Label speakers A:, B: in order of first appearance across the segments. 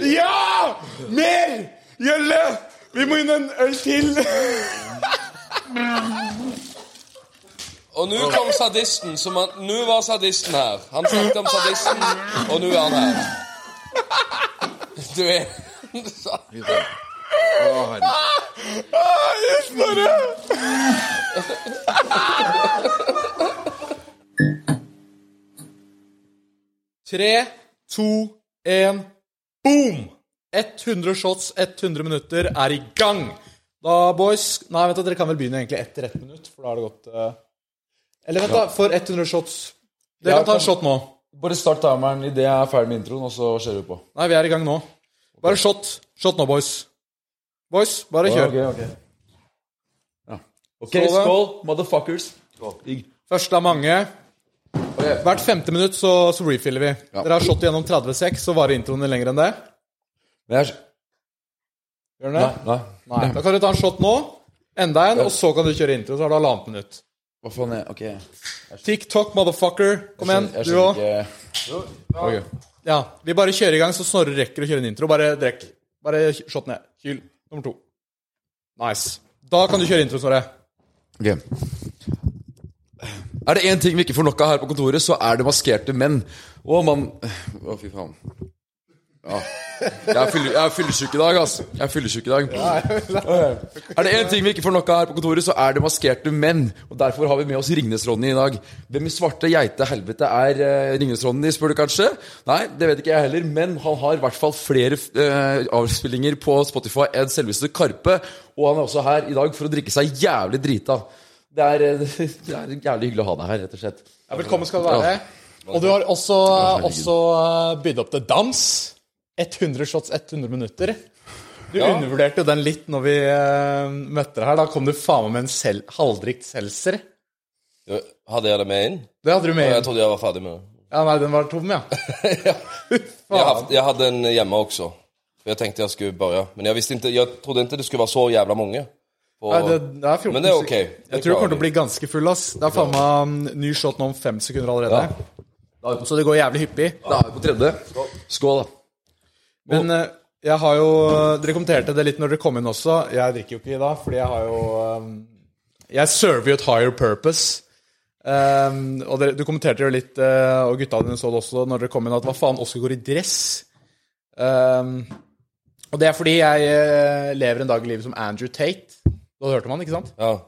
A: Ja! Mer! Gjølle! Vi må inn en øl til!
B: Og nå kom sadisten. som han... Nå var sadisten her. Han snakket om sadisten, og nå er han her. Du er
A: Tre, to, én, boom! 100 shots, 100 minutter er i gang. Da, boys Nei, vent, da, dere kan vel begynne egentlig etter ett minutt, for da har det gått eh, Eller vent, da. For 100 shots. Dere
C: Ja,
A: kan ta
C: kan-
A: en shot nå.
C: Bare start timeren idet jeg er ferdig med introen, og så kjører vi på.
A: Nei, vi er i gang nå. Bare shot. Shot nå, boys. Boys, bare kjør.
C: Ok, ok. Ja. Ok,
A: Skål, da.
C: skål, motherfuckers. Digg.
A: Første av mange. Hvert femte minutt så, så refiller vi. Dere har shot igjennom 30 sek, så varer introene lenger enn det.
C: Men jeg er
A: Gjør den det?
C: Nei.
A: Nei. Da kan du ta en shot nå, enda en, og så kan du kjøre intro. Så har du halvannet minutt.
C: Hva faen er Ok. Jeg
A: TikTok, motherfucker. Kom igjen,
C: skjønner- jeg
A: du
C: skjønner
A: òg.
C: ikke Ok.
A: Ja, vi bare kjører i gang, så Snorre rekker å kjøre en intro. Bare drekk. Bare kj- shot ned. Kyl. Nummer to. Nice. Da kan du kjøre intro, Snorre.
C: Ok. Er det én ting vi ikke får nok av her på kontoret, så er det maskerte menn. Å, mann Å, fy faen. Ja. Jeg er fylle- jeg er fyllesyk i dag, ass. Jeg er fyllesyk i dag. Er det én ting vi ikke får nok av her på kontoret, så er det maskerte menn. Og Derfor har vi med oss Ringnes-Ronny i dag. Hvem i svarte geite helvete er eh, Ringnes-Ronny, spør du kanskje? Nei, det vet ikke jeg heller, men han har i hvert fall flere eh, avspillinger på Spotify enn selveste Karpe. Og han er også her i dag for å drikke seg jævlig drita. Det er, eh, det er jævlig hyggelig å ha deg her, rett og slett.
A: Ja, velkommen skal du være. Og du har også, også eh, bydd opp til dans. 100 shots, 100 minutter. Du undervurderte jo den litt når vi eh, møtte deg her. Da kom du faen meg med en sel halvdrikt seltzer.
B: Du, Hadde jeg det med inn?
A: Det hadde du med
B: Jeg
A: inn.
B: trodde jeg var ferdig med det.
A: Ja, nei, den var tom, ja.
B: Jeg, haft, jeg hadde en hjemme også. Jeg tenkte jeg skulle börja. Men jeg, visste ikke, jeg trodde ikke det skulle være så jævla mange. Og-
A: Nei, det, det er 14
B: Men det er ok.
A: sek-
B: Det
A: Jeg tror du
B: klarer
A: kommer til å bli ganske full, ass. Det er faen meg mm, ny shot nå om fem sekunder allerede. Så det går jævlig hyppig.
C: Da er vi på tredje. Skål, da.
A: Men eh, jeg har jo Dere kommenterte det litt når dere kom inn også. Jeg drikker jo ikke i dag, fordi jeg har jo eh, Jeg server jo et higher purpose. Ehm, og dere, du kommenterte jo litt, eh, og gutta dine så det også når dere kom inn, at hva faen, Oskar går i dress. Ehm, og det er fordi jeg eh, lever en dag i livet som Andrew Tate. Du hadde hørt om han, ikke sant?
B: Ja,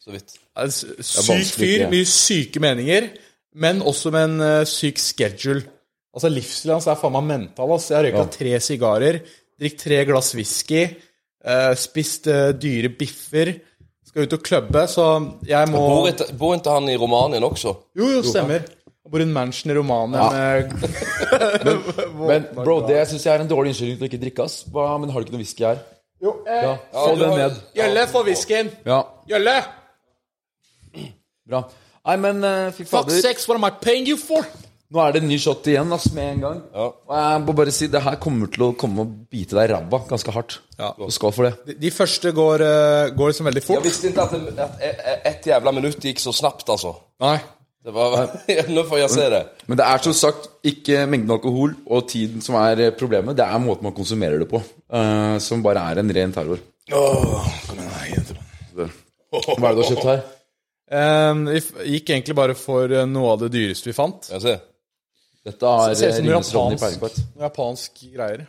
B: så vidt.
A: Ja, en s- Syk
C: vanskelig
A: fyr,
C: ikke.
A: mye syke meninger, men også med en eh, syk schedule. Altså Livsstilen hans er faen meg mental. ass. Jeg har røyka tre sigarer, drikket tre glass whisky, eh, spist eh, dyre biffer, skal ut og klubbe, så jeg må
B: Bor ikke, bor ikke han i Romanien også?
A: Jo, jo, stemmer. Jeg bor i en mansion i Romania med
C: Men bro, det syns jeg er en dårlig unnskyldning til å ikke drikke, ass. Hva, men har du ikke noe whisky her?
A: Jo, eh,
C: Ja, Få
B: du
C: den
B: har-
C: ned.
A: Gjølle, få whiskyen!
C: Ja,
A: Gjølle!
C: bra. Nei, men eh, fy
A: Fuck
C: fader.
A: sex, what am I paying you for?
C: Nå er det en ny shot igjen, ass, med en gang.
B: Ja.
C: Og jeg må bare si, det her kommer til å komme og bite deg i ræva ganske hardt.
A: Ja.
C: Og skål for det.
A: De, de første går, eh, går liksom veldig
B: Jeg
A: fort.
B: visste ikke at, det- at e- e- ett jævla minutt gikk så snapt, altså.
A: Nei.
B: Det var, nå får jeg se det.
C: Men det er som sagt ikke mengden alkohol og tiden som er eh, problemet. Det er måten man konsumerer det på, eh, som bare er en ren terror. Det. Hva er det du har kjøpt her?
A: Ehm, vi f- gikk egentlig bare for eh, noe av det dyreste vi fant.
B: Skal jeg se.
C: Dette
A: Det
C: er
A: ser ut
C: eh,
A: som
C: Ringenes Ronny
A: japansk.
C: Perlequart.
A: Japansk greier.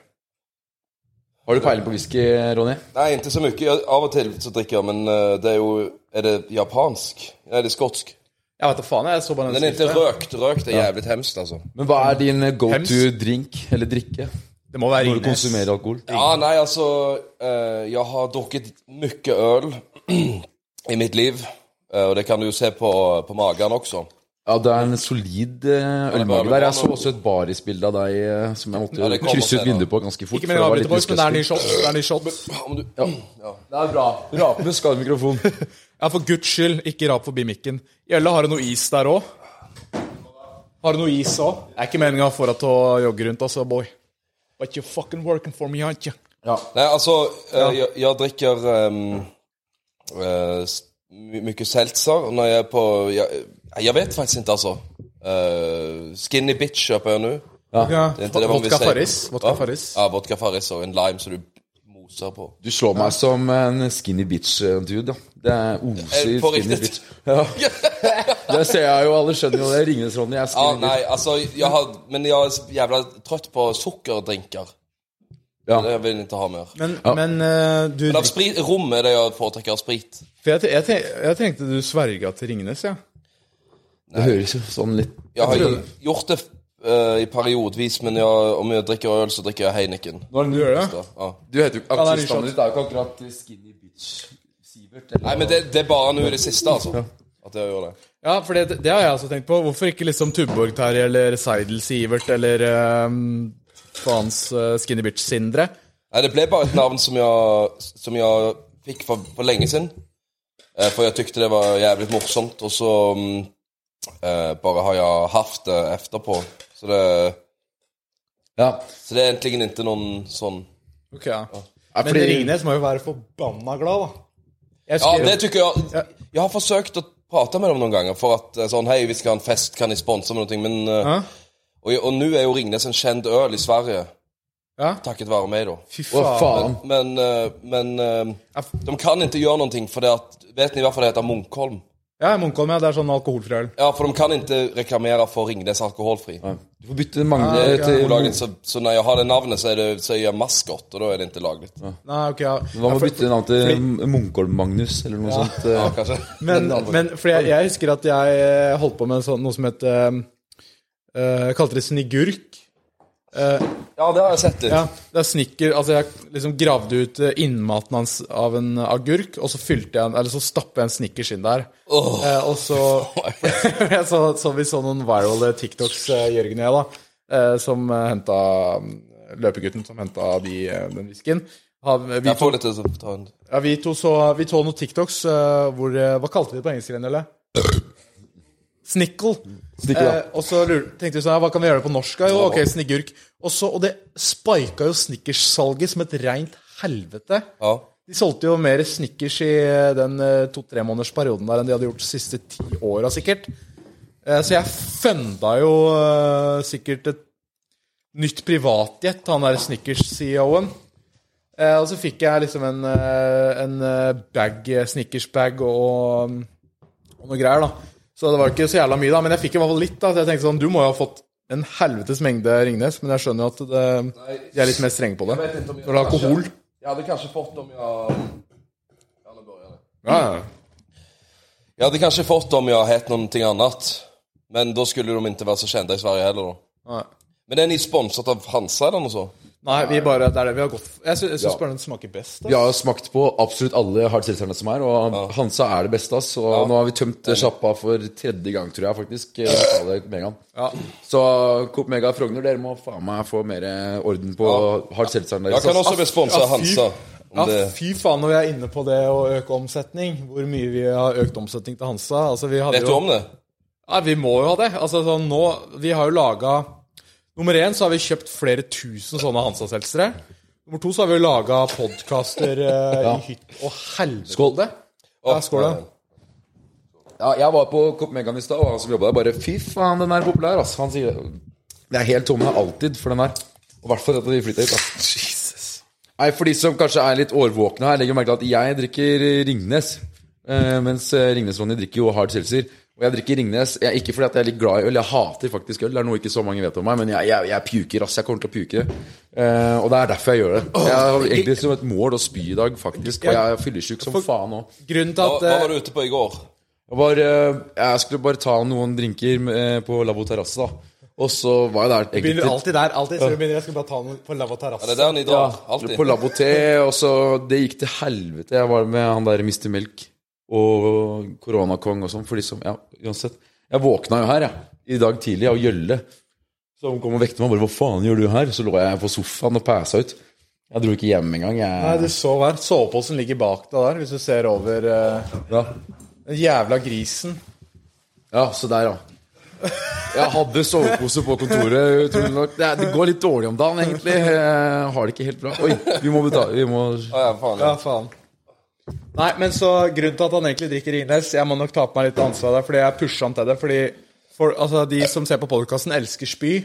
C: Har du peiling på whisky, Ronny?
B: Nei, ikke så mye. Jeg, av og til så drikker jeg, men eh, det er jo Er det japansk? Nei, det er skotsk.
A: Jeg vet da faen, jeg så bare
B: Den
A: den
B: er ikke
A: skriften.
B: røkt. Røkt er jævlig hemskt, altså.
C: Men hva er din go to
A: Hems.
C: drink eller drikke
A: Det må være
C: når du
A: Ringnes.
C: konsumerer alkohol?
B: Ja, nei, altså eh, Jeg har drukket mye øl i mitt liv. eh, og det kan du jo se på, på magen også.
C: Ja, det er en solid eh,
B: bra,
C: ølmage
B: men
C: der. Jeg
B: bra,
C: så
B: men-
C: også et barisbilde av deg eh, som jeg måtte
B: Ja, det kommer
C: krysse ut
B: senere.
C: vinduet på ganske fort. for
A: Ikke med
C: det var
A: avbryte,
C: litt
A: boys, men det er ny
C: muskelspill.
A: shot. Det er ny shot.
B: Om du, ja.
C: Det er bra. Rapende skadet mikrofon.
A: Ja, for guds skyld, ikke rap forbi mikken. Gjelle, har du noe is der òg? Har du noe is òg? Det er ikke meninga for deg til å jogge rundt, altså, boy. But you're fucking working for me, aren't you?
B: Nei, altså, eh, jeg, jeg drikker ehm, eh, s- my- mye seltzer når jeg er på jeg, jeg vet faktisk ikke, altså. Eh, skinny Bitch kjøper jeg nå.
A: Ja,
B: Det er ikke det man vil
A: Vodka
B: si.
A: Farris. Vodka
B: Hva?
A: Farris.
B: Ja, vodka Farris og en lime som du moser på.
C: Du slår meg som en skinny bitch-dude, da. Det er oser
B: Eh, på
C: skinny
B: riktig.
C: bitch. Ja. Det ser jeg jo, alle skjønner jo det. Ringnes-Ronny er
B: Ja,
C: skinny
B: nei, altså jeg har, Men jeg er så jævla trøtt på sukkerdrinker.
C: Ja.
B: Det vil jeg ikke ha mer.
A: Men,
C: Ja.
A: men eh, du
B: Men av sprit, rom er det jeg foretrekker av sprit.
A: for jeg, te- jeg, te- jeg tenkte du sverga til Ringnes, ja.
C: bitch. Det høres jo sånn litt
B: Jeg har
C: tror-
B: gjort det eh, i periodvis, men jeg, om jeg drikker øl, så drikker jeg Heineken.
A: Du gjør det?
B: Så, ah. ja.
C: Du heter jo
A: det er ny shot.
C: Aksel-navnet ditt er jo ikke akkurat skinny bitch-Sivert.
B: Nei, men det, det er bare nå i det siste, altså. At jeg gjør det.
A: Ja, for det, det har jeg også tenkt på. Hvorfor ikke liksom Tuborg Terje eller Seidel Sivert eller ehm, faens eh, Skinny Bitch Sindre?
B: Nei, det ble bare et navn som jeg, som jeg fikk for, for lenge siden. Eh, for jeg tykte det var jævlig morsomt, og så mm, eh, bare har jeg hatt det etterpå. Så det,
C: Ja.
B: så det er egentlig ikke noen sånn
A: Ok, ja.
C: Ja,
A: Men
C: fordi-
A: Ringnes må jo være forbanna glad, da. Jeg
B: Ja,
A: husker-
B: det tycker jeg. Jeg har forsøkt å prate med dem noen ganger for at eh, sånn, hei, vi skal ha en fest, kan ni sponse med noe? Men, eh,
A: Ja.
B: og, og nå er jo Ringnes en kjent øl i Sverige,
A: Ja.
B: takket være meg da.
A: Fy
C: Å,
A: faen.
C: faen.
B: Men, eh, men eh,
A: Ja, f-
B: de kan ikke gjøre noe, for det at, vet ni hvorfor det heter Munkholm?
A: Ja, Munkholm, ja. Det er sånn alkoholfri øl.
B: Ja, for de kan ikke reklamere for Ringnes alkoholfri.
C: Du får bytte mange
A: Ah, Ja, ok.
C: til
B: Olagligt, så, så når jeg har det navnet, så, er det, så er jeg maskott, og da er det ikke laglig.
A: Nei, ok, ja.
C: Hva
A: Ja,
C: med å
A: for-
C: bytte navn til Munkholm-Magnus, eller noe sånt? eh?
B: Ja, kanskje.
A: Men, men for jeg, jeg husker at jeg eh, holdt på med en sånn, noe som het eh, eh, Kalte det snigurk.
B: Ja, det har jeg sett litt.
A: Ja, det er snikker, altså Jeg liksom gravde ut eh, innmaten hans av en agurk, og så fylte jeg en, eller så stappet jeg en snickers inn der. Eh, og så jeg så, så Vi så noen viral TikToks, eh, Jørgen og jeg, da, eh, som eh, henta Løpegutten som henta de, eh, den whiskyen. Ha- Vi,
B: Jeg
A: to-
B: får litt til å ta en...
A: ja, vi to så vi så noen TikToks eh, hvor eh, Hva kalte vi det på engelsk igjen, eller? Snickle.
C: Snickle, ja.
A: Eh, og så lur- tenkte vi sånn, ja, hva kan vi gjøre det på norsk? da? Jo, ok, snigurk. Og, så, og det spika jo snickers-salget som et rent helvete.
B: Ja.
A: De solgte jo mer snickers i eh, den eh, to-tre måneders perioden der enn de hadde gjort de siste ti åra, sikkert. Eh, Så jeg funda jo eh, sikkert et nytt privatjet, han der snickers-CEO-en. Eh, Og så fikk jeg liksom en, eh, en eh, bag, eh, snickers-bag og, og noe greier, da. Så det var ikke så jævla mye, da. Men jeg fikk i hvert fall litt, da. Så jeg tenkte sånn, du må jo ha fått en helvetes mengde Ringnes, men jeg skjønner jo at det, de er litt mer strenge på det.
B: vet ikke om jeg-
A: Når det er alkohol.
B: Jeg hadde kanskje fått om jeg... Ja, nå börjar det.
A: Ja, ja.
B: Jeg hadde kanskje fått om jeg het noe annet. Men da skulle de ikke være så kjente i Sverige heller, da.
A: Nei.
B: Men er ni sponset av Hansa eller noe sånt?
A: Nei, vi bare, det er det vi har gått for. Jeg syns
C: Ja.
A: bare den smaker best. Da.
C: Vi har jo smakt på absolutt alle hardselterne som er, og Hansa er det beste. ass. Og nå har vi tømt eh, sjappa for tredje gang, tror jeg, faktisk. eh, av det Megaen.
A: Ja.
C: Så Coop Mega Frogner, dere må faen meg få mer eh, orden på hardselteren deres.
B: Jeg kan
C: ass.
B: også bli sponset av
A: Ja, Altså, ah, fy-
B: Hansa. Om det...
A: Ja, fy faen når vi er inne på det å øke omsetning. Hvor mye vi har økt omsetning til Hansa. Altså, vi hadde
B: Vet du
A: jo
B: om det?
A: Nei, vi må jo ha det. Altså, sånn, nå, vi har jo laga Nummer én så har vi kjøpt flere tusen sånne Hansa-selgere. Nummer to så har vi jo laga podkaster eh, i hytt og helvete.
C: Skål.
A: Ja, skål, da.
C: Ja, jeg var på Coop Megaen i stad, og han som jobba der, bare Fy faen, den er populær, ass. Han sier Det er helt tomme alltid for den her. Og i hvert fall etter at vi flytta hit. ass. Nei, For de som kanskje er litt årvåkne her, legger merke til at jeg drikker Ringnes. eh, Mens eh, Ringnes-Ronny drikker jo hard seltzer. Og jeg drikker Ringnes jeg, ikke fordi at jeg er litt glad i øl, jeg hater faktisk øl. Det er noe ikke så mange vet om meg, men jeg, jeg, jeg puker, ass. Jeg kommer til å puke. Eh, og det er derfor jeg gjør det. Jeg har egentlig som et mål å spy i dag, faktisk. Og jeg er fyllesyk som faen nå.
A: Grunnen
B: Hva,
A: til
B: hva
A: at eh,
B: var du ute på i går?
C: Jeg, var, eh, jeg skulle bare ta noen drinker eh, på Lavo Terrasse, da. Og så var jeg der
A: Begynner
C: egentlig
A: alltid der. alltid så du begynner, Jeg skal bare ta noe på lavvo
B: Er det
A: terrasse.
B: der ni drar? Alltid?
C: på Lavo T, og så Det gikk til helvete. Jeg var med han der Mr. Melk og koronakong og sånn, for de som Ja, uansett. Jeg våkna jo her, jeg, i dag tidlig, av Gjølle. Som kom og vekte meg og bare 'Hva faen gjør du her?' Så lå jeg på sofaen og pæsa ut. Jeg dro ikke hjem engang.
A: Nei,
C: Jeg,
A: du sov her. Soveposen ligger bak deg der, hvis du ser over eh,
C: ja.
A: den jævla grisen.
C: ja, så der, ja. Jeg hadde sovepose på kontoret, utrolig nok. Det, er- det går litt dårlig om dagen, egentlig. Jeg har det ikke helt bra. Oi, vi må betale Vi må
B: Ja, ja, faen, ja.
A: Ja, faen. Nei, men så grunnen til at han egentlig drikker Ringnes Jeg må nok ta på meg litt ansvar der, fordi jeg pusha han til det. Fordi for, altså, de som ser på podkasten, elsker spy.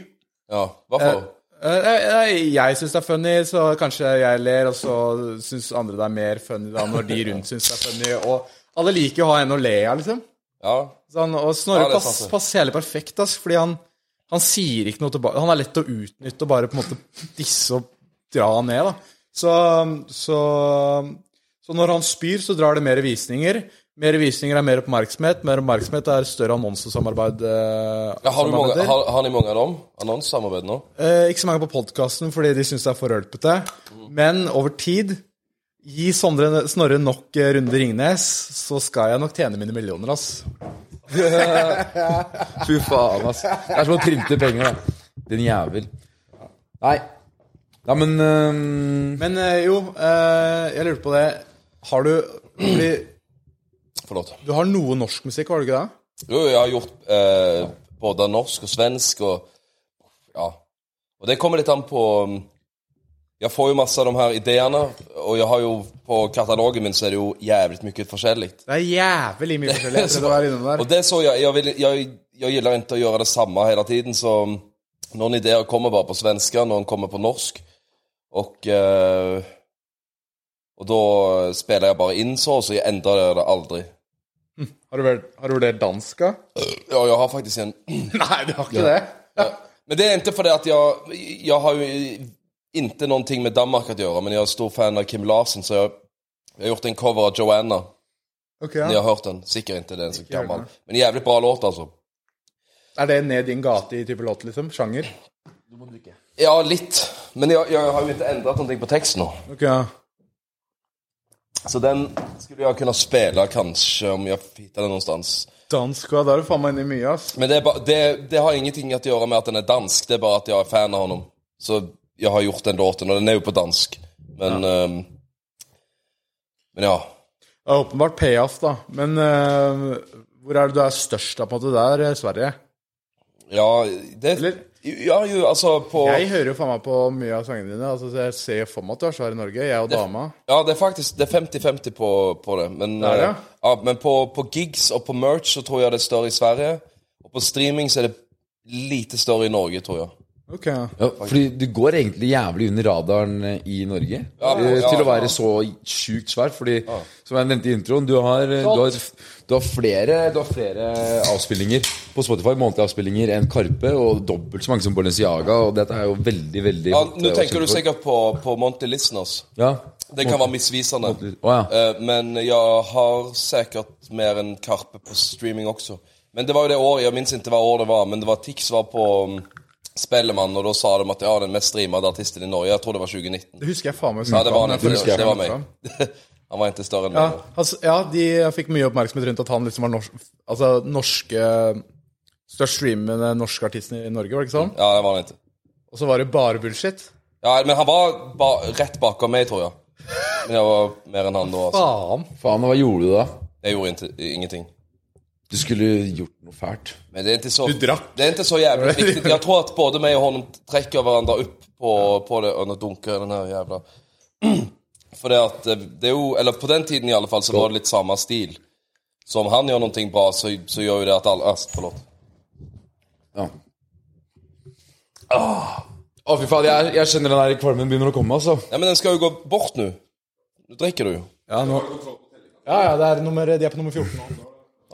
B: Ja, hva for?
A: Eh, eh, eh, Jeg syns det er funny, så kanskje jeg ler, og så syns andre det er mer funny da, når de rundt syns det er funny. Og alle liker jo å ha en å le av, liksom.
B: ja.
A: Så han, og
B: Ja,
A: Snorre
B: det er sant,
A: pass,
B: det.
A: passer jævlig perfekt, ass, fordi han, han sier ikke noe tilbake. Han er lett å utnytte og bare på en måte disse og dra han ned, da. Så, så, så når han spyr, så drar det mer visninger. Mer visninger er mer oppmerksomhet. Mer oppmerksomhet er større annonsesamarbeid.
B: ja har, du mange, har, har ni mange av dem? Annonsesamarbeid nå?
A: Eh, ikke så mange på podkasten fordi de syns det er for rølpete. Men over tid Gi Sondre, Snorre nok eh, runde Ringnes, så skal jeg nok tjene mine millioner, ass.
C: Fy faen, ass. Det er som å printe penger, da. Din jævel. Nei. Ja, men øhm,
A: Men eh, jo, eh, jeg lurte på det. Har du fordi,
B: Forlåt.
A: Du har noe norsk musikk, har du ikke det?
B: Jo, jeg har gjort eh, både norsk og svensk og Ja. Og det kommer litt an på mm, Jeg får jo masse av de her ideene, og jeg har jo på katalogen min så er det jo jævlig mye forskjellig.
A: Det er jævlig mye forskjellig etter å være innom der.
B: Og det så jeg Jeg, vil, jeg, jeg gillar ikke å gjøre det samme hele tiden, så noen ideer kommer bare på svenska, noen kommer på norsk, og eh, Og da spiller jeg bare inn så, så jeg endrer det aldri.
A: Har du vurdert, har du vurdert dansk, da?
B: Ja, jeg har faktisk en
A: Nei, du har ikke det?
B: Men det er ikke fordi at jeg Jeg har jo ikke noe med Danmark å gjøre, men jeg er stor fan av Kim Larsen, så jeg, jeg har gjort en cover av Joanna.
A: Ok,
B: Ni
A: ja.
B: har hørt den. Sikkert ikke, den er så
A: hørt
B: gammel.
A: den.
B: Men jævlig bra låt, altså.
A: Er det ned din gate i type låt, liksom? Sjanger?
B: Ja, litt. Men jeg, jeg har jo ikke endret noe på teksten nå.
A: Ok, ja.
B: Så den skulle jeg kunne spille, kanskje, om jeg finner den noe sted.
A: Dansk, ja. Da er du faen meg inne i mye, ass.
B: Men det, er ba, det, det har ingenting å gjøre med at den er dansk, det er bare at jeg er fan av ham. Så jeg har gjort den låten, og den er jo på dansk. Men ja. men ja.
A: Det er åpenbart payoff, da. Men eh, hvor er det du er størst, da, på en måte? Der, eh, Sverige?
B: Ja, det
A: Eller-
B: Ja, jo, altså på
A: Jeg hører jo faen meg på mye av sangene dine. Altså, så jeg ser jo for meg at du er svær i Norge. Jeg og dama.
B: Ja, det er faktisk det er 50-50 på, på det. Men,
A: er det,
B: eh, ja, men på, på gigs og på merch så tror jeg det er større i Sverige. Og på streaming så er det lite større i Norge, tror jeg.
A: Ok, ja.
C: ja, Fordi du går egentlig jævlig under radaren eh, i Norge
B: Ja,
C: eh,
B: ja,
C: til å
B: ja.
C: være så sjukt svær. Fordi, som jeg nevnte i introen, du har, eh, du har, du har, flere, du har flere avspillinger på Spotify, månedlige avspillinger, enn Karpe, og dobbelt så mange som Balenciaga. Og dette er jo veldig, veldig
B: Ja,
C: hot,
B: Nå
C: eh,
B: tenker du
C: for-
B: sikkert på, på Monty Listeners.
C: Ja.
B: Det kan være misvisende.
C: Å, ja.
B: Eh, Men jeg har sikkert mer enn Karpe på streaming også. Men det var jo det året, jeg minns ikke hva år det var, men det var Tix var på mm, Spellemann, og da sa de at ja, den mest streamede artisten i Norge, jeg tror det var 2019.
A: Det husker jeg faen meg.
B: Ja, det var han ikke.
C: husker jeg.
B: Det var meg. Han var ikke større enn
A: Ja,
B: meg.
A: altså, ja, de fikk mye oppmerksomhet rundt at han liksom var norsk, altså, norske Størst streamende norske artisten i Norge, var det ikke sånn?
B: Ja, det var han ikke.
A: Og så var det bare bullshit.
B: Ja, men han var ba rett bakom meg, tror jeg. Men jeg var mer enn han da. Altså.
A: Faen.
C: Faen, og hva gjorde du da?
B: Jeg gjorde inte- ingenting.
C: Du skulle gjort noe fælt.
B: Men det er ikke så,
A: Du drakk.
B: det er ikke så jævlig viktig. Jeg tror at både meg og han trekker hverandre opp på, på det og nå dunker den her jævla For det at eh, det er jo Eller på den tiden i alle fall så var det litt samme stil. Så om han gjør noe bra, så, så gjør jo det at alle Øst, forlåt.
C: Ja. Åh. Å, fy faen, jeg, jeg kjenner den der kvalmen begynner å komme, altså.
B: Nei, men den skal jo gå bort nå. Nå drikker du jo.
A: Ja, nå... ja, ja det er nummer, de er på nummer 14 nå.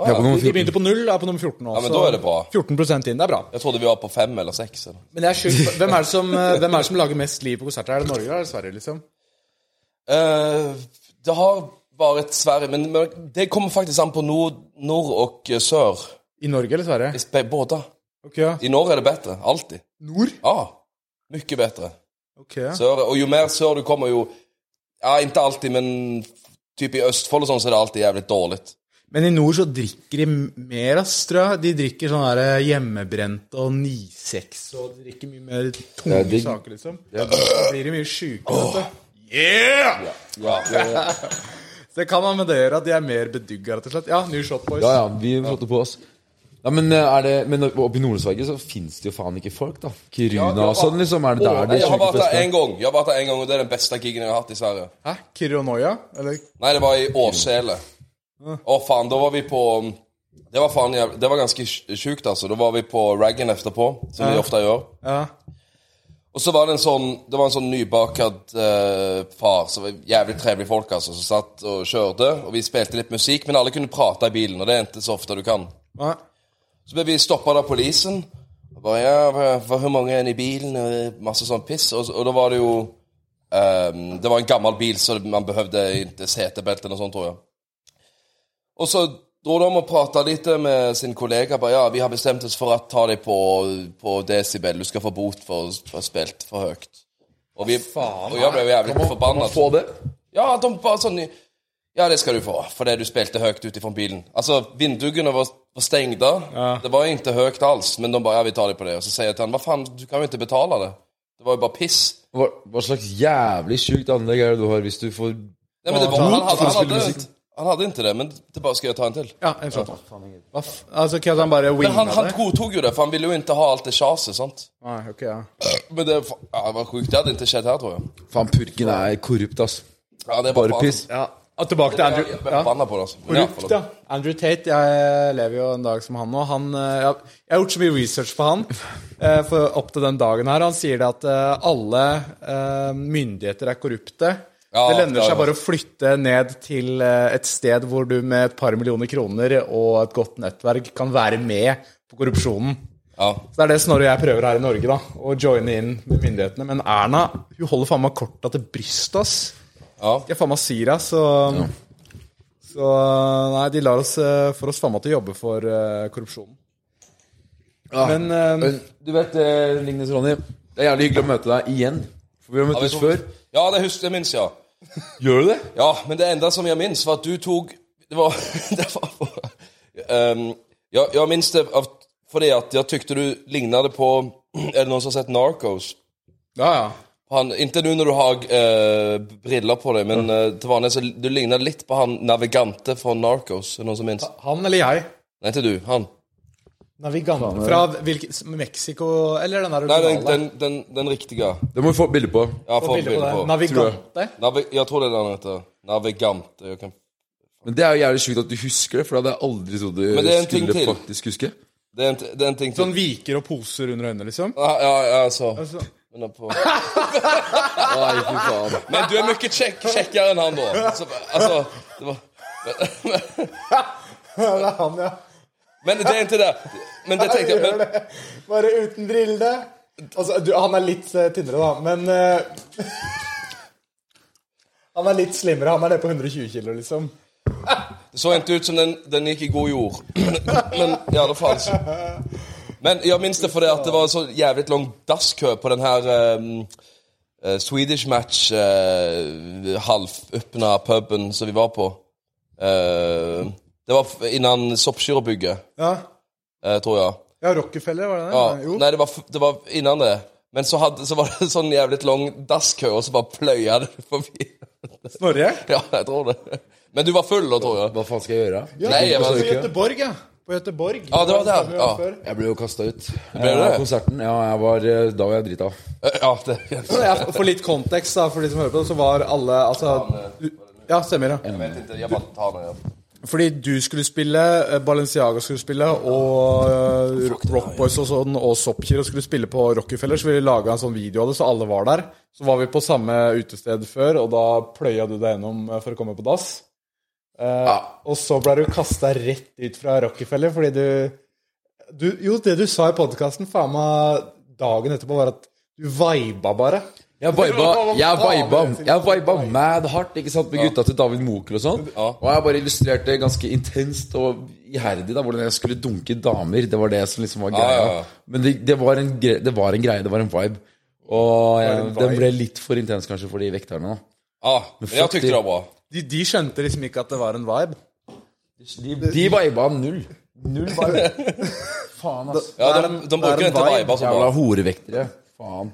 C: Jeg er på nummer
A: De
C: 14.
A: begynte på null, er på nummer 14 nå.
B: Ja, men
A: så
B: da er det bra.
A: 14 inn, det er bra.
B: Jeg trodde vi var på fem eller seks. Eller.
A: Men det er sjukt. Hvem er det som, eh, hvem er det som lager mest liv på konserter? Er det Norge eller er det Sverige, liksom?
B: Eh, det har vært Sverige, men men det kommer faktisk an på nord, nord og eh, sør.
A: I Norge eller
B: I
A: Sverige?
B: spe- Både.
A: Ok, ja.
B: I Norge er det bedre. Alltid.
A: Nord?
B: Ja. Mye bedre.
A: Ok, ja.
B: Sør, og jo mer sør du kommer, jo Ja, ikke alltid, men typ i Østfold og sånn, så er det alltid jævlig dårlig.
A: Men i nord så drikker de mer, ass, tror jeg. De drikker sånn der hjemmebrent og 9-6 og de drikker mye mer tunge
C: Det er digg.
A: saker, liksom. Da blir de mye sjuke, vet du. Yeah!
B: Ja, ja,
A: Så det kan ha med det å gjøre at de er mer bedugga, rett og slett. Ja, New Shot Boys.
C: Ja, ja, vi slåtte på oss. Ja, men eh, er det, men oppe i Nord-Sverige så fins det jo faen ikke folk, da. Kiruna
B: det var-
C: og sånn, liksom. Er det der de
B: Jeg har
C: sjuke
B: vært der
C: festene?
B: én gang, Jeg har vært der en gang, og det er den beste gigen jeg har hatt i Sverige.
A: Hæ? Kironoia? Eller
B: Nei, det var i Åsele. Å, faen, da var vi på um, Det var, faen, jæv- det var ganske sj- sjukt, altså. Da var vi på raggen etterpå, som vi ofte gjør.
A: Ja.
B: Og så var det en sånn Det var en sånn nybakad eh, far som var jævlig trevlig folk, altså, som satt og kjørte. Og vi spilte litt musikk, men alle kunne prate i bilen, og det endte så ofte du kan.
A: Ja.
B: Så ble vi stoppa av polisen. Og bare, ja, hva- hva- Hvor mange er det i bilen? Og masse sånn piss. Og, og da var det jo ehm, Det var en gammel bil, så man behøvde ikke setebelte eller noe sånt, tror jeg. Og så dro de og prata litt med sin kollega. bare, ja, 'Vi har bestemt oss for å ta deg på, på desibel. Du skal få bot for å ha spilt for høyt.' Og, vi, og jeg ble jo jævlig forbanna.
C: Få det.
B: Ja, de bare sånn Ja, det skal du få, fordi du spilte høyt ut ifra bilen. Altså, vinduene var, var stengte. Det var ikke høyt alls, men de bare Ja, vi tar det på det. Og så sier jeg til han Hva faen, du kan jo ikke betale det. Det var jo bare piss.
C: Hva, hva slags jævlig sjukt anlegg er det du har hvis du får
B: Nei, men det var, han, hadde,
C: for å
B: han,
C: spille
B: hadde,
C: musikk.
B: han hadde ikke det, men det bare skal jeg ta en til.
A: ja jeg skjønte. Hva f... Altså, ikke at han bare
B: Men
A: winga
B: han, han
A: det?
B: godtok jo det, for han ville jo ikke ha alt det sjaset, sant.
A: Nei, ok, ja.
B: Men det, ja, det var sjukt. Det hadde ikke skjedd her, tror jeg.
C: Faen, purken er korrupt, ass.
B: Ja, det er
C: Bare piss.
A: ja. Og tilbake til
B: Jeg, jeg,
A: Andrew.
B: ble forbanna på det, altså. Men ja,
A: Brukt,
B: forlåt.
A: ja. Andrew Tate, jeg lever jo en dag som han nå. Han, eh, jeg, jeg har gjort så mye research på han eh, for opp til den dagen her. Han sier det at eh, alle eh, myndigheter er korrupte.
B: Ja,
A: det lønner
B: det har jeg
A: seg bare å flytte ned til eh, et sted hvor du med et par millioner kroner og et godt nettverk kan være med på korrupsjonen.
B: Ja.
A: Så det er det Snorre og jeg prøver her i Norge, da. Å joine inn med myndighetene. Men Erna hun holder faen meg korta til brystet, ass.
B: ja.
A: Jeg faen meg sier det, så Så nei, de lar oss eh, får oss faen meg til å jobbe for eh, korrupsjonen. Men eh,
C: Men du vet, eh, Lignes Ronny, det er jævlig hyggelig å møte deg igjen. For vi har møttes før.
B: Ja, det husker jeg minst, ja.
C: Gjør du det?
B: Ja, men det enda som jeg minns, var at du tok Det var, det var Ehm, jeg, jeg minns det av, fordi at jeg tykte du lignet det på Er det noen som har sett Narcos?
A: ja, ja.
B: Han, ikke nå når du har eh, briller på deg, men eh, til vanlig så du lignet litt på han navigante fra Narcos. Er det noen som minns?
A: Han eller jeg?
B: Nei, ikke du. Han.
A: Navigant fra hvilken Mexico Eller den der
B: Nei, den,
A: originale?
B: den, den, den riktige.
C: Det må vi få et bilde på.
B: Jeg har
A: Få
B: fått
A: bilde på
B: bilde
A: det.
B: på.
A: Navigante?
B: Navi jeg tror det er det han heter. Navigante. Jeg kan
C: Men det er jo jævlig sjukt at du husker det, for det hadde jeg aldri trodd
B: Men det er en
C: du
B: ting
C: skulle
B: til.
C: faktisk huske.
B: Det er en, det er en ting til.
A: Sånn viker og poser under øynene, liksom?
B: Ja, ja, ja, så.
A: Altså,
B: Men det er på...
C: Nei, fy faen.
B: Men du er mye kjekk, kjekkere enn han, da. Så, altså, det var,
A: ja, det er han, ja.
B: men det er ikke det. Men det tenkte jeg men,
A: det. Bare uten brillene. Altså, du, han er litt eh, tynnere, da, men eh, Han er litt slimmere. Han er nede på 120 kilo, liksom.
B: Det så ikke ut som den, den gikk i god jord. Men i alle fall så. Men jeg minnes det fordi at det var så jævlig lang dasskø på den her ehm, eh, Swedish match uh, halvåpna puben som vi var på. Eh, det var f- innan Soppskyrobygget,
A: Ja,
B: eh, tror jeg.
A: ja Rockefeller, var det det?
B: Ja,
A: Jo.
B: nei, det var, f- det var innan det. Men så, hadde, så var det sånn jævlig lang dasskø, og så bare pløya det forbi.
A: Snorre?
B: Ja, jeg tror det. Men du var full da, tror jeg.
C: Hva faen skal jeg gjøre?
A: Ja,
B: Nei, jeg var-
A: på Göteborg, ja. På Göteborg.
B: Ja, det var der,
A: vi var
B: ja.
A: før.
C: Jeg ble jo kasta ut.
B: du
C: Eh,
B: det?
C: Konserten. Ja, jeg var, eh, da var jeg drita.
B: Ja, det,
A: Ja, For litt kontekst, da, for de som hører på, så var alle altså Ja, stemmer, ja.
B: Jeg vet ikke, jeg bare tar det. Ja.
A: Fordi du skulle spille, eh, Balenciaga skulle spille, og eh, Rock Boys og sånn, og Soppkiro skulle spille på Rockefeller, så vi laga en sånn video av det, så alle var der. Så var vi på samme utested før, og da pløya du deg gjennom eh, for å komme på dass. Eh, Og så ble du kasta rett ut fra Rockefeller fordi du, du Jo, det du sa i podkasten faen meg dagen etterpå, var at du viba bare.
C: Jeg viba, jeg viba, jeg viba mad hardt ikke sant, med gutta til David Moker og sånn.
B: Ja.
C: Og jeg bare illustrerte ganske intenst og iherdig da, hvordan jeg skulle dunke damer. Det var det som liksom var
B: ja,
C: greia.
B: ja.
C: Men det, det, var en gre det var en greie. Det var en vibe. Og jeg,
A: en
C: den
A: vibe.
C: ble litt for intens kanskje for de vekterne. da
B: Ja, men jeg tykte det var bra.
A: De, de skjønte liksom ikke at det var en vibe.
C: De, de viba null. Null vibe. Faen, ass.
B: Ja,
A: Det er
B: de,
A: en-
B: de bruker
A: det er en
B: ikke
A: vibe,
B: viber så
C: Jævla
B: bra.
C: horevektere. Faen.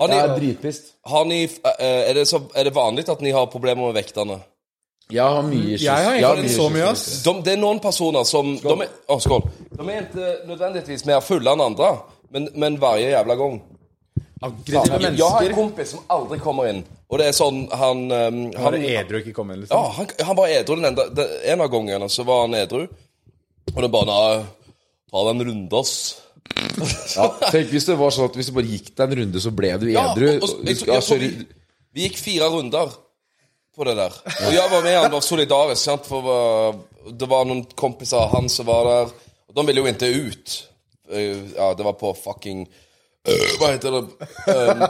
B: Har
C: Jeg er
B: ni,
C: dritpist.
B: har ni, eh, er, det så, er det vanlig at ni har problemer med vekterne?
C: Jeg har mye kyss.
A: Jeg har
C: mye
A: egentlig så
C: kyss.
A: mye, ass.
B: De, det er noen personer som De er, å, skål. De er ikke nødvendigvis mer fulle enn andre, men, men hver jævla gang.
A: Aggressive
B: Jeg har en
A: mennesker.
B: kompis som aldri kommer inn, og det er sånn han, eh,
A: Bare
B: han
A: edru ikke komme inn, liksom.
B: Ja, han, han var edru den enda, den, en av gangene. Så var han edru. Og det er bare nei, ta deg en runde, ass.
C: Ja, tenk hvis det var sånn at hvis du bare gikk deg en runde, så ble du edru.
B: og- og-
C: og-
B: jeg tror-
C: ja,
B: jeg tror
C: sorry.
B: vi- Vi gikk fire runder på det der. Og jeg var med han var solidarisk, sant? for uh, det var noen kompiser av han som var der. Og de ville jo ikke ut. Uh, Ja, det var på fucking uh, Hva heter det Um,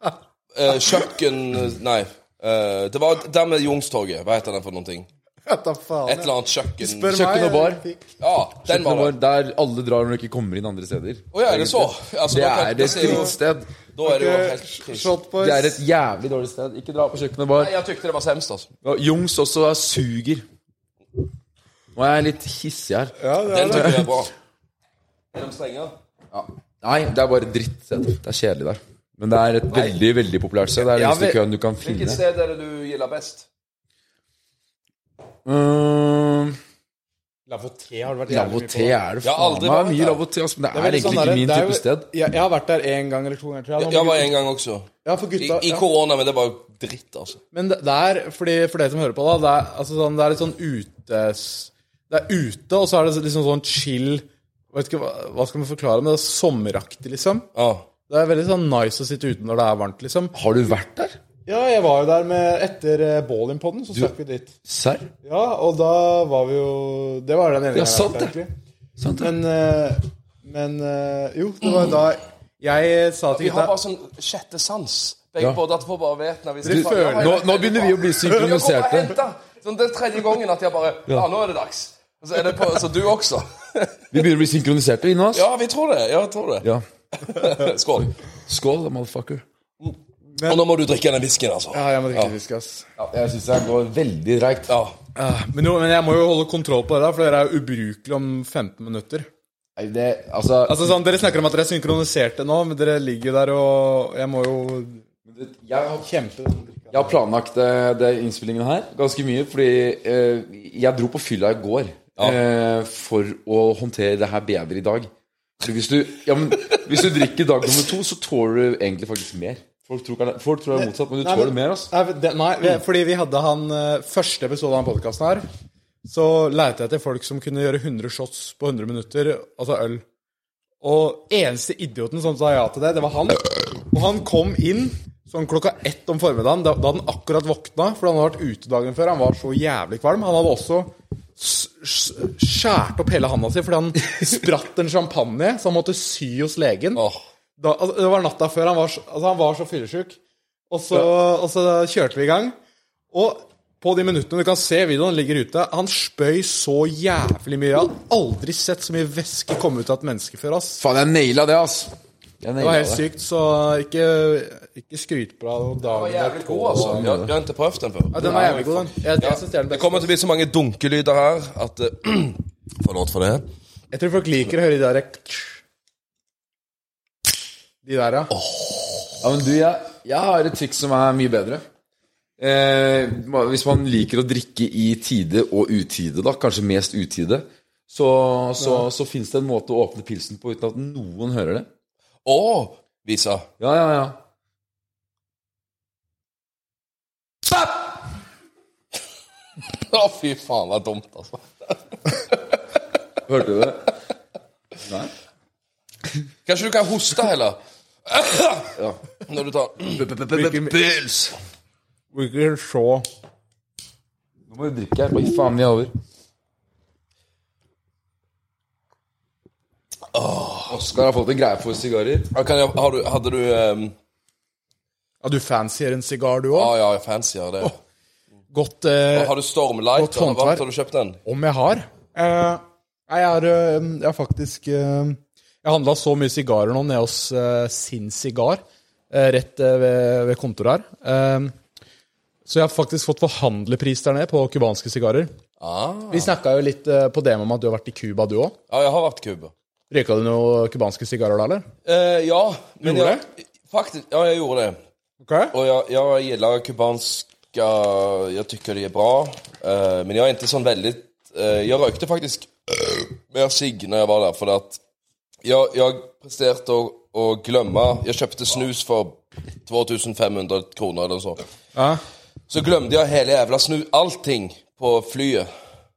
B: uh, Kjøkken Nei. Uh, Det var der med Youngstorget. Hva heter den for noen ting?
D: Vet da
B: Et
D: faen.
B: eller annet kjøkken.
D: Spør
C: Kjøkken
D: meg,
C: og bar.
D: jeg fikk-
B: Ja, den
C: Det
B: var
C: var
B: det.
C: der alle drar når de ikke kommer inn andre steder.
B: Å ja, er det så? Altså,
C: Det
B: da kan-
C: er
B: da
C: et
B: ser jeg jo-
C: drittsted.
B: Da er det jo helt
D: Ok,
B: krise.
D: Shot boys.
C: Det er et jævlig dårlig sted. Ikke dra på kjøkkenet bar.
B: Nei, Jeg tykte det var semst, altså.
C: Ja, Jungs også er suger. Nå er jeg litt hissig her.
D: Ja, det er
B: Den
D: det.
B: tykte jeg er bra. Er de strenge?
C: Nei, det er bare drittsted. Det er kjedelig der. Men det er et veldig veldig populært sted. Det er den
D: Ja,
C: eneste
D: vi-
C: køen du kan
B: Hvilket
C: finne.
B: sted er det du gilder best?
C: Uh,
D: Lavoté har det vært jævlig mye på.
C: Lavoté er det
B: Jeg har
C: faen
B: aldri
C: meg
B: vært
C: mye
B: der.
C: Lavoté, altså, men det er
D: veldig
C: egentlig
D: sånn der-
C: ikke min
D: det er
C: type
D: jo-
C: sted.
D: Jeg, jeg har vært der én gang eller to ganger, tror jeg.
B: Jeg var en gang også.
D: Ja, for
B: I,
D: gutta.
B: i
D: ja.
B: korona, men det var jo dritt, altså.
D: Men det det er, fordi, for dere som hører på, da, det er, altså, sånn, det er litt sånn utes... Det er ute, og så er det liksom sånn chill Vet ikke, hva, hva skal man forklare, men det er sommeraktig, liksom.
B: Ja.
D: Det er veldig sånn nice å sitte ute når det er varmt, liksom.
C: Har du vært der?
D: Ja, jeg var jo der med Etter eh, bowlingpodden, så stakk vi dit.
C: Serr?
D: Ja, og da var vi jo Det var den ene
C: Ja,
D: gangen,
C: sant det.
D: egentlig.
C: Sant det?
D: Men, eh, men eh, Jo, det var jo da jeg sa til
B: Vi har
D: gutta
B: bare sånn sjette sans. Begge
C: Ja.
B: både at folk bare vet når vi
D: Dere føler-
B: Ja, jeg
C: Nå,
B: vet
C: nå
B: det,
C: begynner
B: det er
C: vi å bli
B: bra. Nå kommer jeg og
C: synkroniserte.
B: henter. Sånn, den tredje gangen at jeg bare Ja, nå er det dags. Og så er det på, så du også.
C: Vi begynner å bli synkroniserte inne, ass.
B: Ja, vi tror det. Ja, jeg tror det.
C: Ja.
B: Skål.
C: Skål, da, motherfucker.
B: Og nå må du drikke den whiskyen, altså.
D: Ja, jeg må drikke fisk, ass.
C: Jeg syns det går veldig dreigt.
B: Ja.
D: Ah, Men, jo, men jeg må jo holde kontroll på det, der, for dere er jo ubrukelige om 15 minutter.
C: Nei, det, altså,
D: Altså sånn, Dere snakker om at dere er synkroniserte nå, men dere ligger jo der og Jeg må jo
C: jeg har
D: kjempe.
C: Jeg har planlagt eh, det innspillingen her ganske mye, fordi eh, jeg dro på fylla i går eh, for å håndtere det her bedre i dag. Fordi hvis du, ja, men, hvis du drikker dag nummer to, så tåler du egentlig faktisk mer. Folk tror, ikke- folk tror det er motsatt, men du
D: Nei, men-
C: tåler mer. Altså.
D: Nei, det- nei, vi- fordi vi hadde han eh, første episode av den podkasten her. Så leita jeg etter folk som kunne gjøre 100 shots på 100 minutter, altså øl. Og eneste idioten som sa ja til det, det var han. Og han kom inn sånn klokka ett om formiddagen, da da hadde han akkurat våkna, for han hadde vært ute dagen før. Han var så jævlig kvalm. Han hadde også s- s- skjært opp hele handa si fordi han spratt en champagne, så han måtte sy hos legen.
B: Åh.
D: da, altså, det var natta før. Han var, så- altså, han var så fyllesyk. Og så, og så kjørte vi i gang. Og på de minuttene du kan se videoen ligger ute, han spøy så jævlig mye. Jeg har aldri sett så mye væske komme ut av et menneske før. ass.
C: Faen, jeg naila det, altså. Jeg
D: Det var
C: naila
D: helt
C: det.
D: sykt, så ikke, ikke skryt på deg.
B: Den var
D: dagen
B: jævlig
D: derpå.
B: god, altså. Jeg, jeg har ikke prøvd den før.
D: Ja, den var jævlig god, den. Jeg, jeg synes det er den
B: Det
D: beste.
B: kommer til å bli så mange dunkelyder her at eh, Forlåt for det.
D: Jeg tror folk liker å høre de der eh, De der, ja.
C: Ja, men du, jeg, jeg har et triks som er mye bedre. Eh, ma- hvis man liker å drikke i tide og utide, da, kanskje mest utide, så, så, så fins det en måte å åpne pilsen på uten at noen hører det.
B: Å, Visa.
C: Ja, ja, ja.
B: Å, fy faen, det er dumt, altså.
C: Hørte du det? Nei?
B: Kanskje du kan hoste heller?
C: Ja.
B: Når du tar
D: Hvilken-
B: Pils!
D: Bruker så
C: Nå må du drikke her. Oi, faen, vi er over. Oskar har fått en greie for sigarer.
B: Ja, Kan jeg, har du, hadde du ehm,
D: Ja, du fancier en sigar, du
B: Ja,
D: òg?
B: ja, fancy har det.
D: Godt eh,
B: Har du Stormlight?
D: Godt
B: eller hva?
D: håndverk.
B: Har du kjøpt den?
D: Om jeg har? Eh, nei, jeg har, eh, jeg har faktisk eh, Jeg handla så mye sigarer nå nede hos eh, Sin Sigar, eh, rett eh, ved, ved kontoret her. Eh, så jeg har faktisk fått forhandlerpris der nede på cubanske sigarer.
B: Ah.
D: Vi snakka jo litt eh, på DM om at du har vært i Cuba, du òg.
B: Ja, jeg har vært kuba.
D: Røyka du noen cubanske sigarer da, eller?
B: Eh, ja. Men
D: Gjorde
B: jeg, faktisk, ja, jeg gjorde det.
D: Ok.
B: Og jeg, jeg gillar kubanska Jeg tycker de er bra. Eh, men jeg er ikke sånn veldig eh, Jeg røykte faktisk mer sigg når jeg var der, fordi at jeg, jeg presterte å, å glemme Jeg kjøpte snus for 2500 kroner eller så.
D: Ja.
B: Så glemte jeg hele jævla snu Allting på flyet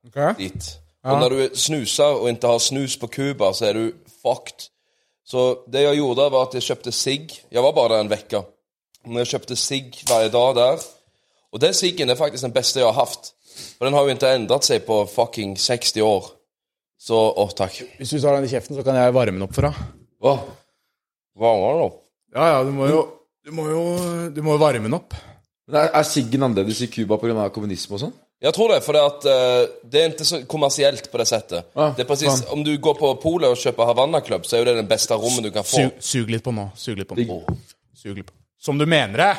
D: ok.
B: dit. Og når du snuser og ikke har snus på Cuba, så er du fucked. Så det jeg gjorde, var at jeg kjøpte sigg. Jeg var bare der en uke. Men jeg kjøpte sigg hver dag der. Og den siggen er faktisk den beste jeg har hatt. For den har jo ikke endret seg på fucking 60 år. Så Å, takk.
A: Hvis du tar den i kjeften, så kan jeg varme den opp for deg.
B: Hva? Hva var det nå?
A: Ja, ja, du må jo Du må jo du må jo varme den opp.
C: Men er, er siggen annerledes i Cuba pga. kommunisme og sånn?
B: Jeg tror det, for det, at, eh, det er ikke så kommersielt på det settet.
C: Ah,
B: det er precis, om du går på polet og kjøper Havanna Club, så er jo det den beste rommet du kan få.
A: Su, sug litt på nå. Sug litt på nå. Sug litt på. Som du mener det!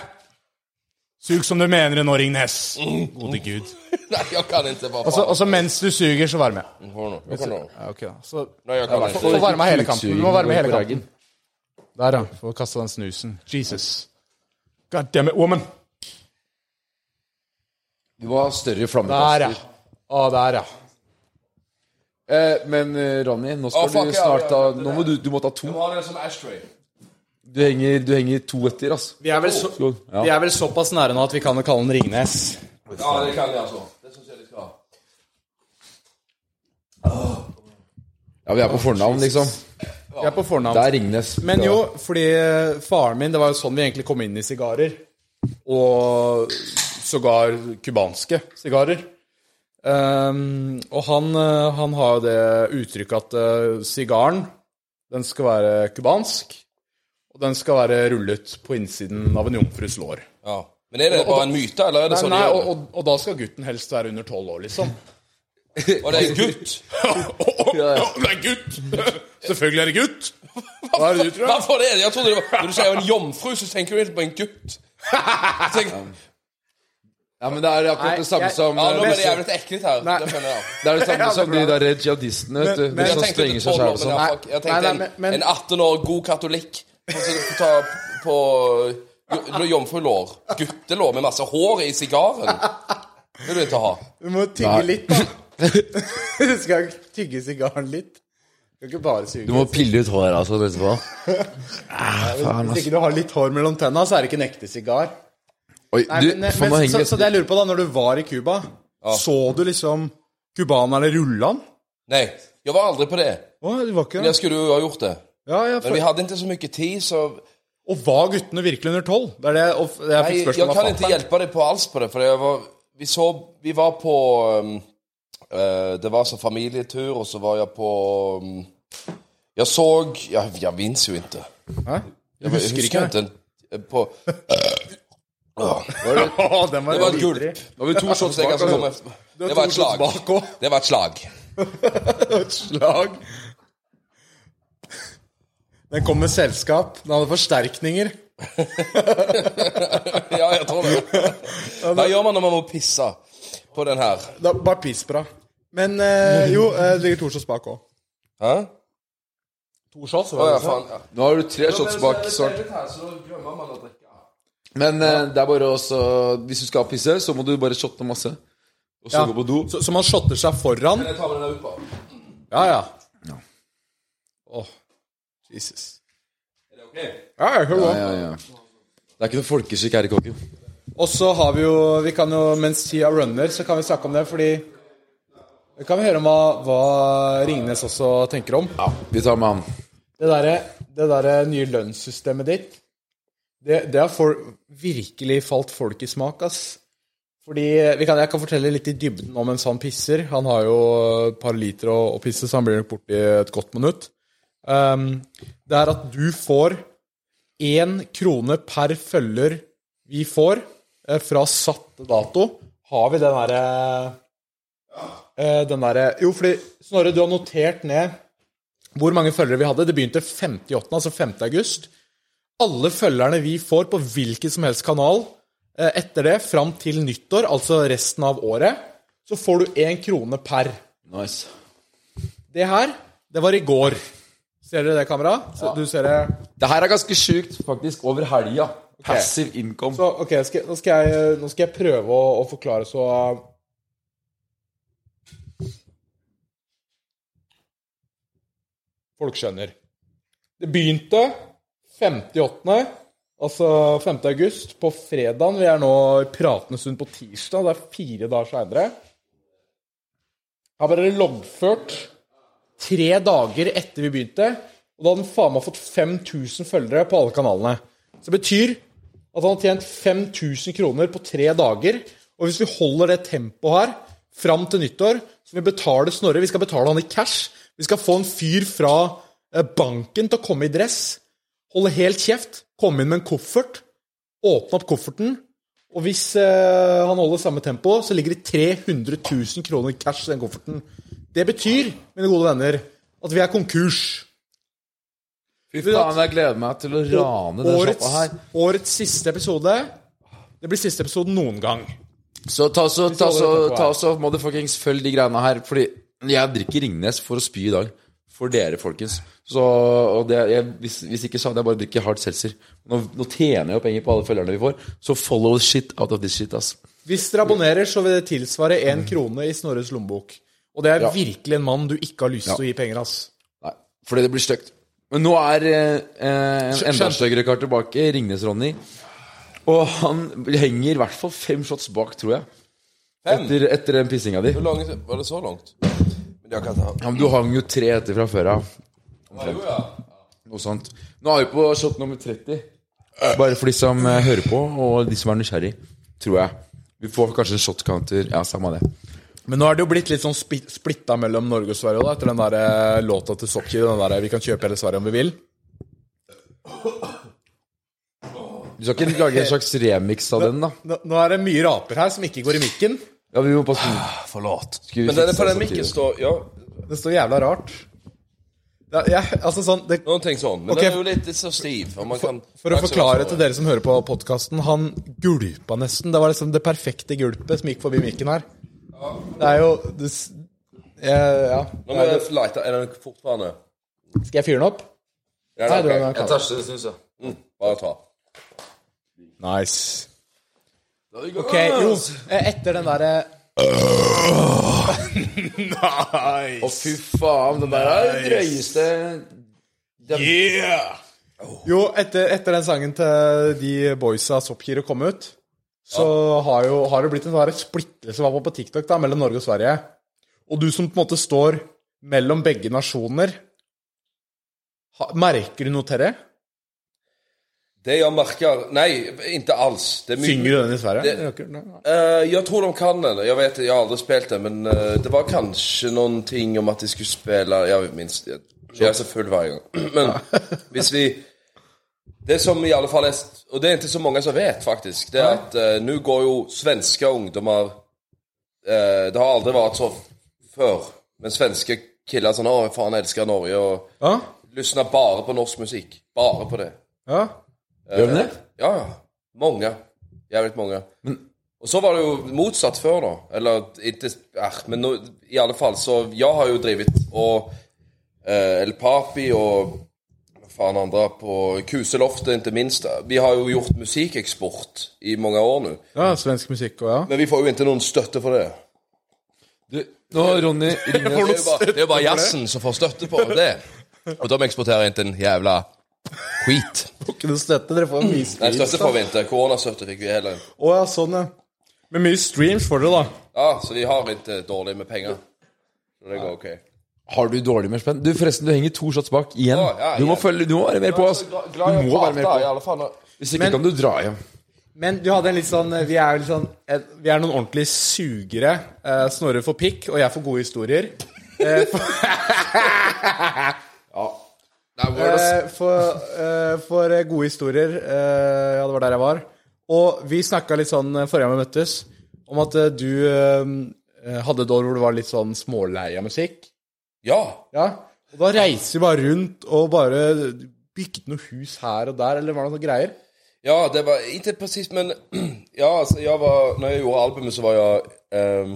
A: Sug som du mener det nå, Ringnes. Gode gud.
B: Nei, jeg kan ikke, hva
A: Og
B: faen.
A: så- Og så Altså, mens du suger, så varmer jeg.
B: Hør nå, hør nå.
A: Ja, ok da. Så
B: Nei, jeg kan
C: altså,
A: få
B: ikke.
A: varme hele kampen. Du må varme hele
C: På
A: kampen.
C: raggen.
A: Der, ja. Få kasta den snusen. Jesus. God damn it, woman.
C: Du må ha større
A: Der, ja.
C: flammekaster.
A: Å, der, ja.
C: Eh, men eh, Ronny, nå skal
B: Å, fuck,
C: du
B: ja,
C: snart
B: ja,
C: ta
B: ja,
C: Nå må du, du må ta to.
B: Ha det som ashtray.
C: Du henger, du henger to etter, altså.
A: Vi er, vel så,
C: Ja.
A: vi er vel såpass nære nå at vi kan kalle den Ringnes.
B: Ja, det kan jeg, altså. Det synes jeg de skal ha.
C: Ja, vi er på fornavn, liksom.
A: Vi er på fornavn.
C: Det er Ringnes.
A: Men jo, fordi eh, faren min Det var jo sånn vi egentlig kom inn i sigarer. Og sågar cubanske sigarer. Ehm, og han, eh, han har jo det uttrykket at eh, sigaren, den skal være cubansk. Og den skal være rullet på innsiden av en jomfrus lår.
B: Ja. Men er det bare en myte, eller er det
A: Nei,
B: sånn de
A: nei,
B: gjør
A: og,
B: det?
A: og, og da skal gutten helst være under tolv år, liksom.
B: Og det er en gutt?
C: Ja, ja.
A: det er gutt! Selvfølgelig er det gutt! Hva er det du tror? da?
B: Hvorfor er det? Jeg trodde det var Når du sier en jomfru, så tenker du egentlig på en gutt. Jeg Tenker,
C: Ja, men det er akkurat
A: Nei,
C: det samme
A: jeg-
C: som
B: ja, nå ble
C: eh,
B: det jævlig ekkelt her. Det skjønner jeg.
C: Det er det samme
A: Ja,
C: som de
A: det
C: der jihadistene, vet du.
A: Men-
C: de
A: men-
B: Jeg
C: som
B: tenkte
C: strenger
B: ikke
C: seg
B: på det,
C: sjæl og
B: men
C: sånn.
B: jeg- Jeg tenkte
A: Nei, nei,
B: en,
A: men- men-
B: en 18 år god katolikk som skulle ta på jo- jomfrulår. Guttelår med masse hår i sigaren. Det vil du ikke ha.
A: Du må tygge litt, da. du skal tygge sigaren litt. Du kan ikke bare suge.
D: Du må pille ut håret altså, etterpå.
A: Hvis ikke du har litt hår mellom tenna, så er det ikke en ekte sigar.
D: Oi,
A: Nei,
D: du,
A: men, eh,
D: faen,
A: men,
D: nå
A: så,
D: henger
A: så det jeg lurer på, da, når du var i Cuba, så du liksom cubanerne rulle han?
B: Nei, jeg var aldri på det.
A: Å, du var ikke
B: Men
A: det?
B: jeg skulle jo ha gjort det.
A: Ja, ja,
B: Men vi
A: for,
B: hadde ikke så mye tid, så
A: og var guttene virkelig under tolv? Det er det og f- jeg
B: Nei,
A: fikk
B: jeg
A: spørsmål
B: kan
A: av
B: ikke
A: fatter'n.
B: hjelpe deg på alls på det, for jeg var, vi, så, vi var på um, eh, Det var sånn familietur, og så var jeg på um, Jeg så Jeg, jeg minnes jo ikke.
A: Hæ?
B: Jeg husker ikke.
A: det?
B: ikke eh, på,
A: Å, den var
B: det var et
A: vidrig.
B: gulp.
C: Nå har vi to
B: Så
C: shots
B: jeg
C: bak.
B: kan
C: altså.
B: komme- Det var et slag.
A: Bak òg.
B: Det var et slag.
A: Slag. Den kom med selskap. Den hadde forsterkninger.
B: Ja, jeg tror det. Hva gjør man når man må pisse på den her?
A: Da, bare piss på deg. Men eh, jo, eh, det ligger to shots bak òg.
B: Hæ?
A: To shots?
B: Å ja, faen. Ja.
C: Nå har du tre shots bak. Svart. Men eh, det er bare også Hvis du skal pisse, så må du bare shotte masse. Og så
A: Ja.
C: gå på do.
A: Så, så man shotter seg foran?
B: Jeg tar med den der ut på.
A: Ja, ja. Åh, Jesus. Ja, jeg kan gå.
C: Ja, ja. Det er ikke noe folkeskikk her i kåken.
A: Og så har vi jo Vi kan jo, mens tida runner, så kan vi snakke om det, fordi Det kan vi høre om hva, hva Ringnes også tenker om.
C: Vi tar med han.
A: Det derre det derre nye lønnssystemet ditt, det, det har folk, virkelig falt folk i smak, ass. Fordi vi kan, Jeg kan fortelle litt i dybden om en sånn pisser. Han har jo et par liter å, å pisse, så han blir nok borte i et godt minutt. Ehm, det er at du får én krone per følger vi får, eh, fra satt dato. Har vi den derre eh, Den derre Jo, fordi Snorre, du har notert ned hvor mange følgere vi hadde. Det begynte 58., altså 5. august. Alle følgerne vi får på hvilken som helst kanal eh, etter det, fram til nyttår, altså resten av året, så får du én krone per.
C: Nice.
A: Det her, det var i går. Ser dere det, kamera? Så, Du ser det
C: Det her er ganske sjukt, faktisk. Over helga. Passive income.
A: Så, ok, skal, nå, skal jeg, nå skal jeg prøve å, å forklare så Folk skjønner. Det begynte 58., altså 5. august, på fredagen. Vi er nå i pratende stund på tirsdag, det er fire dager seinere. Her var dere loggført tre dager etter vi begynte. Og da hadde han faen meg fått 5000 følgere på alle kanalene. Så det betyr at han har tjent 5000 kroner på tre dager. Og hvis vi holder det tempoet her fram til nyttår, så må vi betale Snorre. Vi skal betale han i cash. Vi skal få en fyr fra eh, banken til å komme i dress. Holde helt kjeft. Komme inn med en koffert. Åpne opp kofferten. Og hvis eh, han holder samme tempo, så ligger det 300 000 kroner i cash i den kofferten. Det betyr, mine gode venner, at vi er konkurs.
C: Fy faen, jeg gleder meg til å rane den sjappa
A: Årets,
C: her.
A: årets siste episode. Det blir siste episode noen gang.
C: Så ta så, ta
A: holder
C: så,
A: tempoet her.
C: ta så motherfuckings følg de greiene her. Fordi jeg drikker Ringnes for å spy i dag. For dere, folkens. Så, og det, jeg, hvis, hvis ikke så hadde jeg bare drukket hard seltzer. Nå, nå tjener jeg jo penger på alle følgerne vi får, så follow the shit out of this shit, ass.
A: Hvis dere abonnerer, så vil det tilsvare én krone i Snorres lommebok. Og det er virkelig en mann du ikke har lyst til å gi penger, ass.
C: Nei, fordi det blir stygt. Men nå er eh, eh, en enda
A: skjønt.
C: styggere kar tilbake, Ringnes-Ronny. Og han henger i hvert fall fem shots bak, tror jeg.
B: Fem?
C: Etter, etter den pissinga di.
B: Hvor langt var det så langt? Men jeg kan ta
C: Ja, men du hang jo tre etter fra før av.
B: Jo, ja.
C: Noe sånt. Nå er vi på shot nummer 30. Bare for de som eh, hører på, og de som er nysgjerrig, tror jeg. Vi får kanskje en shot counter. Ja, samme det.
A: Men nå er det jo blitt litt sånn spi- splitta mellom Norge og Sverige da, etter den der eh, låta til Sokker. Den der, eh, 'Vi kan kjøpe hele Sverige om vi vil'.
C: Du skal ikke lage en slags remix av den, da?
A: Nå, nå er det mye raper her som ikke går i mikken.
C: Ja, vi må passe
B: Forlat.
C: Skal vi
B: Men den er på den
C: fikse samtidig?
B: mikken står Ja,
A: Det står jævla rart. Det, er- jeg, altså sånn, det,
B: noen ting sånn. Men
A: Ok.
B: den er jo litt så stiv. Og man kan
A: for å forklare til dere som hører på podkasten, han gulpa nesten. Det var liksom det perfekte gulpet som gikk forbi mikken her. Det er jo det, s- jeg, Ja.
B: Nå må jeg lete. Er den fortfarande?
A: Skal jeg fyre den opp?
B: Ja,
A: Nei,
B: ok. Mm,
A: du, den er
C: Jeg
A: kald.
C: tar det, syns jeg.
B: Bare ta.
A: Nice. Ok, jo, eh, etter den derre
C: Å, fy faen, den der er den drøyeste
A: Jo, etter, etter den sangen til de boysa Soppgiro kom ut, så har, jo, har det blitt en sånn der splittelse hva på- på TikTok da, mellom Norge og Sverige. Og du som på en måte står mellom begge nasjoner, ha, merker du noe til det?
B: Det jeg merker Nei, ikke alls. Det er mye
A: Synger du den i Sverige?
B: Det-
A: Det gjør ikke- nei.
B: Eh, jeg tror de kan den. Jeg vet, jeg har aldri spilt den, men eh, det var kanskje noen ting om at de skulle spille Jeg minst Jeg jeg er så full hver gang. Men hvis vi Det som i alle fall er Og det er ikke så mange som vet, faktisk, det er at eh, nå går jo svenske ungdommer eh, Det har aldri vært så før, men svenske killer sånn Å, faen, jeg elsker Norge, og
A: Ja?
B: lysner bare på norsk musikk. Bare på det.
A: Ja?
C: Gjør den det?
B: Ja, ja. Mange. Jævlig mange. og så var det jo motsatt før, da. Eller ikke eh, Men nå, i alle fall, så Jeg har jo drevet og eh, El Papi og hva faen andre på Kuseloftet, ikke minst. Vi har jo gjort musikkeksport i mange år nå.
A: ja, svensk musikk og ja.
B: Men vi får jo ikke noen støtte for det.
C: Du, nå, Ronny
B: Det er
C: Ringnes
B: jo bare, det er jo bare jazzen som får støtte på det. Og de eksporterer ikke en jævla skit.
A: Får ikke noe støtte, dere får mye
B: Nei,
A: streams.
B: støtte får vi ikke. Koronastøtte fikk vi heller.
A: Mm. Å ja, sånn ja. Men mye streams får dere da.
B: Ja, så vi har ikke dårlig med penger. Så det går ok.
C: Har du dårlig mer spenn? Du, forresten, du henger to shots bak igjen.
B: Ja, ja,
C: Du må
B: igjen.
C: følge, du må være mer på, ass. Du må være mer på. Hvis ikke kan du dra hjem.
A: Men du hadde en litt sånn Vi er, jo litt sånn, eh, vi er noen ordentlige sugere. Eh, Snorre får pikk, og jeg får gode historier. Eh, for, eh, for eh, gode historier eh, Ja, det var der jeg var. Og vi snakka litt sånn eh, forrige gang vi møttes, om at eh, du eh, hadde et år hvor du var litt sånn smålei av musikk.
B: Ja.
A: Ja. Og da reiser vi bare rundt og bare bygde noe hus her og der, eller var det noen greier?
B: ja, det var ikke presis, men Ja, altså, jeg var Når jeg gjorde albumet, så var jeg ehm,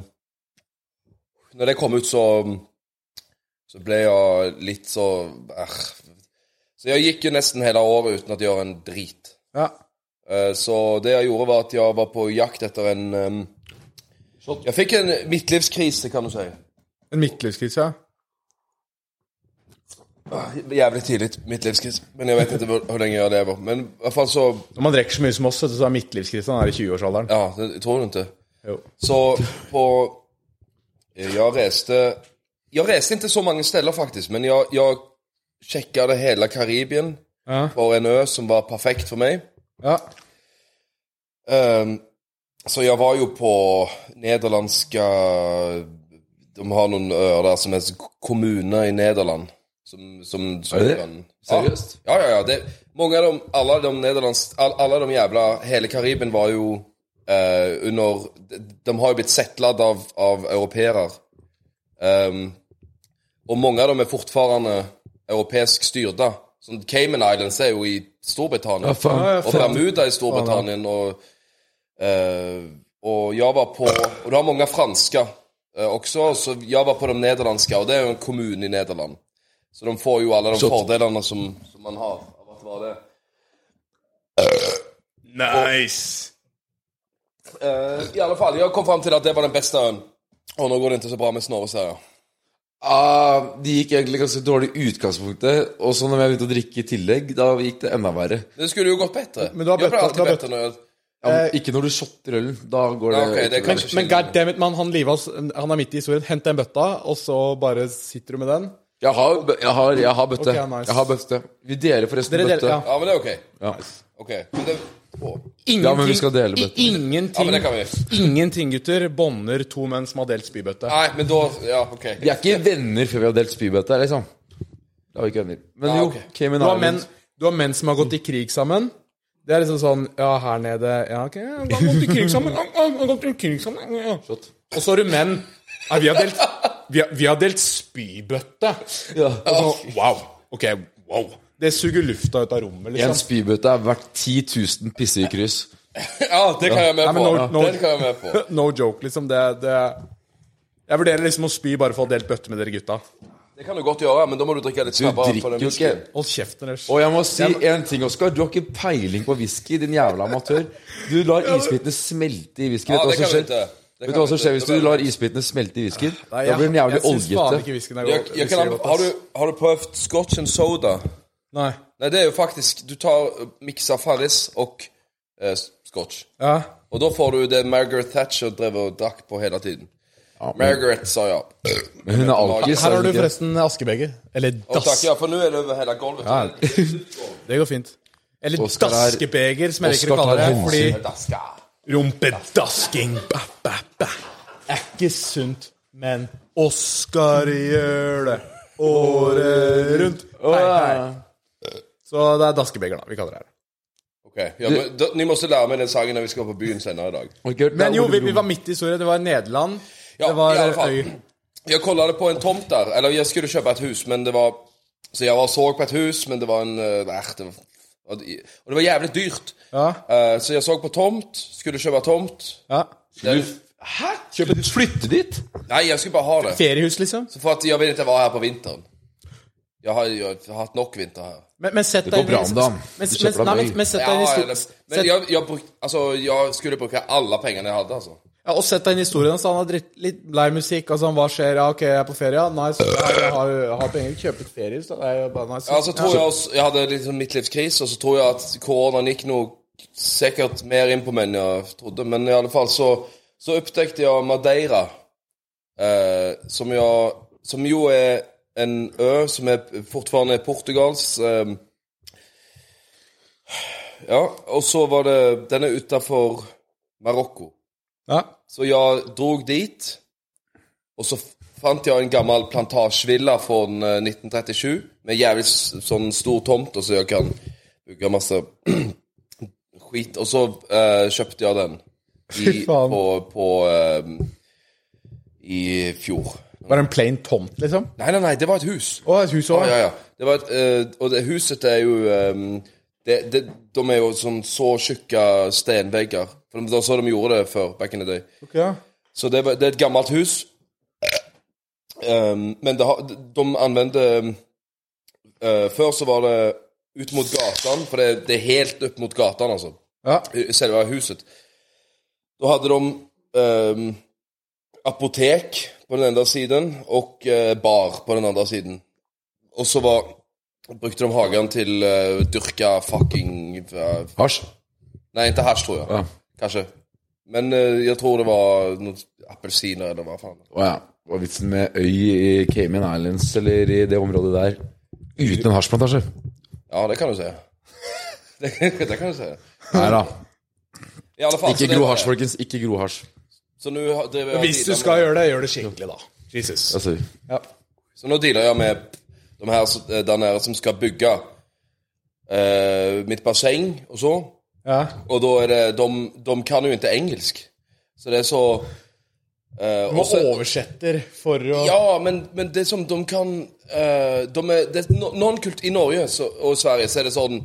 B: Når det kom ut, så Så ble jeg litt så eh. Så jeg gikk jo nesten hele året uten at jeg gjorde en drit.
A: Ja.
B: Eh, Så det jeg gjorde, var at jeg var på jakt etter en ehm, Jeg fikk en midtlivskrise, kan du si.
A: En midtlivskrise, ja.
B: Ah, Jævlig tidlig mitt livskrise. Men jeg vet ikke hvor, hvor lenge jeg lever. Men i hvert fall så
A: Når man drikker så mye som oss, vet du, så er midtlivskrisen her i 20-årsalderen.
B: Ja, det tror du ikke.
A: Jo.
B: Så på eh, Jeg reiste Jeg reiste ikke så mange steder, faktisk, men jeg, jeg sjekka det hele Karibien
A: Ja.
B: for en ø som var perfekt for meg.
A: Ja.
B: Ehm, så jeg var jo på nederlandske De har noen øer der som er kommuner i Nederland. Som, som, som
C: Er det det?
B: kan-
C: Seriøst?
B: Ja, ja, ja. ja, Det, mange av dem, alle de nederlands... all- Alle de jævla Hele Karibien var jo eh, under de, de har jo blitt settlet av, av europeere. Ehm, og mange av dem er fortfarande europeisk styrte. Sånn Cayman Islands er jo i Storbritannia.
C: Ja, faen.
A: Ja, ja,
B: Og Bermuda i Storbritannia. Og, eh, og jeg var på Og du har mange franske eh, også, så jeg var på de nederlandske, og det er jo en kommune i Nederland. Så de får jo alle de fordelene som, som man har av å være det.
A: Nice!
B: Eh, I alle fall, jeg kom fram til at det var den beste øen. Og nå går det ikke så bra med Snorre, ser jeg.
C: Ah, det gikk egentlig ganske dårlig i utgangspunktet. Og så når jeg begynte å drikke i tillegg, da gikk det enda verre.
B: Det skulle jo gått bedre.
A: Men du har
B: jeg
A: bøtta-
B: blir
A: du
B: alltid
A: har
B: bedre når jeg
C: Ja, men ikke når du shotter ølen. Da går det,
B: Ja, ok, det
C: ikke
B: kan-
A: Men,
C: bra.
A: men goddammit, mann, han livet hans Han er midt i historien. Hent den bøtta, og så bare sitter du med den.
C: jeg, har, bø- jeg, har, jeg har bøtte.
A: Ok, nice.
C: Jeg har bøtte. Vi deler forresten
A: Dere deler,
C: bøtte.
A: ja.
B: Ja, men det er OK.
C: Ja.
B: Ok, Men det, å,
C: Ja, men vi skal dele bøtta.
B: ja, men det
A: Ingenting,
B: kan vi.
A: ingenting gutter, bånder to menn som har delt spybøtte.
B: Nei, men da Ja, OK.
C: Vi er ikke venner før vi har delt spybøtte, liksom. Da er vi ikke venner. Men
B: Ah,
C: jo,
B: ok.
C: Cayman
A: Du har, menn,
C: Islands.
A: du har menn som har gått i krig sammen. Det er liksom sånn Ja, her nede Ja, ok, ja, han har gått i krig sammen. Ja, ja, han har gått i krig sammen. Ja, ja. Og så har du menn Nei, vi har delt, vi har, vi har delt spybøtte. Og så, wow. Ok, wow. Det suger lufta ut av rommet,
C: En
A: liksom.
C: spybøtte er verdt 10 000 pissekryss.
B: Ja, det kan jeg være
A: Nei,
B: med
A: men
B: på.
A: nå- nå-
B: Den kan jeg være med på.
A: No joke, liksom. Det, det Jeg vurderer liksom å spy bare for å ha delt bøtte med dere gutta.
B: Det kan du godt gjøre, men da må du drikke litt
C: Du
B: snabbere. for
C: drikker
B: den
C: jo ikke.
B: whiskyen.
A: Hold kjeft, Anders.
C: Og jeg må si en ting, Oskar. Du har ikke peiling på whisky, din jævla amatør. Du lar isbitene smelte i whiskyen.
B: Ja,
C: Vet du
B: det kan vi
C: hva som skjer?
B: ikke. Det
C: Vet
B: kan
C: du hva
B: vi
C: som skjer
B: ikke.
C: hvis
B: Det
C: du
B: blir-
C: lar isbitene smelte i whiskyen?
A: Nei,
C: Da blir den jævlig
A: Jeg syns faen
C: oljete.
A: ikke whiskyen er
B: Jeg,
A: god.
B: jeg kan, anbe- har, du, har du prøvd scotch and soda?
A: Nei.
B: Nei, det er jo faktisk Du tar eh, mikser Farris og eh, scotch.
A: Ja.
B: Og da får du det Margaret Thatcher drev og drakk på hele tiden. Margaret sa ja.
C: Men hun er alkis.
A: Her har du
C: er hun ikke?
A: forresten askebeger. Eller
B: Og takk,
A: dass.
B: ja, for nå er det over hele gulvet.
A: Det går fint. Eller
C: Oskar er-
A: daskebeger, som jeg liker
C: Oskar
A: å kalle det.
C: tar
A: Fordi
C: hensyn.
A: rumpedasking ba, ba, ba, er ikke sunt, men Oskar gjør det året rundt. Hei, hei. Så det er daskebeger, da. Vi kaller det her.
B: Ok, ja, men, da, Ni må lære meg den sangen når vi skal på byen senere i dag.
C: Har du ikke hørt det?
A: Men jo, vi, vi var midt i historien. Det var Nederland.
B: Ja,
A: Det var
B: i alle fall.
A: øy.
B: Jeg kollet på en tomt der. Eller jeg skulle kjøpe et hus, men det var Så jeg var så på et hus, men det var en eh, Nei, det var, og det- og det var jævlig dyrt.
A: Ja.
B: Eh, så jeg så på tomt. Skulle kjøpe tomt.
A: ja.
B: Den,
C: Hæ? Kjøpte du flytte dit?
B: nei, jeg skulle bare ha det.
A: Feriehus, liksom.
B: Så for at jeg vil ikke være her på vinteren. Jeg har, jeg har hatt nok vinter her.
A: Men, men sett
C: går
A: deg inn i-
C: bra om dagen.
A: Men,
C: Du
A: men,
C: kjøper deg
A: nei, men,
C: bil.
A: men sett
B: Ja,
A: deg inn i
B: eller-
A: historien.
B: men jeg, jeg, bruk, altså, jeg skulle bruke alle pengene jeg hadde, altså.
A: Ja, og sett deg inn i historien hans. Han har dritt, litt lei musikk. Altså, han, hva skjer? Ja, ok, jeg er på ferie. Ja, nice. Jeg har, jeg har, jeg har penger. Kjøpe et feriehus, da. Det er jo bare nice.
B: Ja, altså, så tror jeg også, jeg hadde litt sånn midtlivskrise, og så tror jeg at koronaen gikk noe sikkert mer inn på meg enn jeg trodde. Men i alle fall så, så oppdekte jeg Madeira, eh, som, jeg, som jo er en ø som er fortfarande er Portugals. Eh, ja, og så var det Den er utenfor Marokko.
A: Ja.
B: Så jeg drog dit, og så fant jeg en gammel plantasjevilla fra 1937, med jævlig s- sånn stor tomt, og så jeg kan bruke masse skit. Og så eh, kjøpte jeg den i,
A: Fy faen.
B: på, på eh, i fjor.
A: Bare en plain tomt, liksom?
B: Nei, nei, nei, det var et hus.
A: Og et hus
B: Ja,
A: òg?
B: ja, ja. Det var et, eh, og det huset er jo ehm, det, det, De er jo sånn så tjukke stenvegger. For de, det var så de gjorde det før, back in the day. Så det, var- det er et gammelt hus. Ehm, men det har, de anvendte eh, Før så var det ut mot gatan, for det, det er helt opp mot gatan, altså.
A: Ja.
B: Selve huset. Da hadde de ehm, apotek på den ene siden og eh, bar på den andre siden. Og så var, brukte de hagen til uh, dyrka fucking eh,
C: Hasj.
B: Nei, ikke hasj, tror jeg.
C: Ja.
B: Kanskje. Men eh, jeg tror det var noen appelsiner, eller hva faen.
C: Å ja.
D: Hva er vitsen med øy i Cayman Islands eller i det området der uten en hasjplantasje?
B: Ja, det kan du si. det, det kan du si.
D: Nei da.
B: I alle fall, så
D: Ikke
B: det-
D: gro hasj, folkens. Ikke gro hasj.
B: Så nå har- driver jeg og
A: Hvis du
B: dealer
A: skal
B: med,
A: gjøre det, gjør det skikkelig, da. Jesus.
D: Altså,
A: Ja.
B: Så nå dealer jeg med de her som- der nede som skal bygge eh, mitt basseng og så.
A: Ja.
B: Og da er det De, de kan jo ikke engelsk. Så det er så eh,
A: Du må
B: og så-
A: oversetter for å
B: Ja, men, men det som de kan eh, de er, det, no- Noen kult i Norge så, og Sverige så er det sånn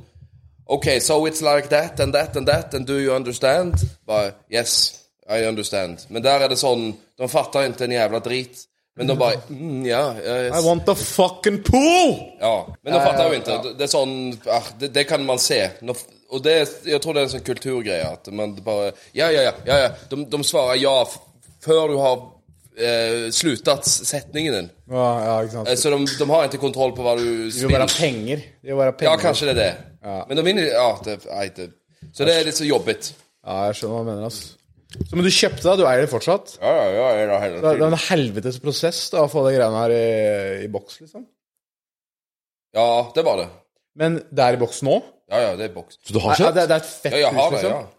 B: OK, so it's like that and that and that, and do you understand? Bare, yes, I understand. Men der er det sånn De fatter ikke en jævla drit. Men de bare mm, Ja. ja,
A: I
B: Yes.
A: want Eh, the fucking pool!
B: ja. Men de fatter jo ikke. Det er sånn ah, det, det kan man se. Når, og det, jeg tror det er en sånn kulturgreie at man bare Ja, ja, ja. ja, ja. De, de svarer ja f før du har eh, sluttet setningen din.
A: Ja, ja, ikke
B: Eh,
A: sant.
B: Så de, de har ikke kontroll på hva du
A: Det vil være
B: spiller.
A: penger. Det vil være penger.
B: Ja, kanskje det er det. Men de vinner Ja, det, nei, det. Så det er litt så jobbigt.
A: Ja, jeg skjønner hva du mener, ass. Så, men du kjøpte det, du eier det fortsatt?
B: Ja, ja, ja, ja, ja,
A: Det er det
B: hele
A: er
B: tiden.
A: en helvetes prosess da, å få de greiene her i, i boks, liksom.
B: ja det var det.
A: Men det er i boks nå?
B: Ja, ja, det er boks.
D: så du
A: Nei,
D: har
A: ja,
D: kjøpt?
A: det, det er et fett
B: Ja, jeg har
A: hus,
B: det, ja.
A: liksom.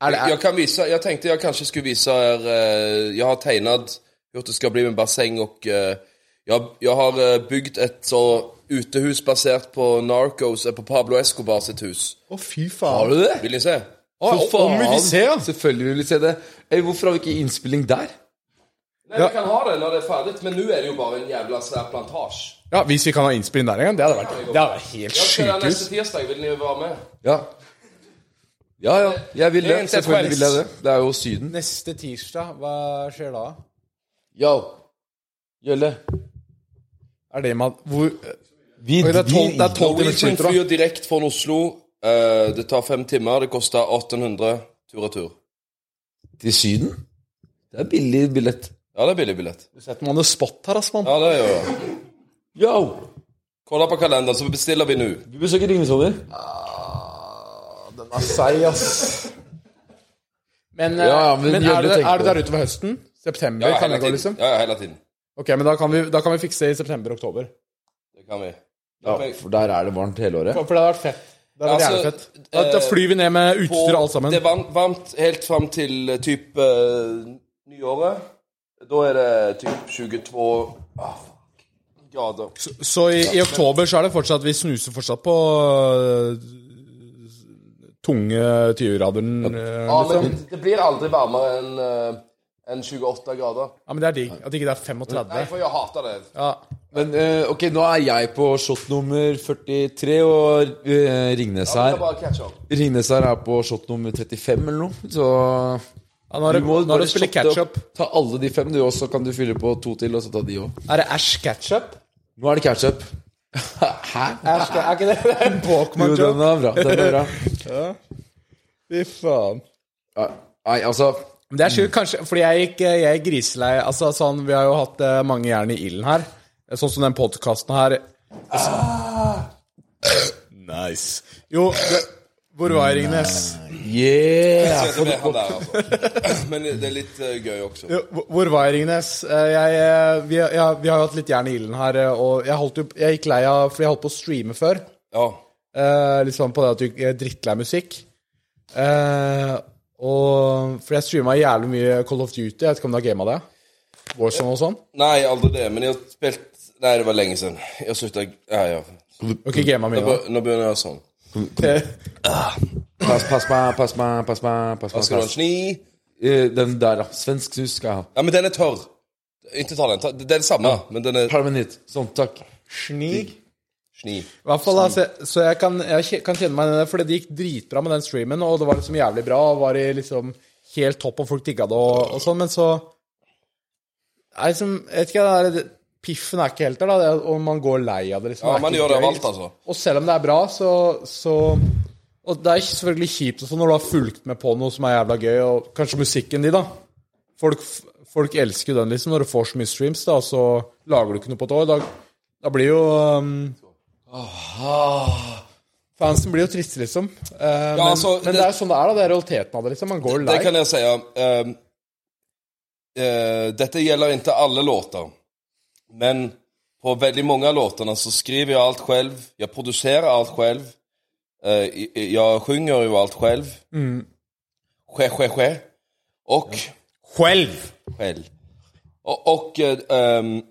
A: Er det,
B: Jeg,
A: er,
B: kan vise, jeg tenkte jeg kanskje skulle vise her eh, Jeg har tegnet gjort det skal bli med basseng og eh, jeg, jeg har eh, bygd et så utehus basert på Narcos, eh, på Pablo Escobar sitt hus.
A: Å, fy faen.
D: du det?
B: Vil dere se?
A: Å,
D: For
A: om vi vil
D: faen.
A: se, ja.
D: Selvfølgelig vil vi se det. Ey, hvorfor har vi ikke innspilling der?
B: Nei, Vi kan ha det når det er ferdig, men nå er det jo bare en jævla svær plantasje.
A: ja. Hvis vi kan ha innspilling der en gang, det hadde vært, det hadde vært helt
B: Jeg skal være
A: sjukehus.
B: neste tirsdag. Vil dere være med?
D: Ja. Ja, ja. Jeg vil
B: Det er
D: det.
B: en
D: Selvfølgelig vil jeg det.
B: sekvens.
D: Det er jo Syden.
A: Neste tirsdag, hva skjer da?
D: Yo. Gjølle.
A: Er det man Hvor
D: Vi
A: Oi, det er tolv- det er tolv-
B: Norwegian
A: minutter, da.
B: flyr direkte fra Oslo. Eh, det tar fem timer. Det koster 1800 tur-retur.
D: til Syden. Det er billig billett.
B: Ja, det er billig billett.
A: Setter man det spot her, ass, mann?
B: Ja, det gjør det.
D: Yo!
B: Kolla på kalenderen, så bestiller vi nå.
D: Du besøker Ringnesholmer.
A: Den er seig, ass. Men, eh,
D: Ja, ja, men
A: men,
D: Gjølle
A: er, du,
D: tenker
A: er du
D: på
A: der ute ved høsten? September?
B: Ja,
A: kan
B: hele
A: det gå,
B: tiden.
A: liksom?
B: Ja, ja, hele tiden.
A: Ok, men da kan vi, da kan vi fikse i september-oktober.
B: Det kan vi.
D: Ja, for der er det varmt hele året.
A: For det hadde vært fett. Det hadde vært
B: Altså,
A: jævlig fett. Da, da flyr vi ned med utstyr og alt sammen.
B: det er varmt, varmt helt fram til eh, typ eh, nyåret. Da er det typ 22 ah, fuck, grader.
A: Så i, i oktober så er det fortsatt Vi snuser fortsatt på øh, tunge 20-raderen. øh,
B: Ja, men det, det blir aldri varmere enn eh, enn 28 grader.
A: Ja, men det er digg. At ikke det er 35.
B: Nei, for jeg hater det.
A: Ja.
D: Men eh, ok, nå er jeg på shot nummer 43, og eh, Ringnes
B: Det
D: her
B: er bare catch up.
D: Ringnes her er på shot nummer 35 eller noe, så
A: Ja, nå er det,
D: du må
A: nå er
D: bare
A: det å spille
D: shotte opp.
A: ketchup.
D: Ta alle de fem, du og så kan du fylle på to til, og så ta de òg.
A: Er det Ash ketchup?
D: Nå er det ketchup. Hæ?
A: Ash, er ikke det det er en
D: Jo, den
A: Bokman-joke?
D: er bra. Den er bra.
A: Fy faen.
D: Ja, Nei, altså
A: Men Det er sjukt, kanskje, fordi jeg gikk, eh, jeg er griselei Altså, sånn, vi har jo hatt eh, mange jern i ilden her. Sånn som den podkasten her. Ah! Nice. Jo, det, hvor var jeg, Ringnes?
D: Yeah!
B: Jeg vet ikke om det er han der, altså. Men det er litt eh, gøy også.
A: Jo, hvor- Hvor var jeg, Ringnes? Eh, Jeg, eh, vi, har- ja, vi har jo hatt litt jern i ilden her, eh, og jeg, holdt jo, jeg gikk lei av For jeg holdt på å streame før.
B: Ja.
A: Eh, litt sånn på det at du ikke er drittlei musikk. Eh, og For jeg streama jævlig mye Call of Duty. Jeg vet ikke om du har gama det? Warzone og sånn?
B: Nei, aldri det. Men jeg har spilt Nei, det var lenge siden. Jeg slutta Nei, ja.
A: Ok, gama mye.
B: Nå
A: da.
B: be- nå begynner jeg sånn.
A: Eh,
D: Pass, pass meg, pass meg, pass meg. Pass, meg,
B: Skal du ha en
D: pass.
B: sni?
D: Eh, Den der, da. Svensk snus skal jeg ha.
B: Ja, men den er tørr. Ikke ta den. Ta- Det er det samme, men den er
D: Tar dem en hit. Sånn, takk.
A: Snig.
B: sni.
A: I hvert fall, altså, så jeg kan, jeg kje- kan kjenne meg igjen i det, for det gikk dritbra med den streamen, og det var liksom jævlig bra, og var i liksom helt topp, og folk digga det og, og sånn, men så Nei, liksom, jeg vet ikke, det der, det- piffen er ikke helt der, da, det- og man går lei av det, liksom.
B: Ja,
A: er
B: man
A: ikke
B: gjør det av
A: gøy.
B: alt, altså.
A: Og selv om det er bra, så, så Og det er selvfølgelig kjipt og sånn når du har fulgt med på noe som er jævla gøy, og kanskje musikken din, da. Folk, folk elsker jo den, liksom, når du får så mye streams, da, og så lager du ikke noe på et år. Da, da blir jo um, Fansen blir jo triste, liksom. Eh, men,
B: altså,
A: men det,
B: det-
A: er jo sånn det er, da. Det er realiteten av det, liksom. Man går jo lei.
B: Det kan jeg si. ja. Um, Ehm, eh, Dette gjelder inte alla låtar. Men på väldigt många av låtarna så skriver jag allt själv. Jag producerar allt själv. Eh, i- i- jag sjunger ju allt själv. Mm. Ske, ske, ske. Och...
A: Selv!
B: själv. Och, och eh, ehm,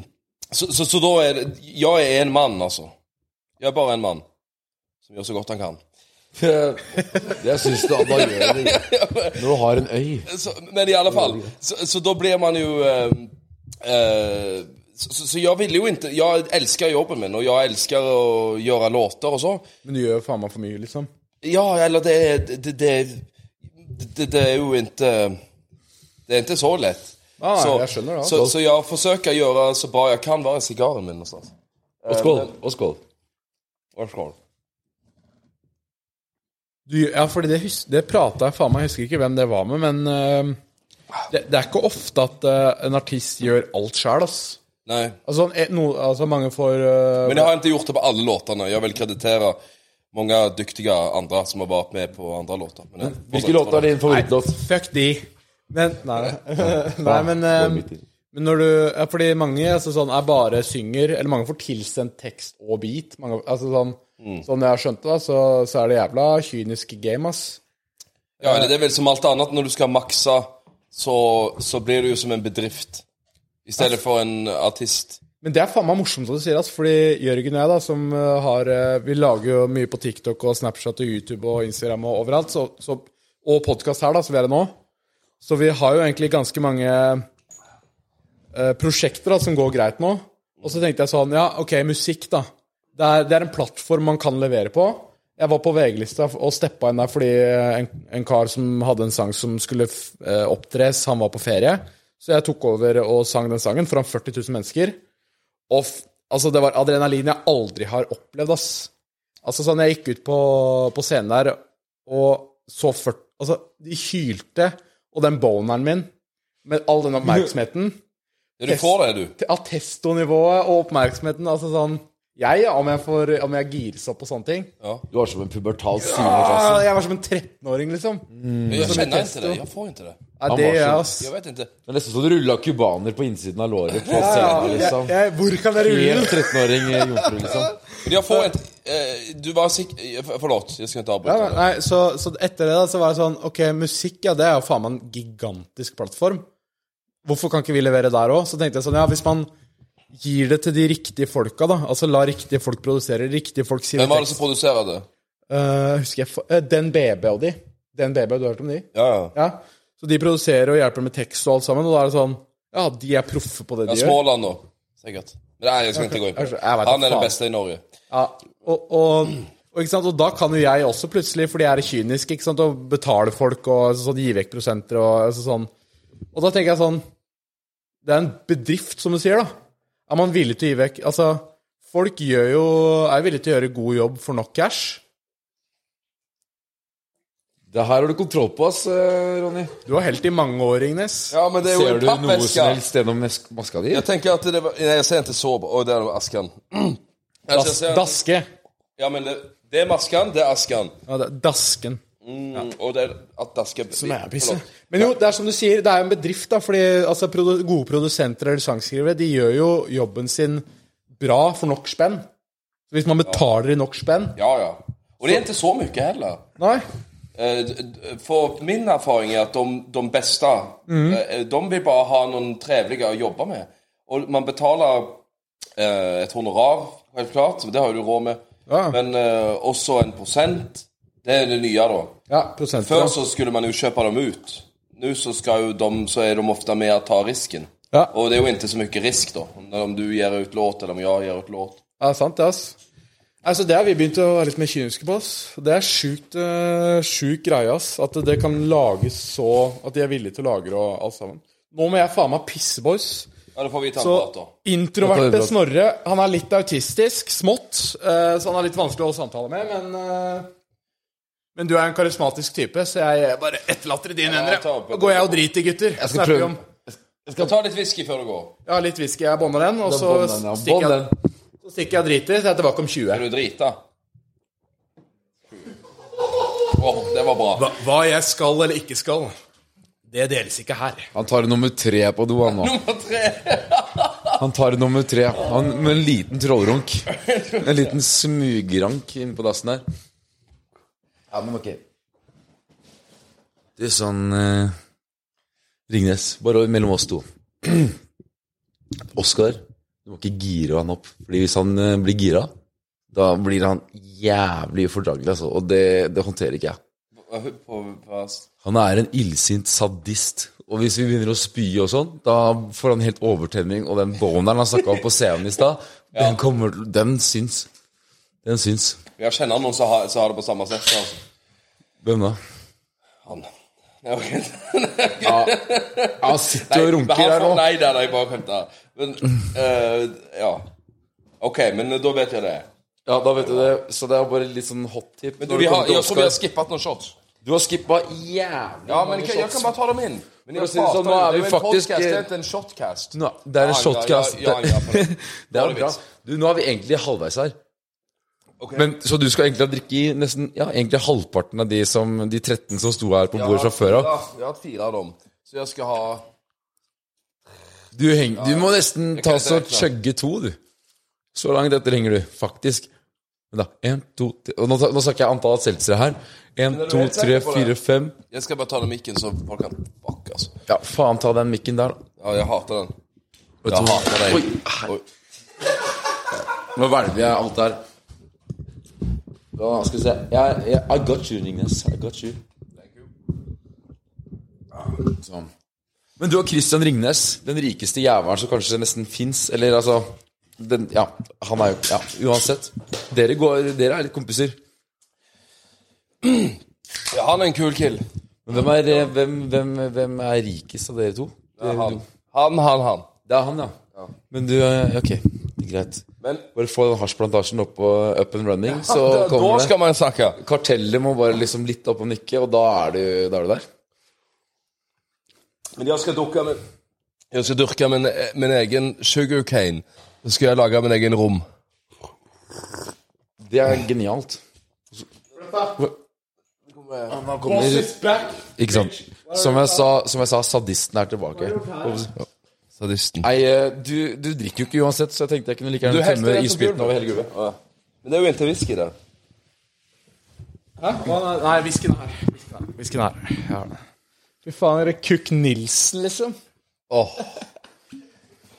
B: så, så, så då är det, jag är en altså. man alltså. Jag är bara en man. Som gör så gott han kan.
D: Jeg syns du Abba gjør det. Når du har en øy.
B: Så, men i alla fall, så, så då blir man ju... ehm, eh, så, så så jag ville ju inte, jag älskar jobben min och jag älskar att göra låtar och så.
A: Men du gjør jo faen meg for mye, liksom.
B: Ja, eller det är, det, det, det, det är ju inte, det är inte så lätt.
A: Ah,
B: så,
A: jag skjønner det, ja.
B: så, så jag försöker göra så bra jag kan vara cigarren min altså. någonstans.
D: Og skål. Og skål.
B: Varsågod.
A: Du, ja, fordi det, hus- det prata jeg faen meg, jeg husker ikke hvem det var med, men eh, det, det er ikke ofte at eh, en artist gjør alt sjæl, ass.
B: Nej.
A: Altså, eh, no, altså mange får eh,
B: Men jag har inte gjort det på alla låtarna. Jag vill kreditera många dyktiga andra som har varit med på andra låtar. Men jag-
D: Hvilke låter er din favorittlåt?
A: Fuck de. Men Nei, nei men eh, men når du, ja, fordi mange altså, sånn, er bare synger, eller mange får tilsendt tekst og beat. Mange, altså, sånn, Som jeg har skjønt det, da, så, så er det jævla kynisk game, ass.
B: Ja, eller det är väl som allt annat när du ska maxa så, så blir det ju som en bedrift. Istället för en artist.
A: Men det er faen meg morsomt som du sier, ass, fordi Jørgen og jeg, da, som eh, har eh, Vi lager jo mye på TikTok og Snapchat og YouTube og Instagram og overalt, så, så, og podkast her, da, som vi er i nå. Så vi har jo egentlig ganske mange eh, prosjekter da, som går greit nå. Og så tenkte jeg sånn Ja, OK, musikk, da. Det er, det er en plattform man kan levere på. Jeg var på VG-lista og steppa inn der fordi eh, en, en kar som hadde en sang som skulle f- eh, opptres, han var på ferie. Så jeg tok over og sang den sangen foran 40 000 mennesker. Og f altså, det var adrenalin jeg aldri har opplevd, ass. Altså, sånn, jeg gikk ut på, på scenen der, og så ført... Altså, de hylte, og den boneren min, med all den oppmerksomheten,
B: Ja, du får det du.
A: attestonivået og oppmerksomheten, altså sånn... Jeg, ja, om jeg, får, om jeg gires opp og sånne ting.
D: Du har som en altså. pubertal sine i klassen.
A: Ah, jeg var som en 13-åring, liksom.
B: Men jag känner inte det. Jag får inte det.
A: Nei, det
D: var
A: gjør jeg,
D: så-
A: ass.
B: Jag vet inte.
D: Det er nesten så du rulla cubaner på innsiden av låret på
A: Ja,
D: scenen,
A: jeg,
D: liksom.
A: jeg, hvor kan jeg rulle?
D: Helt 13-åring eh, jomfru, liksom.
B: Men jag får inte... Eh, du var sick... eh, för- Förlåt, jag ska inte avbryta.
A: Ja,
B: dig.
A: nei, så, så etter det da, så var det sånn Ok, musikk, ja, det er jo faen meg en gigantisk plattform. Hvorfor kan ikke vi levere der òg? Så tenkte jeg sånn, ja, hvis man gir det til de riktige folka, da. Altså la riktige folk produsere, riktige folk skrive
B: Vem var det som
A: tekst.
B: producerade?
A: Eh, husker jeg fa- eh, Den BB og de. Den BB, du har hørt om de?
B: Ja, ja.
A: Ja. Så de produserer og hjelper med tekst och alt sammen, og da er det sånn Ja, de er proffe på det
B: Ja,
A: de gjør.
B: Småland då. Säkert. Nej, jag ska inte gå in på
A: Jag vet
B: det.
A: inte,
B: Han är den
A: fan.
B: bästa i Norge.
A: Ja, og, og, og, ikke sant? og da kan jo jeg også plutselig, fordi jeg er kynisk, ikke sant? og betale folk og altså, sånn, gi vekk prosenter og altså, sånn. Og da tenker jeg sånn Det er en bedrift, som du sier, da. Er man villig til å gi vekk Altså, folk gjør jo, er villige til å gjøre god jobb for nok cash.
D: Det her har du kontroll på, ass, eh, Ronny.
A: Du var helt i mange år, Ingnes.
B: Ja, men det är ju
D: Ser
B: en
D: du noe som
B: pappväska.
D: helst gjennom nes- maska di?
B: Jag tänker att det var... Nej, jag ser inte så bra. Oj, där var askan. Alltså, jag
A: Das,
B: ser-
A: daske.
B: Ja, men det, det er maskan, det er askan.
A: Ja, det, er dasken.
B: Mm, Og det er at dasken Som
A: Forlåt. Men jo, det er som du sier, det er jo en bedrift, da. Fordi altså, produ gode produsenter eller sangskrivere, de gjør jo jobben sin bra for nok spenn. Så hvis man betaler i nok spenn
B: Ja, ja. Og det er ikke så mye heller.
A: Nei.
B: Eh, d- d- For min erfaring er at de, de beste
A: Mm.
B: eh, De vil bare ha noen trivelige å jobbe med. Og man betaler eh, et honorar, helt klart, det har jo du råd med,
A: Ja.
B: men eh, også en prosent. Det er det nye, da.
A: Ja, prosenter.
B: Før
A: da.
B: så skulle man jo kjøpe dem ut. Nå så, skal jo de, så er de ofte med å ta risken.
A: Ja.
B: Og det er jo ikke så mye risk, da. Om du gir ut låt, eller om jeg gir ut låt.
A: Ja, sant det, ass. Altså, det har vi begynt å være litt mer kyniske på, ass. Det er sjukt eh, sjuk greie, ass. At det kan lages så At de er villige til å lagre og alt sammen. Nå må jeg faen meg pisse, boys.
B: Ja, da får vi ta en prat, da.
A: Så introverte
D: Ja, ta en prat.
A: Snorre, han er litt autistisk, smått, eh, så han er litt vanskelig å samtale med, men eh, Men du er en karismatisk type, så jeg bare etterlater i dine hender.
B: jeg tar opp-
A: Da går jeg og driter, gutter. Snakker vi
D: prøve-
A: om.
B: Skal ta litt whisky før du går.
A: Jeg har litt whisky, jeg bånder den, og så
D: Bånd den, ja. Bånd
A: stikker jeg,
D: den.
A: så stikker jeg og driter. Så jeg er tilbake om 20.
B: Er du drita? Åh, det var bra.
A: Hva, hva jeg skal eller ikke skal, Det deles ikke her.
C: Han tar nummer tre på do, han nå.
B: Nummer tre!
C: Han tar nummer tre. Han, med en liten trollrunk. En liten smugrank inne på dassen der. Ja, men ok. Det er sånn eh, Ringnes, bare mellom oss to. Oskar, du må ikke gire han opp. Fordi hvis han eh, blir gira, da blir han jævlig ufordragelig, altså. Og det, det håndterer ikke jeg.
B: På, på- på oss.
C: Han er en illsint sadist. Og hvis vi begynner å spy og sånn, da får han helt overtenning. Og den boneren han snakka om på scenen i stad, den kommer til Den syns. Den syns.
B: Jeg kjenner noen som har, som har det på samme sett. Altså.
C: Hvem da?
B: Han. Ja, ok.
C: Han sitter og
B: men
C: runker
B: han
C: her
B: får-
C: nå.
B: Nei, nei, nei, bare kødda. Men eh, Ja. OK, men eh, da vet jeg det.
C: Ja, da vet du det. Så det er bare litt sånn hot tip.
B: Men
C: når
B: du, vi
C: det
B: har,
C: kommer til
B: jeg tror vi har
C: Oscar.
B: skippet noen shots.
C: Du har skippa jævlig
B: Ja, men jeg, jeg kan bare ta dem inn. Men
C: For å si det sånn, nå er vi faktisk-
B: podcast, det er ikke en shotcast.
C: Nå, Det er en
B: Ja,
C: shotcast.
B: Ja, ja, ja, ja, ja. Nå er
C: Det er
B: det
C: bra.
B: vits.
C: Du, nå er vi egentlig halvveis her.
B: Ok.
C: Men, så du skal egentlig ha drikke i nesten ja, egentlig halvparten av de, som, de 13 som sto her på bordet fra før av?
B: Jeg har hatt fire av dem. Så jeg skal ha
C: Du, heng, du må nesten
B: kan
C: ta
B: ikke
C: så
B: regne.
C: chugge to, du. Så langt etter henger du, faktisk. Men da, en, to, tre. Og nå, ta- nå snakker jeg antall seltsere her. En,
B: er du
C: to,
B: helt
C: tre,
B: sikker på det?
C: fire, fem.
B: Jeg skal bare ta den mikken, så folk kan Fuck, altså.
C: Ja, faen ta den mikken der, da.
B: Ja, jeg hater den. Jeg
C: Vet du hva?
B: hater deg.
C: Oi, nå hvelver jeg alt der. Da skal vi se. Jeg, jeg, I got you, Ringnes. I got you. Sånn. Men du og Christian Ringnes, den rikeste jævelen som kanskje nesten fins, eller altså den, Ja, han er jo Ja, uansett. Dere, går, dere er litt kompiser.
B: Ja, han er en kul kill.
C: Men hvem er, eh, hvem, hvem, hvem er rikest av dere to? Det er,
B: Han, han, han. han.
C: det er han, ja. Men du eh, Ok, det er greit.
B: Men
C: Bare få den hasjplantasjen opp, og up and running, så
B: da, da
C: kommer det.
B: skal man snakke.
C: Kartellet må bare liksom litt opp og nikke, og da er du, da er du der.
B: Men jeg skal dukke med Jeg skal dyrke min, min egen sugarcane. Så skal jeg lage min egen rom.
C: Det er genialt.
A: Nå kommer
C: Ikke sant? Som jeg sa, som jeg sa sadisten er tilbake.
B: Sadisten.
C: Nei, eh, du, du drikker jo ikke uansett, så jeg tenkte jeg kunne like
B: Du
C: gjerne
B: helter
C: tømme
B: rett på
C: isbiten
B: gulvet.
C: over hele gulvet.
B: Ja. Men det er jo inntil whisky der.
A: Hæ? Hva- Nei, whiskyen er her. Whiskyen er her. Whiskyen er her. Ja. Fy faen, er det Cook Nilsen, liksom?
B: Åh.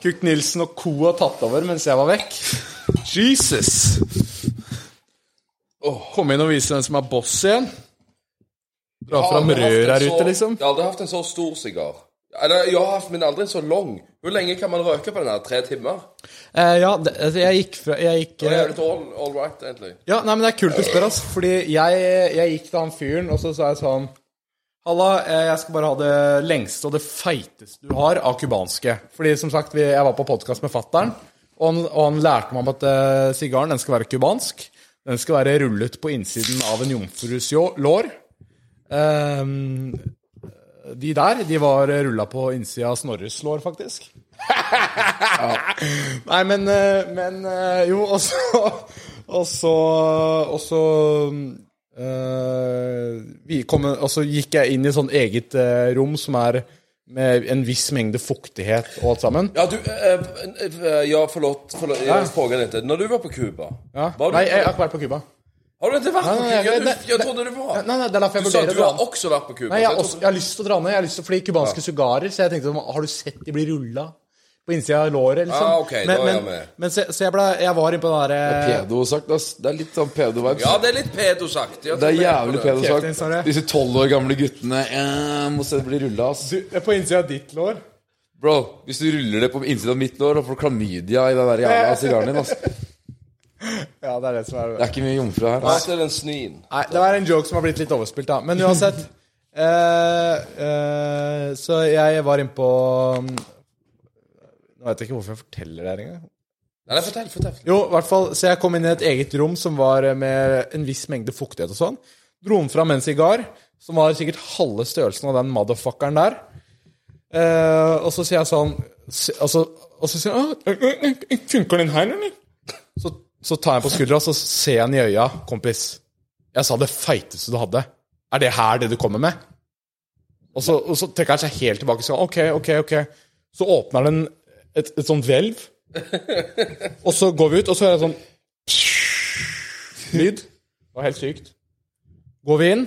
A: Cook Nilsen og co. har tatt over mens jeg var vekk. Jesus! Åh, Kom inn og vise hvem som er boss igjen. Dra fram rør her ute, liksom.
B: Jeg har aldri hatt en så stor sigar. Eller, jeg har haft, men aldri en så lang. Hvor lenge kan man røke på den her? Tre timer?
A: Eh, ja, det, altså, jeg gikk fra Jeg gikk
B: Det
A: eh,
B: er jo litt all, all right, egentlig.
A: Ja, nei, men det er kult du spør, ass. Fordi jeg, jeg gikk til han fyren, og så sa jeg sånn Halla, eh, jeg skal bare ha det lengste og det feiteste du har av cubanske. Fordi som sagt, vi, jeg var på podkast med fattern, og, han- og han lærte meg om at eh, sigaren den skal være cubansk. Den skal være rullet på innsiden av en jomfrus ljå- lår. Ehm, de der, de var rulla på innsida av Snorres lår, faktisk. Nei, men, eh, men eh, Jo, og så Og så, og så eh, vi kom, Og så gikk jeg inn i sånn eget eh, rom som er med en viss mengde fuktighet og alt sammen.
B: Ja, du eh, eh, Ja, forlåt. forlåt jeg spør litt. Når du var på Cuba
A: Ja.
B: var du-
A: Nei, jeg har ikke vært på Cuba.
B: Har du ikke vært på
A: Nei, nei,
B: Cuba? Jeg,
A: nei,
B: jeg, jeg trodde du var.
A: Eh, Nei, nei, det er derfor
B: Du
A: jeg
B: sa at
A: vurderer
B: du har
A: det.
B: også vært på Cuba.
A: Nei, jeg,
B: så
A: har også, jeg har lyst til å dra ned. Jeg har lyst til, fordi Cubanske sigarer Så jeg tenkte Har du sett de blir rulla på innsida av låret, liksom?
B: Ah, ok, da
A: men,
B: er jeg
A: men,
B: med.
A: men så, så jeg, ble, jeg var inne på den eh, derre
C: Pedo-sagt, ass. Det er litt sånn pedo-vibes.
B: Ja, det er litt pedosagt. Jeg
C: det
B: tror
C: er
B: jeg
C: jævlig
B: på det.
A: Kjeft inn,
C: pedo-sagt.
A: Snorre.
C: Disse tolv år gamle guttene eh, må se det bli rulla, ass.
A: På innsida av ditt lår?
C: Bro, hvis du ruller det på innsiden av mitt lår, da får du klamydia i den der jævla sigaren din, ass. Det
A: Ja, det er det som er
C: er ikke mye jomfru her.
B: Ja,
C: Ass.
B: det er den snien.
A: Nei, det var en joke som har blitt litt overspilt, da. Men uansett. eh, eh, så jeg var inne på Nå vet jeg ikke hvorfor jeg forteller det her engang.
B: Nei, nei, fortell, fortell.
A: Jo, i hvert fall, så jeg kom inn i et eget rom som var eh, med en viss mengde fuktighet og sånn. Dro den fram en sigar, som var sikkert halve størrelsen av den motherfuckeren der. Eh, og så sier jeg sånn s- Og så, og så sier han «Å, ø, ø, ø, Funker den her, eller? Så, så tar jeg på skuldra, så ser jeg han i øya. Kompis, jeg sa det feiteste du hadde. Er det her det du kommer med? Og Og så, og så trekker han seg helt tilbake. Så, ok, ok, ok. Så åpner den et, et sånt hvelv, og så går vi ut, og så er det sånn lyd. Det var helt sykt. Går vi inn,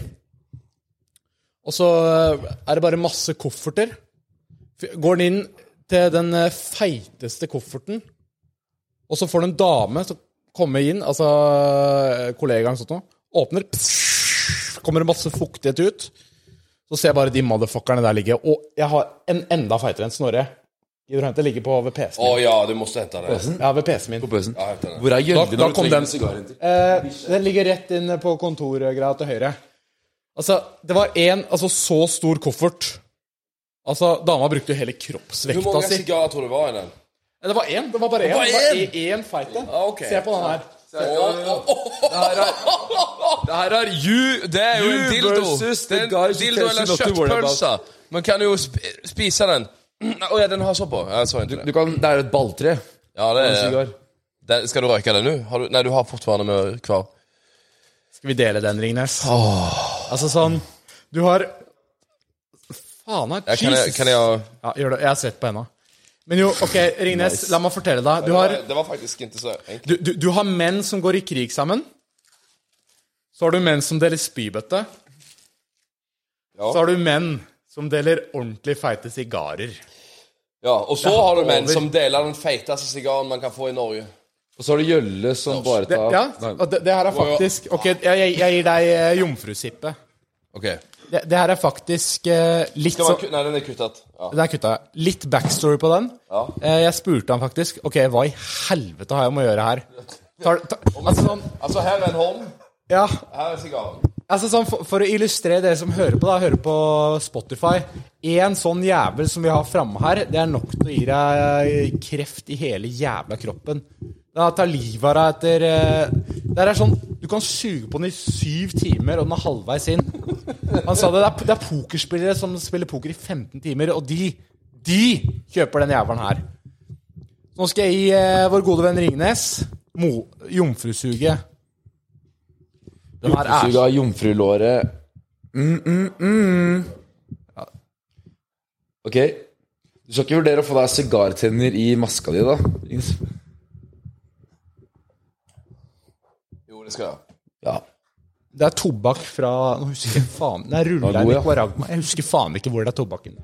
A: og så er det bare masse kofferter. Går den inn til den eh, feiteste kofferten, og så får du en dame som kommer inn, altså eh, kollegaen sånn noe, åpner, kommer det masse fuktighet ut, så ser jeg bare de motherfuckerne der ligge, og jeg har en enda feitere enn Snorre. Gidder du hente? Ligger på ved PC-en
B: Å
A: min.
B: ja, du måtte hente den.
A: Ja, ved PC-en min.
C: Bøsen.
B: Ja, hente den.
C: Hvor er
A: Da,
C: Gjølle
A: da
C: når du
A: kom
C: trenger
A: den.
C: en sigar inntil?
A: Eh, den ligger rett inn på kontorgreia til høyre. Altså, det var en altså, så stor koffert. Altså, dama brukte jo hele
B: Hvor
A: kroppsvekta
B: mange
A: si.
B: sigarer tror du det var i den?
A: Nei, Det var én. Det var bare én.
B: var
A: Det var
B: én?
A: e- én feit en.
B: Ah, ok.
A: Se på den her.
D: Det her er you
B: Det er jo
D: You
B: en dildo.
D: versus the
B: Det er en
D: guy who
B: dildo
D: tells you
B: eller
D: not to worry
B: kjøttpølse. Man kan jo sp spise den. Å ja, den har så på. Jeg så ikke
C: Du
B: det.
C: kan, det er et balltre.
B: Ja, det er,
C: Sigar.
B: den, skal du røyke den nå? Har du, nei, du har fortsatt med hver.
A: Skal vi dele den, Ringnes? Altså sånn Du har Faen her.
B: Ja, Kan jeg,
A: Jesus.
B: kan jeg
A: Ja, gjør det. Jeg er svett på henda. Men jo, OK, Ringnes, la meg fortelle deg. Du har,
B: Det var faktisk ikke så enkelt.
A: du, du, du har menn som går i krig sammen. Så har du menn som deler spybøtte.
B: Ja.
A: Så har du menn som deler ordentlig feite sigarer.
B: Ja, og så har du menn
A: over.
B: som deler den feiteste sigaren man kan få i Norge.
C: Og så har du Gjølle som bare
A: Det,
C: tar
A: ja, og det, det her er faktisk Ok, jeg, jeg, jeg gir deg eh, jomfrusippe.
B: Ok.
A: Det, det her er faktisk eh, litt
B: Skal man,
A: sånn
B: ku- nei, den er kuttet. Ja.
A: Der kutta jeg. Litt backstory på den.
B: Ja.
A: Eh, Jeg spurte han faktisk Ok, hva i helvete har jeg med å gjøre her? Tar, tar, altså sånn
B: Altså, her er en hånd.
A: Ja,
B: Her er sigaren.
A: altså sånn for, for å illustrere dere som hører på, da, hører på Spotify En sånn jævel som vi har framme her, det er nok til å gi deg kreft i hele jævla kroppen. Det tar livet av deg etter eh, Det her er sånn Du kan suge på den i syv timer, og den er halvveis inn. Han sa det. Det er, det er pokerspillere som spiller poker i 15 timer, og de De kjøper den jævelen her. Nå skal jeg gi eh, vår gode venn Ringnes mo- jomfrusuget. Den her er
C: Suga jomfrulåret. Mm, mm, mm. Ok. Du skal ikke vurdere å få deg sigartenner i maska di, da? Ines?
B: Jo, det skal jeg.
C: Ja.
A: Det er tobakk fra Nå husker jeg faen Det er
C: Den er
A: ruller
C: god,
A: i
C: ja.
A: Nicaragua. Jeg husker faen ikke hvor det er tobakken.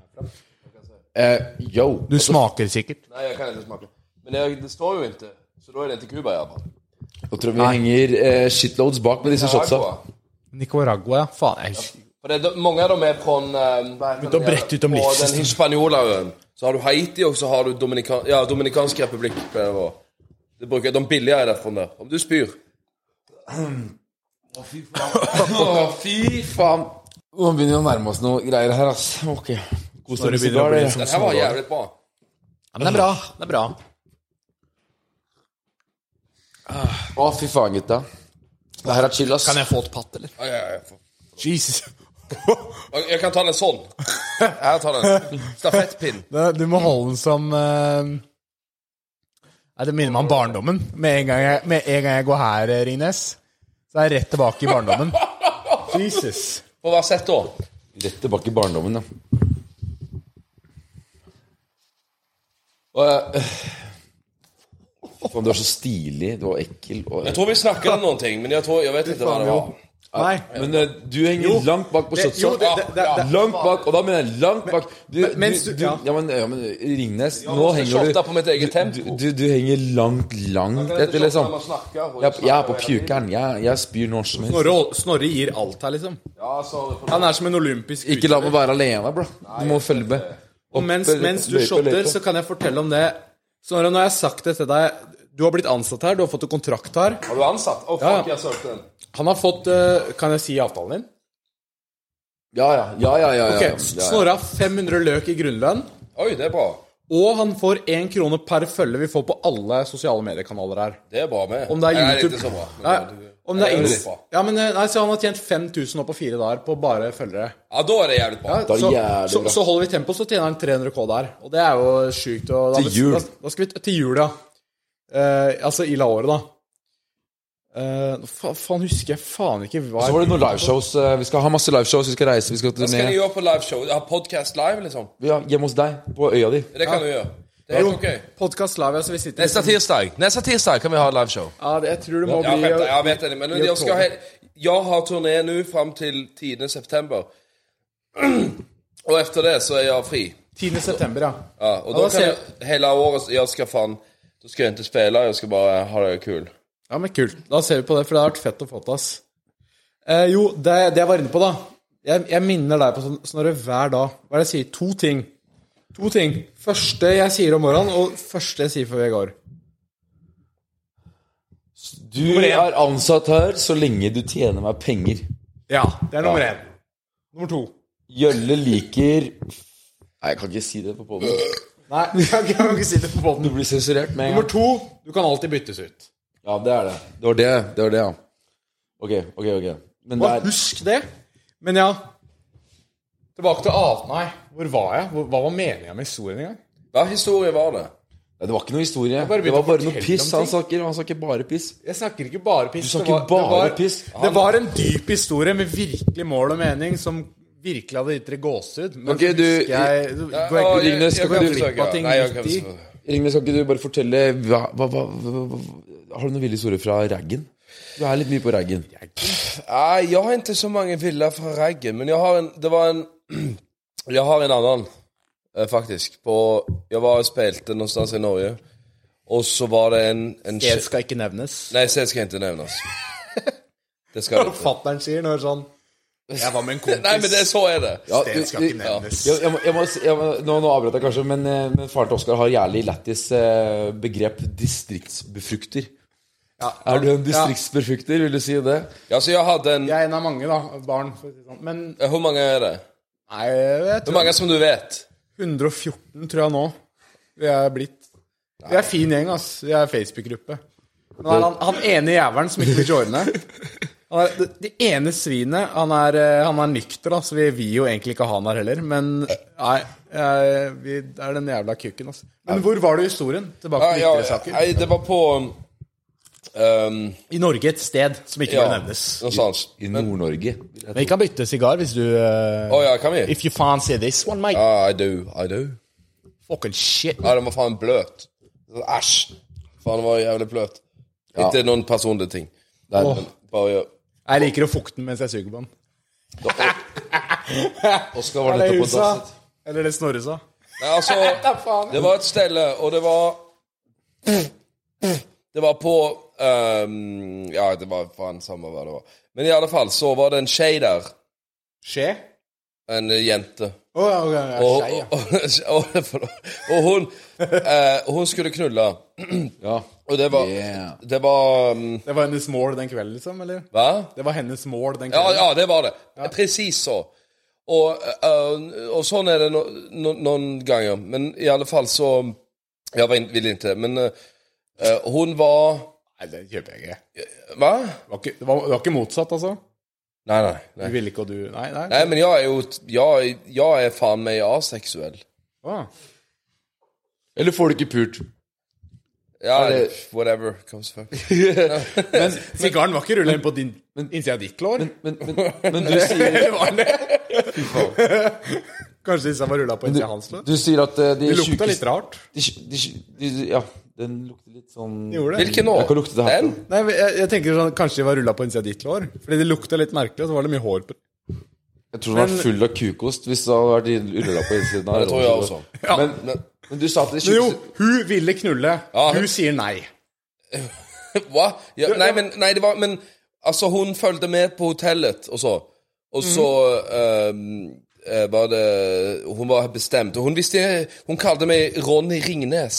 C: Eh, yo.
A: Du smaker sikkert.
B: Nei, jeg kan ikke smake. Men jeg, det står jo ikke. Så da er det ikke Cuba, i hvert fall.
C: Nå tror jeg vi henger eh, shitloads bak med disse shotsa.
B: Nicaragua.
A: Nicaragua, ja. Faen, jeg husker
B: For det, er de- mange av dem er fra eh,
A: Begynte å brette ut om
B: På
A: livsstilen.
B: den Hispaniolaøen. Så har du Haiti, og så har du Dominikan, ja, Dominikansk republikk. pleier det å være. Det bruker de billigere derfra. Der. Om du spyr.
C: Fy faen. Nå begynner vi å nærme oss noen greier her, ass. Ok. God stund med sigar, dere.
B: Den her var jævlig bra.
A: ja, Men det er bra. Det er bra.
C: Å, fy faen, gutta. Det her er chill, ass.
A: Kan jeg få et patt, eller?
B: Ja, ja, ja.
A: Jesus.
B: Jeg- Jeg kan ta den sånn. Her tar den. Stafettpinn.
A: Du må holde den som eh, Nei, Det minner meg om barndommen. Med en gang jeg, med en gang jeg går her, eh, Ringnes, så er jeg rett tilbake i barndommen. Jesus.
B: På hver sett da.
C: Rett tilbake i barndommen, ja. Og, eh, Faen, du er så stilig. Du var ekkel. Og,
B: Jeg tror vi snakker om noen ting, men jeg, tror, jeg vet ikke hva det var.
A: Nei.
C: Men eh, du henger
A: Jo.
C: langt bak på
A: Det- jo,
C: shotsa.
A: det- det- det- det-
C: Langt bak, og da mener jeg langt bak. Du,
A: men- mens
C: du,
A: du-
C: du,
A: ja.
C: ja, men, ja, men Ringnes, nå
B: Jeg
C: henger
B: shotta
C: du
B: på mitt eget
C: du,
B: tempo.
C: du, du henger langt, langt etter, liksom. Jeg, jeg er på pjukeren. Jeg, jeg spyr når som helst.
A: Snorre, Snorre gir alt her, liksom.
B: Ja, så
A: Han er som en olympisk
C: Ikke la meg være alene, bro. Du må følge med.
A: Og mens,
C: Løype,
A: mens du
C: løype,
A: shotter,
C: løype.
A: så kan jeg fortelle om det. Snorre, nå har jeg sagt det til deg. Du har blitt ansatt her, du har fått en kontrakt her.
B: Har du ansatt? Å,
A: Ja,
B: fuck,
A: ja.
B: jeg søkte den.
A: Han har fått eh, Kan jeg si avtalen din?
C: Ja, ja. ja, ja, ja, ja,
A: Ok,
C: ja, ja.
A: Snorre har 500 løk i grunnlønn,
B: Oi, det er bra.
A: og han får én krone per følge vi får på alle sosiale mediekanaler her.
B: Det er bra med.
A: Om det er
B: Nei,
A: YouTube
B: ikke så bra. men
A: Nei,
B: det-
A: om det
B: Ja,
A: er
B: det er
A: Inst-
B: bra.
A: Ja, men eh, nei, så han har tjent 5000 nå på fire dager på bare følgere.
B: Ja, da er det jævlig bra.
A: Ja,
C: Da er det
A: så,
C: jævlig
A: så,
C: bra.
A: så holder vi tempo, så tjener han 300 K der. Og det er jo sjukt. og Da,
C: Til jul.
A: Da, da skal vi, til jul, ja. Eh, altså i la året, da. Eh, fa faen, husker jeg faen ikke hva
C: Så var det noen liveshows. eh, Vi skal ha masse liveshows, vi skal reise, vi skal
B: Hva skal de
C: turnere.
B: gjøre på liveshow? Ha podcast live, liksom?
C: Ja, hjemme hos deg, på øya di.
B: Det kan du gjøre. Det er helt ok.
A: Podkast Lavia, så altså, vi sitter liksom-
B: Neste tirsdag Neste tirsdag kan vi ha liveshow.
A: Ja, det, jeg tror det må
B: Ja,
A: bli
B: vent, jeg vet det, men
A: i
B: jeg, skal ha, jeg har turné nå fram til 10. september. Og etter det så er jeg fri.
A: 10. september, ja.
B: Ja, og
A: Ja,
B: da kan
A: da ser-
B: jeg hele året Jeg skal faen Da skal jeg ikke spille, jeg skal bare ha det kul.
A: Ja, men kult. Da ser vi på det, for det har vært fett å få til, ass. Eh, jo, det, det jeg var inne på, da. Jeg, jeg minner deg på sånn, Snorre hver dag. Hva er det jeg sier? To ting. To ting. Første jeg sier om morgenen, og første jeg sier før jeg går.
C: Du er ansatt her så lenge du tjener meg penger.
A: Ja, det er nummer én. Nummer to.
C: Jølle liker Nei, jeg kan ikke si det på poden.
A: Nei, jeg kan ikke- jeg kan ikke si det på
C: Du
A: båten.
C: blir sensurert med en gang.
A: Nummer to, du kan alltid byttes ut.
C: Ja, det er det. Det var det, det var det, ja. Ok, ok, ok. Men det
A: Bare
C: er
A: husk det. Men ja Tilbake til av... Nei, hvor var jeg? Hvor, hva var meninga med historien engang?
B: Hva historie var det?
C: Nei, Det var ikke noe historie.
A: bare
C: Det var
A: begynte å
C: bare noe
A: fortelle
C: piss.
A: om ting.
C: Han snakker, han snakker bare piss.
A: Jeg snakker ikke bare piss.
C: Du snakker
A: Det var-
C: bare
A: det var,
C: piss.
A: Det var en dyp historie med virkelig mål og mening som virkelig hadde gitt dere gåsehud. Men
C: Ok, du-
A: husker jeg, du
B: Ja,
A: går
B: og jeg-
A: jeg ikke
B: jeg
C: skal
B: kan
C: du
B: forsøke,
A: glipp av
B: ja.
A: ting
B: Nei, jeg
A: midt
B: kan
A: i?
B: forsøke.
C: Ringnes, kan ikke du bare fortelle hva, hva, hva, hva, hva Har du noen ville historier fra raggen? Du er litt mye på raggen.
B: Nei, jeg har ikke så mange villa fra raggen, men jeg har en Det var en Jeg har en annen, eh, faktisk. På Jeg var og spilte noe sted i Norge, og så var det en, en
A: Det skal ikke nevnes.
B: Nei, se, det skal jeg ikke nevnes. Det skal det ikke.
A: Fatteren sier når sånn Jeg var med en kompis.
B: Nei, men det, så er det.
C: Ja,
A: Det skal
C: du-
A: ikke nevnes.
C: Jeg, jeg, må, jeg må, si- jeg må, nå, nå avbrøt jeg kanskje, men, eh, men faren til Oskar har jævlig lættis eh, begrep distriktsbefrukter. Er du en distriktsbefrukter? Vil du si det?
B: Ja, så jeg hadde en
A: Jeg er en av mange, da. Barn. For å si det sånn. Men
B: Eh, Hvor mange er det?
A: nei, jeg
B: Hvor
A: tror
B: mange som du vet?
A: 114 tror jeg nå vi er blitt. Vi er fin gjeng, ass. Vi er Facebook-gruppe. Nå er han, han ene jævelen som ikke vil joine. Han er, det, det ene svinet Han er, eh, han er nykter, da, så vi vil jo egentlig ikke ha han her heller. Men nei, eh, vi det er den jævla kukken, ass. Men hvor var du i historien? Tilbake
B: Ja,
A: til
B: ja,
A: viktigere eh, saker.
B: nei, det var på um,
A: I Norge et sted som ikke
B: Ja,
A: vil nevnes.
B: noe sånt.
C: I Nord-Norge.
A: Vi kan bytte sigar hvis du eh,
B: Å ja, kan vi?
A: If you fancy this one, mate.
B: Ah, I do, I do.
A: Fucking shit.
B: Ja, den var faen bløt. Æsj. Faen, den var jævlig bløt. Ikke noen personlige ting. Nei,
A: Åh.
B: men bare gjør
A: Jeg liker å fukte den mens jeg suger på den.
C: Oskar var nettopp på dass.
A: Eller det Snorre sa.
B: Nei, altså, det var et sted, og det var Det var på ehm, Ja, det var faen samme hva det var. Men i alle fall så var det en skje der.
A: Skje?
B: En jente.
A: Å, ja, ok, ja,
B: Og,
A: skje, ja.
B: og, og, og hun eh, Hun skulle knulle.
C: Ja.
B: Og det var
C: Yeah.
B: Det var mm,
A: Det var hennes mål den kvelden, liksom? eller?
B: Hva?
A: Det var hennes mål den
B: Ja,
A: kvelden?
B: ja, det var det. Presis så. Og, eh, og sånn er det no, no, noen ganger. Men i alle fall så Jeg var in- ville ikke, men eh, eh, hun var
A: Nei, det kjøper jeg ikke.
B: Hva?
A: Det var ikke, det var, det var ikke motsatt, altså?
B: Nei, nei. nei.
A: Du ville ikke, og du Nei, nei.
B: Nei, men jeg er jo t- Jeg, jeg er faen meg aseksuell.
A: Å.
C: Eller får du ikke pult?
B: Ja,
C: det-
B: whatever comes first.
A: Sigaren var ikke rulla inn på din innsida av ditt lår?
C: Men, men, men du sier
A: Eller var den det? Kanskje disse var rulla på
C: du,
A: innsida av hans lår?
C: du sier at eh, de
A: Det lukta litt
C: sjukeste
A: rart.
C: de, sj- de, sj- de, Ja, den lukter litt sånn
A: Gjorde det?
B: Hvilken nå?
C: Jeg kan lukte det her.
B: Den?
A: Nei, men jeg, jeg tenker sånn, Kanskje de var rulla på innsida av ditt lår? Fordi det lukta litt merkelig, og så var det mye hår på
C: Jeg tror den var full av kukost hvis det hadde vært rulla på innsiden. av
B: Det tror jeg også.
C: Men, men du sa at det
A: Men jo,
C: sjukeste
A: hun ville knulle.
B: Ja.
A: Hun sier nei.
B: Hva? Ja, nei, men, nei, det var Men altså, hun fulgte med på hotellet, og så Og så eh, eh, var det Hun var bestemt. Og hun visste Hun kalte meg Ronny Ringnes.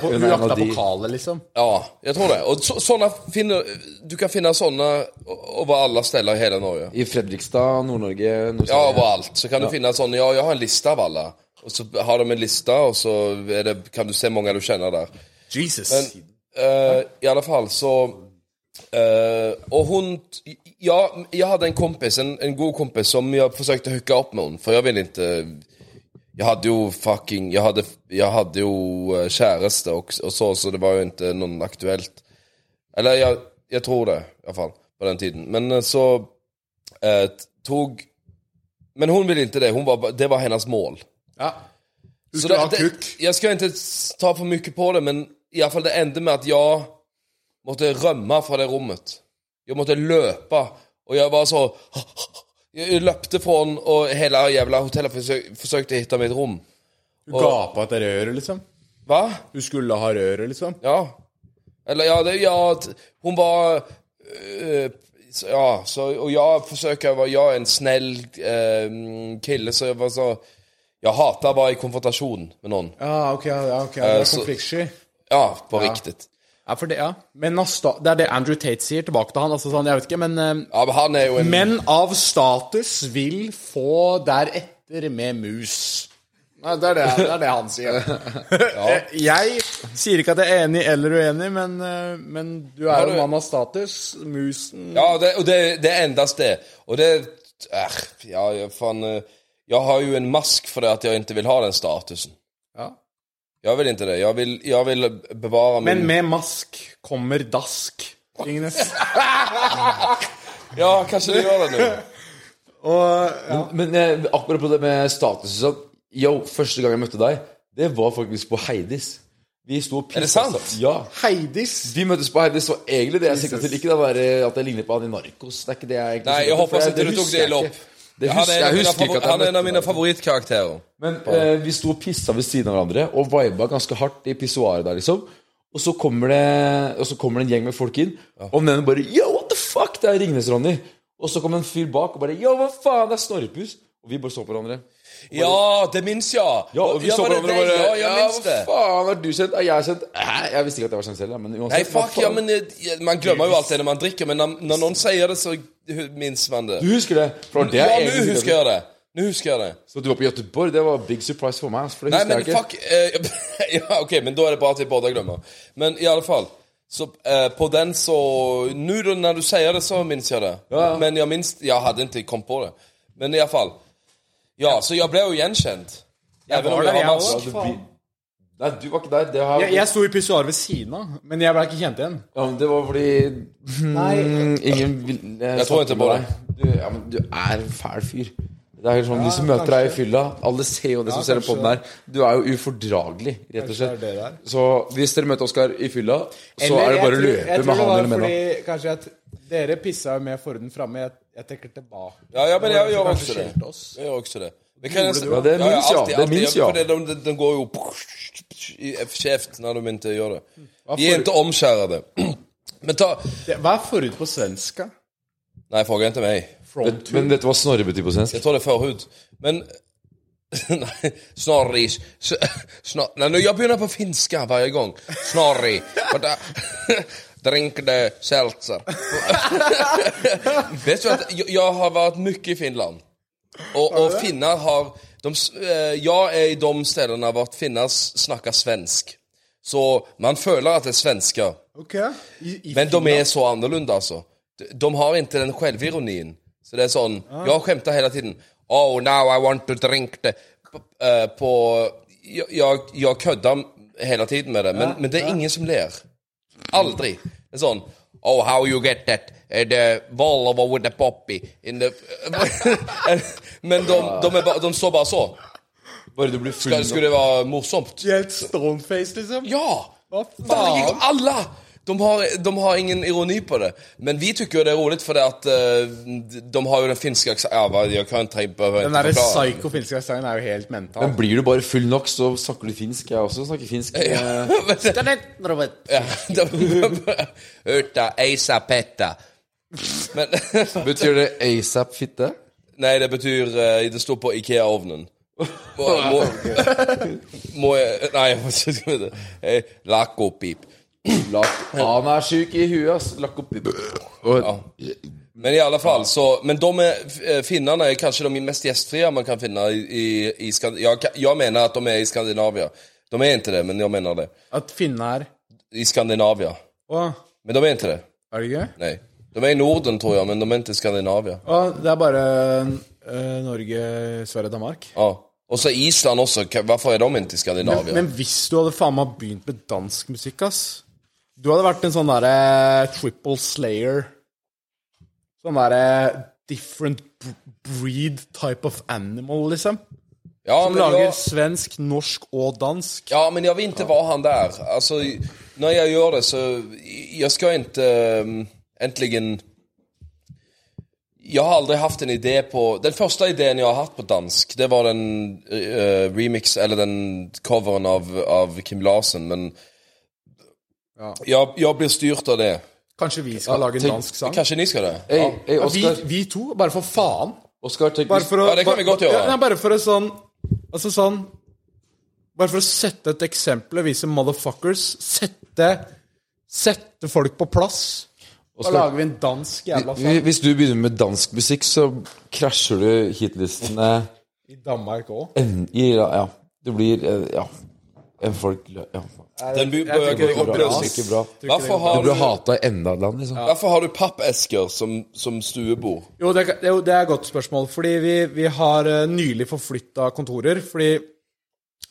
A: Hun
C: er en
A: jakta
C: av de.
A: pokalet, liksom.
B: Ja, jeg tror det. Og så, sånne finner Du kan finne sånne over alle steder i hele Norge.
C: I Fredrikstad, Nord-Norge
B: Ja,
C: Nord-Sverige.
B: overalt. Så kan du finne sånne Ja, jeg har en liste av alle. Og så har de en liste, og så er det, kan du se mange du kjenner der.
A: Jesus.
B: Eh, I alle fall så eh, Og hun ja, Jeg hadde en kompis, en, en god kompis, som jeg forsøkte å hooke opp med henne, for jeg ville ikke Jeg hadde jo fucking Jeg hadde, jeg hadde jo eh, kjæreste og, og så, så det var jo ikke noen aktuelt. Eller jeg, Jeg tror det, iallfall. På den tiden. Men eh, så eh, tok Men hun ville ikke det. Hun var, ba- det var hennes mål.
A: Ja. Du
B: Så
A: skulle ha
B: det- det-
A: kuk.
B: Jeg skal ikke s- ta for mye på det, men i alle fall det endte med at jeg måtte rømme fra det rommet. Jeg måtte løpe, og jeg var så Jeg løpte fra den, og hele jævla hotellet forsøk, forsøkte å finne mitt rom.
A: Du gapa etter røret, liksom.
B: Hva?
A: Du skulle ha røret, liksom.
B: Ja. Eller ja, det, ja t- Hun var øh, så- Ja, så, og jeg forsøker å være Jeg er en snill eh, kille, så jeg var så Jeg hater å være i konfrontasjon med noen.
A: Ja, ok. ja, ok. Det er
B: Eh, så-
A: konfliktsky.
B: Ja, på riktig.
A: Ja, for det, ja. Men av sta det er det Andrew Tate sier tilbake til han. altså sånn, jeg vet ikke, men... eh,
B: Ja, men han er jo en
A: Menn av status vil få deretter med mus. Nei, det, er det, det er det han sier. Eh, Jeg sier ikke at jeg er enig eller uenig, men, eh, men du er jo
B: du-
A: en mann av status. Musen
B: Ja, det, og det, det er endast det. Og det er, Ja, jeg- faen eh, Jeg har jo en mask for det at jeg ikke vil ha den statusen.
A: Ja.
B: Jeg vil ikke det. Jeg vil, jeg vil bevare min
A: Men med mask kommer dask. Ingnes.
B: Ja, kanskje du gjør det nå.
A: Og ja.
C: Men eh, akkurat på det med status og sånn Yo, første gang jeg møtte deg, det var faktisk på Heidis. Vi sto og
B: Er det
C: pissa
B: sant?
C: sammen. Ja.
A: Heidis
C: Vi møttes på Heidis, og egentlig det jeg sikta
A: Jesus.
C: til, ikke det var eh, at jeg ligner på han i Narkos. Det er ikke det jeg egentlig
B: Nei,
C: sikter
B: jeg
C: til,
B: håper
C: for
B: ikke du
C: husker
B: tok det
C: jeg
B: i lopp.
C: ikke. Det husker,
B: han er en av
C: jeg
B: mine favor- Han er en
C: husker ikke at jeg
B: av
C: møtte
B: mine
C: deg.
B: favorittkarakterer.
C: Men eh, vi sto og pissa ved siden av hverandre og viba ganske hardt i pissoaret der, liksom. Og så kommer det Og så kommer det en gjeng med folk inn, og mennene bare Yo, what the fuck? Det er Ringnes, Ronny. Og så kom en fyr bak og bare Yo, hva faen? Det er Snorrepus. Og vi bare så på hverandre.
B: Ja, det minnes jeg.
C: Ja, og vi så
B: var
C: på
B: det
C: hverandre og
B: deg?
C: bare
B: Ja, jeg minnes det.
C: hva faen? Er du kjent? Er jeg kjent? Hæ? Jeg visste ikke at jeg var kjent selv, ja, men
B: Nei,
C: uansett. hva
B: fuck, ja,
C: faen?
B: men eh, Man glemmer jo alt det når man drikker, men når, når noen sier det, så hu- minnes man det.
C: Du husker det? For det
B: Ja,
C: er
B: nå
C: egentlig sikkert-
B: husker jeg det. Nå husker jeg det.
C: Så du var på Göteborg, det var big surprise for meg. ass, For det
B: Nei,
C: husker
B: men
C: jeg
B: fuck
C: ikke.
B: eh, Ja, ok, men da er det bra at vi både glemmer. Men i alle fall så eh, på den så Nå da, når du sier det, så minnes jeg det. Men jeg minns Jeg hadde ikke kommet på det. Men i alle fall Ja, så jeg ble jo gjenkjent. Jeg
A: var der, jeg også.
C: Du blir- Nei, du var ikke der. Det, har...
A: Jeg, jeg sto i pissoaret ved siden av, men jeg ble ikke kjent igjen.
C: Ja, men det var fordi mm, Ingen vil eh,
B: Jeg tror
C: snakke
B: ikke på
C: med deg. Du, ja, men du er en fæl fyr. Det er sånn, De som møter deg i fylla Alle ser jo det som ser på den der. Du er jo ufordragelig, rett og slett.
A: det der.
C: Så hvis dere møter Oskar i fylla, så er det
A: jeg
C: bare å
A: tror-
C: løpe
A: jeg tror
C: med
A: det
C: han
A: var
C: eller med henne.
A: fordi Kanskje at dere pissa jo med Forden framme. Jeg, jeg tenker tilbake.
B: Ja, ja, men jeg
A: Det var
B: gjør
A: kanskje
B: også det.
A: skilt oss.
B: Jeg gjør også det. Men kan jeg,
A: Gjorde du?
C: Ja, det minns jeg.
B: alltid,
C: Det
B: alltid.
C: minns jeg.
B: For det- den- den- den går jo i kjeft når de ikke gjør det. De er ikke omskjærede. Men ta
A: Det, hva er forhud på svenska?
B: Nei, fråga ikke meg.
C: Men- Men dette var snorrebetyr på svensk.
B: Jeg tror det er forhud. Men Nei, snorris S- snor, Nei, nå- jeg begynner på finska hver gang. Snorri. Og da- Drink the seltzer. Vet du at jeg, jeg har vært mye i Finland. Og, og finner har de, s- eh, Jeg er i de stedene hvor finner s- snakker svensk. Så man føler at det er svensker.
A: Ok. I, i
B: Men de er så annorlunda alltså. De- De har inte den självironien. Så det är sån, jag skämtar hela tiden. Oh, now I want to drink the... P- eh, På... Jag, jag, jag köddar hela tiden med det, men, men det är ingen som ler. Aldrig. Det är sån, oh how you get that, eh, the Volvo with the poppy in the... men de, de, är bara, de står bara så.
C: Bare du blir full
B: Ska, skulle det vara morsomt?
A: Helt stoneface, liksom?
B: Ja!
A: Hva
B: Varje,
A: faen?
B: alla! De har, de har ingen ironi på det. Men vi tycker ju det är roligt för det att eh, de har ju den finska accent- Ja, vad- jag kan inte behöver
A: Den
B: inte
A: derre
B: förklara.
A: psycho finske sangen er jo helt mental.
C: Men blir du bare full nok, så snakker du finsk. Jeg også snakker finsk. Eh,
B: Ja, de- Uta, eisa, petta. Men,
C: Eh, Betyr det ASAP fitte?
B: nej, det betyder, eh, det står på Ikea-ovnen. Må, må, må jag, nej, jag måste skriva det. Eh, Lakopip.
C: Lak- Han er sjuk i huet, ass. Lakk opp i Og-
B: Men i alla fall så, men de är, eh, finnarna är kanske de mest gästfria man kan finna i, i, i Skand- jag, kan- jag menar att de är i Skandinavien. De är inte det, men jag menar det.
A: At finne er
B: I Skandinavien.
A: Å,
B: Men de är inte det.
A: er det gøy?
B: Nej. De är i Norden tror jag, men de är inte i Skandinavien.
A: Å, det er bare eh, Norge, Sverige, Danmark.
B: Ja. Och så Island också, Ka- varför är de inte i Skandinavien?
A: Men hvis du hadde faen meg begynt med dansk musikk, ass Du hadde vært en sånn derre triple slayer. Sånn derre different b- breed type of animal, liksom.
B: Ja,
A: Som
B: men ja-
A: lager svensk, norsk og dansk.
B: Ja, men jag vill inte vara han där. Alltså, när jag gör det så... Jag ska inte ehm, äntligen... Jag har aldrig haft en idé på... Den första idén jag har haft på dansk, det var den eh, remix, eller den covern av, av Kim Larsen, men... Jag, jag blir styrt av det.
A: Kanskje vi skal lage en dansk sang?
B: Kanske ni ska det?
D: Hey, hey,
A: Ja, vi,
D: Oscar,
A: vi to, bare for faen.
D: Oscar tenk,
A: Bare for å,
B: Ja, det kan vi godt gjøre.
A: Ja, nei, bare for å sånn Altså sånn Bare for å sette et eksempel og vise motherfuckers Sette Sette folk på plass. Da lager vi en dansk jævla sang.
D: Hvis du begynner med dansk musikk, så krasjer du hitlistene
A: I Danmark òg.
D: en- i Ja. Det blir eh, Ja. En folk ja.
B: Den bør
A: tror ikke det går
B: gå
A: bra,
D: ass. Ikke bra. Tror
B: Varför har
D: Du blir
B: du,
D: hata i enda et land, liksom.
B: varför har du pappesker som, som stuebord?
A: Jo, det, kan- jo, det er et godt spørsmål. Fordi vi, vi har eh, nylig forflytta kontorer. Fordi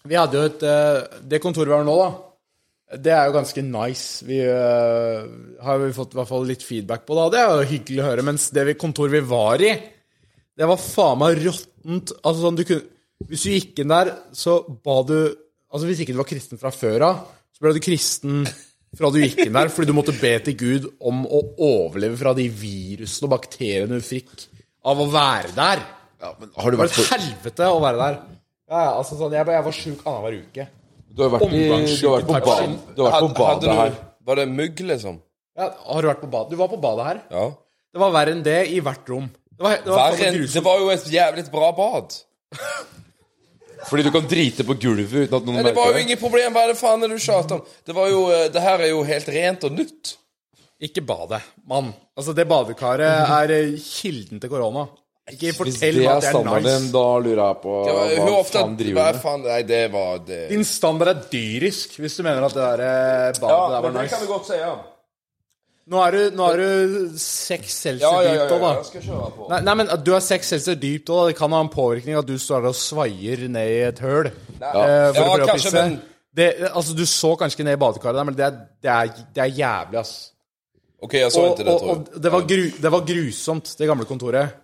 A: vi hadde jo et eh, Det kontoret vi har nå, da, det er jo ganske nice. Vi eh, har jo fått i hvert fall litt feedback på det, og det er jo hyggelig å høre. Mens det vi, kontoret vi var i, det var faen meg råttent. Altså, sånn, du kunne, hvis du gikk inn der, så ba du Altså, hvis ikke du var kristen fra før av, så ble du kristen fra du gikk inn der, fordi du måtte be til Gud om å overleve fra de virusene og bakteriene du fikk av å være der.
D: Ja, men har du
A: Det var
D: vært
A: et
D: på
A: helvete å være der. Ja, ja, altså sånn, Jeg, jeg var sjuk annenhver uke.
D: Du har vært, i, du har vært på badet
A: Omgangssyke
D: Du har vært på
B: Hade
D: badet
B: du,
D: her.
B: var det mygg liksom?
A: Ja, har du vært på badet? Du var på badet her.
B: Ja.
A: Det var verre enn det i hvert rom. Det var, det var,
B: Verre enn Det var jo et jævlig bra bad.
D: Fordi du kan drite på gulvet uten at noen
B: Men det var
D: merker
B: jo ingen problem. Hva er det faen er det du tjater om? Det var jo eh, Det her er jo helt rent og nytt.
A: Ikke badet, mann. Altså, det badekaret er eh, kilden til korona. Ikke
D: Hvis
A: fortell
D: det
A: meg
D: er
A: at det er
D: standarden
A: nice.
D: din, da lurer jeg på
B: Det var,
D: hva
B: hur ofte
D: faen
B: hva
D: driver du
B: er
D: med.
B: faen Nei, det var det
A: Din standard er dyrisk, hvis du mener at det der eh, badet der var nice.
B: godt si, ja.
A: Nå er du, nå er du seks celsius
B: Ja, ja, ja,
A: dypt
B: ja.
A: òg, da.
B: Jeg skal kjøre på.
A: Nei, nei, men at du er seks celsius dypt òg, da. Det kan ha en påvirkning at du står der og svaier ned i et høl. eh, for
B: Ja,
A: å prøve
B: kanskje,
A: å pisse.
B: men-
A: Det, altså, du så kanskje ikke ned i badekaret der, men det er, det er, det er jævlig, ass.
B: OK, jeg så
A: Og,
B: ikke det,
A: og,
B: tror jeg.
A: og det, var gru, det var grusomt, det gamle kontoret.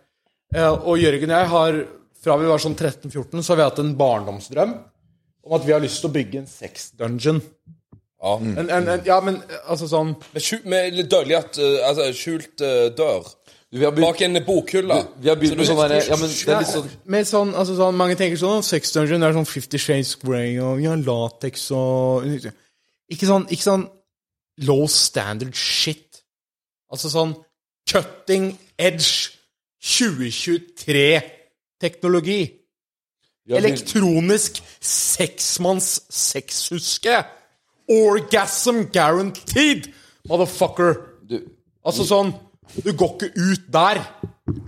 A: Eh, Og Jørgen og jeg har, fra vi var sånn 13-14, så har vi hatt en barndomsdrøm om at vi har lyst til å bygge en sex-dungeon.
B: Ja.
D: Mm.
A: En, en, en, ja, men eh, altså sånn
B: Med, skjult, med litt dødelig at eh, Altså, skjult eh, dør.
D: Vi har begynt,
B: Bak en bokhylle.
D: vi har begynt
B: Så
D: med
B: du-
D: sånn derre Ja, men det er litt sånn
A: Med sånn, altså sånn, Mange tenker sånn «Å, Sex Dungeon det er sånn Fifty Shades Grey og ja, latex og ikke sånn, ikke sånn low standard shit. Altså sånn cutting edge 2023-teknologi.
D: vi har begynt-
A: Elektronisk seksmanns sexhuske. Orgasm guaranteed, motherfucker.
D: du-
A: Altså sånn Du går ikke ut der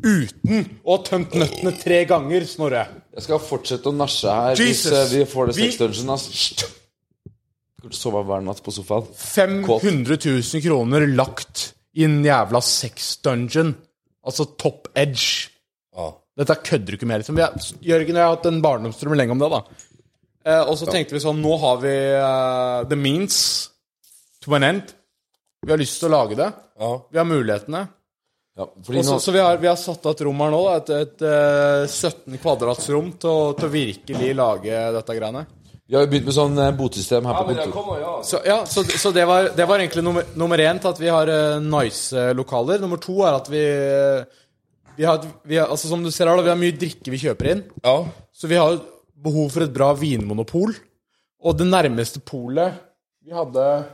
A: uten å ha tømt nøttene tre ganger, Snorre.
D: Jeg skal fortsette å nasje her hvis
A: Jesus.
D: eh, vi får det
A: Vi-
D: sex dungeon, ass. Hysj. Jeg kommer til å sove hver natt på sofaen.
A: 500 000 kroner lagt i en jævla sex-dungeon. Altså top edge.
B: Ja.
A: Dette kødder du ikke med. Liksom. Vi har, Jørgen og jeg har hatt en barndomsdrøm lenge om det. da. Eh, og så tenkte vi sånn Nå har vi eh, the means to an end. Vi har lyst til å lage det.
B: Ja.
A: Vi har mulighetene.
D: Ja, fordi
A: Og så,
D: nå,
A: så vi, har, vi har satt av et rom her nå, da, et, et eh, 17 kvadratsrom, til å, til å virkelig lage dette greiene.
D: vi har jo begynt med sånn eh, botsystem her på kontoret.
B: kommer, ja.
A: Så, ja, så, så det, var, det var egentlig nummer, nummer én til at vi har eh, nice lokaler. Nummer to er at vi, eh, vi, har, et- vi har, altså Som du ser her, da, vi har mye drikke vi kjøper inn.
B: ja.
A: Så vi har behov for et bra vinmonopol. Og det nærmeste polet vi hadde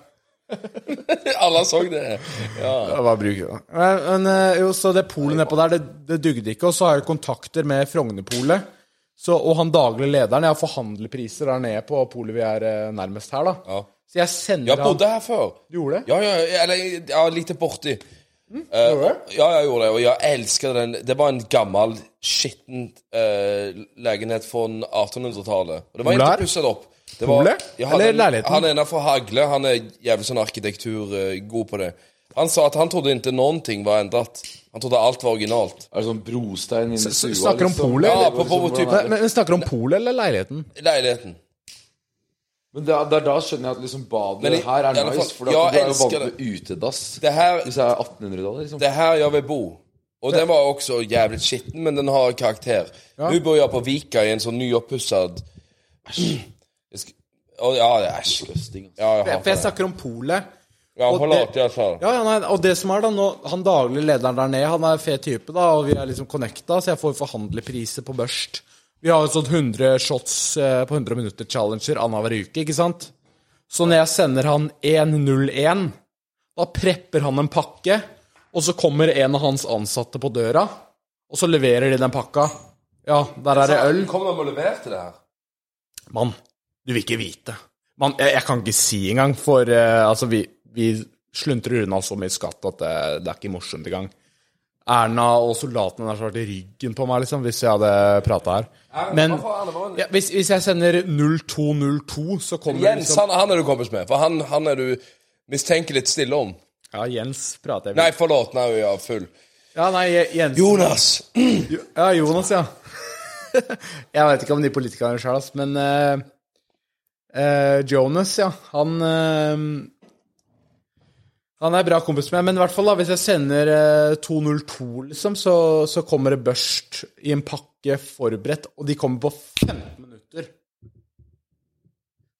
B: Alle så det.
A: Ja, hva bruker du da? Men, men eh, jo, så det polet nedpå der, det, det dugde ikke. Og så har jeg kontakter med Frognerpolet. Så- Og han daglig lederen. Jeg forhandler priser der nede på polet vi er eh, nærmest her, da.
B: Ja.
A: Så jeg sender
B: Jeg bodde her før.
A: Du gjorde det?
B: Ja, ja, eller ja, lite borti. Eh,
A: Mm. gjorde
B: og- ja, jeg gjorde det, og jeg elsker den. Det var en gammel, skitten eh, leilighet fra 1800-tallet. Og det var
A: Ole?
B: ikke pusset opp. Det var,
A: Ole? Eller
B: han,
A: leiligheten?
B: Han ene fra Hagle, han er jævlig sånn arkitektur eh, god på det. Han sa at han trodde ikke noen ting var endret. Han trodde alt var originalt.
D: Er det sånn brostein inni stua?
C: liksom?
A: snakker om polet,
B: Ja,
D: eller
B: på- på- på
D: hvordan er det?
A: Men, men snakker du om polet eller leiligheten?
B: Leiligheten.
C: Men det er, det er da skjønner jeg at liksom badet
B: Men i- i
C: her er
B: alle
C: nice,
B: fall-
C: for da
B: ja,
C: du er jo
B: elsker
C: vant til utedass.
B: Det her,
C: Hvis jeg er 1800-tallet, liksom.
B: det her jeg vil bo. Og den var også jævlig skitten, men den har karakter. Nå bor jeg på Vika i en sånn nyoppusset Jeg sk- Å, Ja, det er æsj.
C: Disgusting, altså.
B: Ja, jeg
A: For jeg
B: hater det.
A: snakker om polet.
B: Ja,
A: og
B: forlat
A: det-
B: det jeg sa.
A: Ja, ja, nei, og det som er da nå, Han daglig lederen der nede, han er fet type, da, og vi er liksom connecta, så jeg får forhandlepriser på børst. Vi har jo sånn 100 shots eh, på 100 minutter-challenger annenhver uke, ikke sant? Så når jeg sender han 101, da prepper han en pakke, og så kommer en av hans ansatte på døra, og så leverer de den pakka. Ja, der er det øl.
B: Kommer de og leverer til det her?
A: Mann, du vil ikke vite. Mann, jeg, jeg kan ikke si engang, for eh, altså, vi, vi sluntrer unna så mye skatt at det, det er ikke morsomt engang. Erna og soldatene der som har vært i ryggen på meg, liksom, hvis jeg hadde prata her. Men
B: Hvorfor er det vanlig?
A: ja, hvis, hvis jeg sender 0202, så kommer det
B: Jens,
A: liksom
B: han, han er du kompis med, for han, han er du mistenker litt stille om.
A: Ja, Jens prater jeg med.
B: Nei, forlåt, nå er jeg full.
A: Ja, nei, Jens.
B: Jonas!
A: Ja, Jonas, ja. jeg veit ikke om de politikerne sjøl, ass, men eh, eh, Jonas, ja. Han eh, Han er bra kompis med meg, men i hvert fall da, hvis jeg sender eh, 202, liksom, så, så kommer det børst i en pakke forberedt, og de kommer på 15 minutter.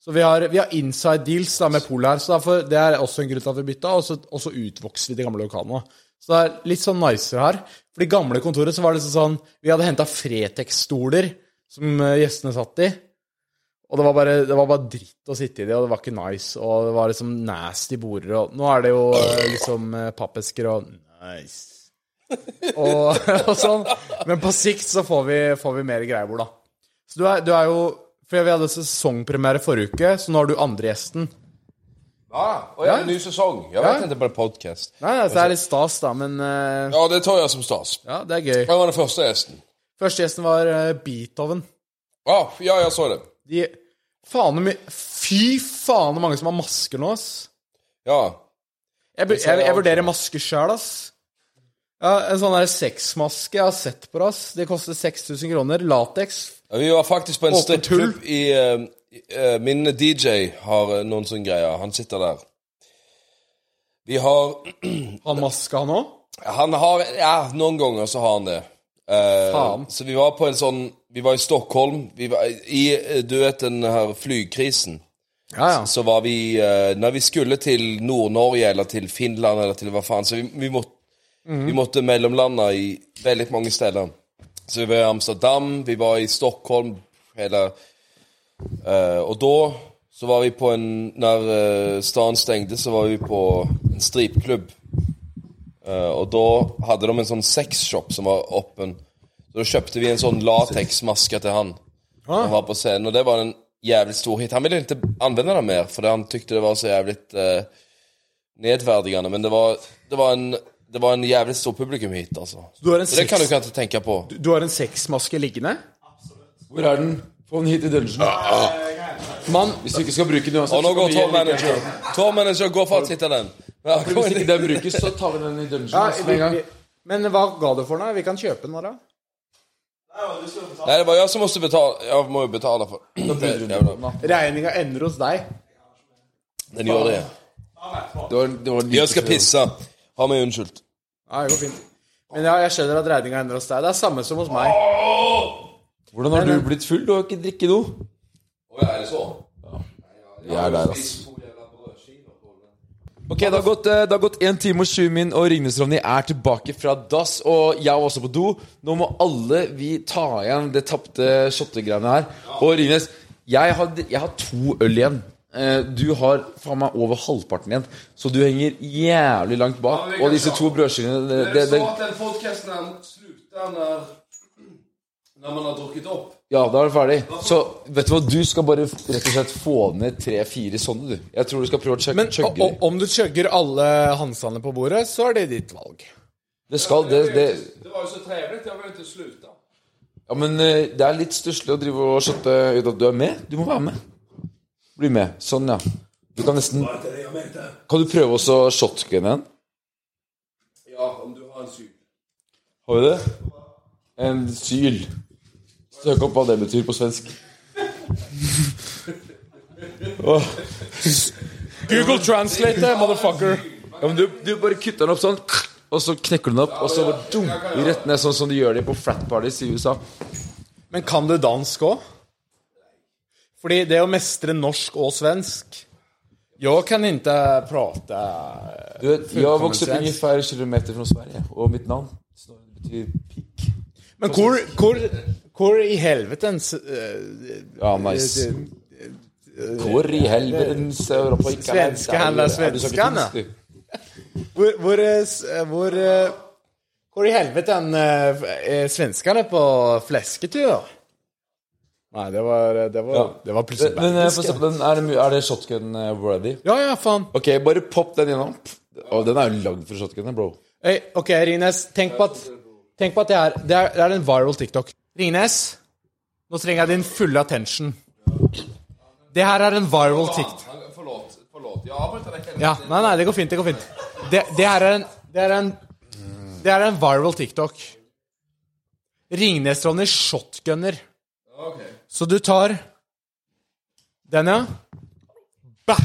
A: Så vi har, vi har inside deals da med polet her, så derfor, det er også en grunn til at vi bytta. Og så, og så utvokser vi de gamle lokalene. Så det er litt sånn nicere her. For det gamle kontoret så var det liksom sånn Vi hadde henta Fretex-stoler som eh, gjestene satt i. Og det var, bare, det var bare dritt å sitte i de, og det var ikke nice. Og det var liksom nasty border, og nå er det jo eh, liksom eh, pappesker og Nice. Og, og sånn. Men på sikt så får vi, får vi mer greier hvor, da. Så du er, du er jo For vi hadde sesongpremiere forrige uke, så nå har du andre gjesten.
B: Ah, og jeg har en ny sesong. Jeg vet ikke på en podcast.
A: Nei, altså, det er litt stas, da, men eh,
B: Ja, det tar jeg som stas.
A: Ja, det er gøy.
B: Jeg var den første gjesten.
A: Første gjesten var eh, Beethoven.
B: Ah, ja, jeg så det.
A: De Faen så mye Fy faen så mange som har masker nå, ass.
B: Ja.
A: Jeg, bu- jeg, jeg vurderer maske sjøl, ass. Ja, En sånn der sexmaske jeg har sett på, ass. Det koster 6000 kroner. Lateks.
B: Ja, Vi var faktisk på en
A: Åpen
B: strippklubb i eh, eh, Min DJ har eh, noen sånne greier. Han sitter der. Vi har
A: Har maske, han òg?
B: Han har Ja, noen ganger så har han det. Eh,
A: Faen.
B: så vi var på en sånn Vi var i Stockholm. Vi var i eh, Du vet den her flykrisen.
A: Ja, ja.
B: Så var vi eh, Når vi skulle til Nord-Norge eller til Finland eller til hva faen Så vi, vi, må, vi måtte mellomlande i veldig mange steder. Så vi var i Amsterdam, vi var i Stockholm hele eh, Og da så var vi på en Når uh, staden stengte, så var vi på en stripklubb. Eh, og da hadde de en sånn sexshop som var åpen. Så da kjøpte vi en sånn lateksmaske til han. Han var på scenen, og det var en jævlig stor hit. Han ville ikke anvende den mer, fordi han tykte det var så jævlig eh, nedverdigende. Men det var, det, var en, det var en jævlig stor publikumhit, altså.
A: Du har en
B: Så det kan du
A: sex-
B: ikke alltid tenke på.
A: Du har en sexmaske liggende?
C: Hvor er den? Få den hit i dungeon.
A: Mann,
C: Hvis du ikke skal bruke den uansett,
B: Og Ah. nå
C: så
B: går
C: kan vi
B: tour
C: like-
B: manager. Tour manager går for å titte den. Ja, kom
C: Hvis ikke
B: igjen.
C: den brukes, så tar vi den i dungeon
A: ja,
C: altså, med
A: vi,
C: en gang.
A: vi, men hva ga du for den? da? Vi kan kjøpe den, da.
B: Nei, det var jeg som måtte betale. Jeg må jo betale for Jævla.
A: Regninga ender hos deg.
B: Den gjør det.
C: Det var, det var eh, en liten
B: Jeg skal pisse. Har meg unnskyldt.
A: Ja, det går fint. Men ja, jeg skjønner at regninga ender hos deg. Det er samme som hos meg.
C: Hvordan har du blitt full? Du har ikke drikket noe.
B: Å ja, er det så?
C: Jeg er der, ass. Ok, det har gått, eh, det har gått 1 time og 20 min, og Ringnes Ronny er tilbake fra dass. Og jeg var også på do. Nå må alle vi ta igjen det tapte shottegreiene her. Og Ringnes, jeg har, jeg har to øl igjen. Eh, Du har faen meg over halvparten igjen, så du henger jævlig langt bak.
B: Ja, det kan
C: Og disse
B: jeg
C: to
B: ta.
C: brødskivene det,
B: Det
C: det,
B: er
C: det,
B: så at den podcasten slutter når, når man har drukket opp.
C: Ja, da er det ferdig. Så vet du hva, du skal bare rett og slett få ned tre-fire sånne, du. Jeg tror du skal prøve å chugge
A: Men
C: chugge
A: o-
C: dem.
A: o- om du chugger alle hansene på bordet, så er det ditt valg.
C: Det skal det, det
B: Det var jo så trevlig, jeg vil ikke slutte.
C: Ja, men eh, det er litt stusslig å drive og shotte ut at du er med. Du må være med. Bli med. Sånn, ja. Du kan nesten Kan du prøve også å shotgunne en?
B: Ja, om du har en syk.
C: Har vi det? En syl. Søk opp hva det betyr på svensk.
A: Google translate det, motherfucker.
D: Ja, men du, du bare kutter den opp sånn, og så knekker du den opp, og så bare dum, rett ned, sånn som de gjør det på frat parties i USA.
A: Men kan du dansk òg? Fordi det å mestre norsk og svensk Jeg kan ikke prate
D: Du vet, jeg har vokst opp ungefær kilometer fra Sverige, og mitt navn Snorre betyr pikk.
A: Men hvor, hvor, hvor i helvetens eh,
D: Ja, nice. Hvor i helvetens Europa gikk
A: Svenske handler svenskene. Hvor, hvor, eh, s- eh, hvor, eh, hvor i helveten eh, er svenskene på flesketur? Nei, det var, eh, det var, det var plutselig
D: Men eh, få se på den. Er det, mu- er det shotgun eh, ready?
A: Ja, ja, faen.
D: Ok, bare pop den gjennom. Å, den er jo lagd for shotgun, bro.
A: Hey, ok, Rines, tenk på at, tenk på at det, er, det, er, det er en viral TikTok. Rines, nå trenger jeg din fulle attention. Det her er en viral TikTok.
B: Forlåt. forlåt. Jeg avbryter deg.
A: Ja, nei, nei, det går fint, det går fint. Det, det her er en, det er en, det er en viral TikTok. Ringnes-Ronny shotgunner. Så du tar den, ja. Bah!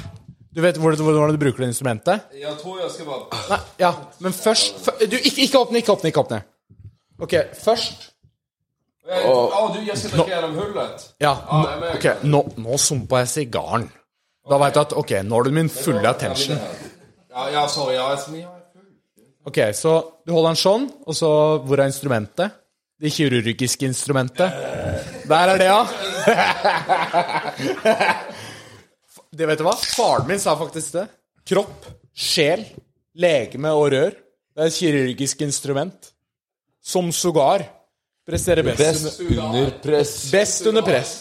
A: Du vet hvor- hvordan du bruker det instrumentet?
B: Jeg tror jeg skal bare
A: Nei, ja, men først fø- du, ikke, ikke åpne, ikke åpne, ikke åpne. Ok, først
B: jeg, Å, du, jeg skal drikke gjennom hullet.
A: Ja, nå,
B: jeg merker
A: ok, nå, nå sumpa jeg sigaren. Da veit du at ok, nå har du min fulle attention.
B: Ja, ja, sorry. Ja, jeg, jeg,
A: Ok, Så du holder den sånn, og så Hvor er instrumentet? Det kirurgiske instrumentet. Der er det, ja. Det vet du hva? Faren min sa faktisk det. Kropp, sjel, legeme og rør. Det er et kirurgisk instrument. Som sågar presterer best. under-
D: Best under press.
A: Best under press.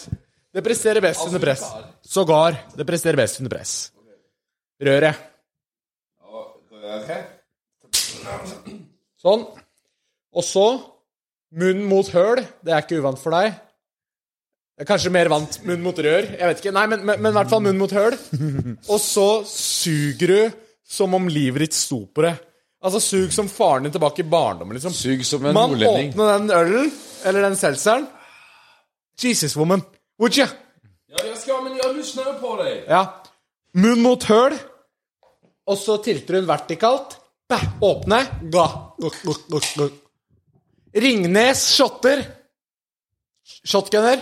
A: Det presterer best under press. Sågar. Det presterer best under press. Røret. Sånn. Og så munn mot høl. Det er ikke uvant for deg. Jeg er kanskje mer vant munn mot rør. Jeg vet ikke. Nei, men, men, men i hvert fall munn mot høl. Og så suger du som om livet ditt sto på det. Altså sug som faren din tilbake i barndommen, liksom.
D: Sug som en
A: Man
D: nordlending.
A: åpner den ølen, eller den seltzeren. Jesus, woman. Would you?
B: ja, jeg skal, men jeg lytter jo på deg.
A: Ja. Munn mot høl. Og så tilter hun vertikalt. Bæ, åpne. Ga. Guk, guk, guk, guk. Ringnes shotter. Shotgunner.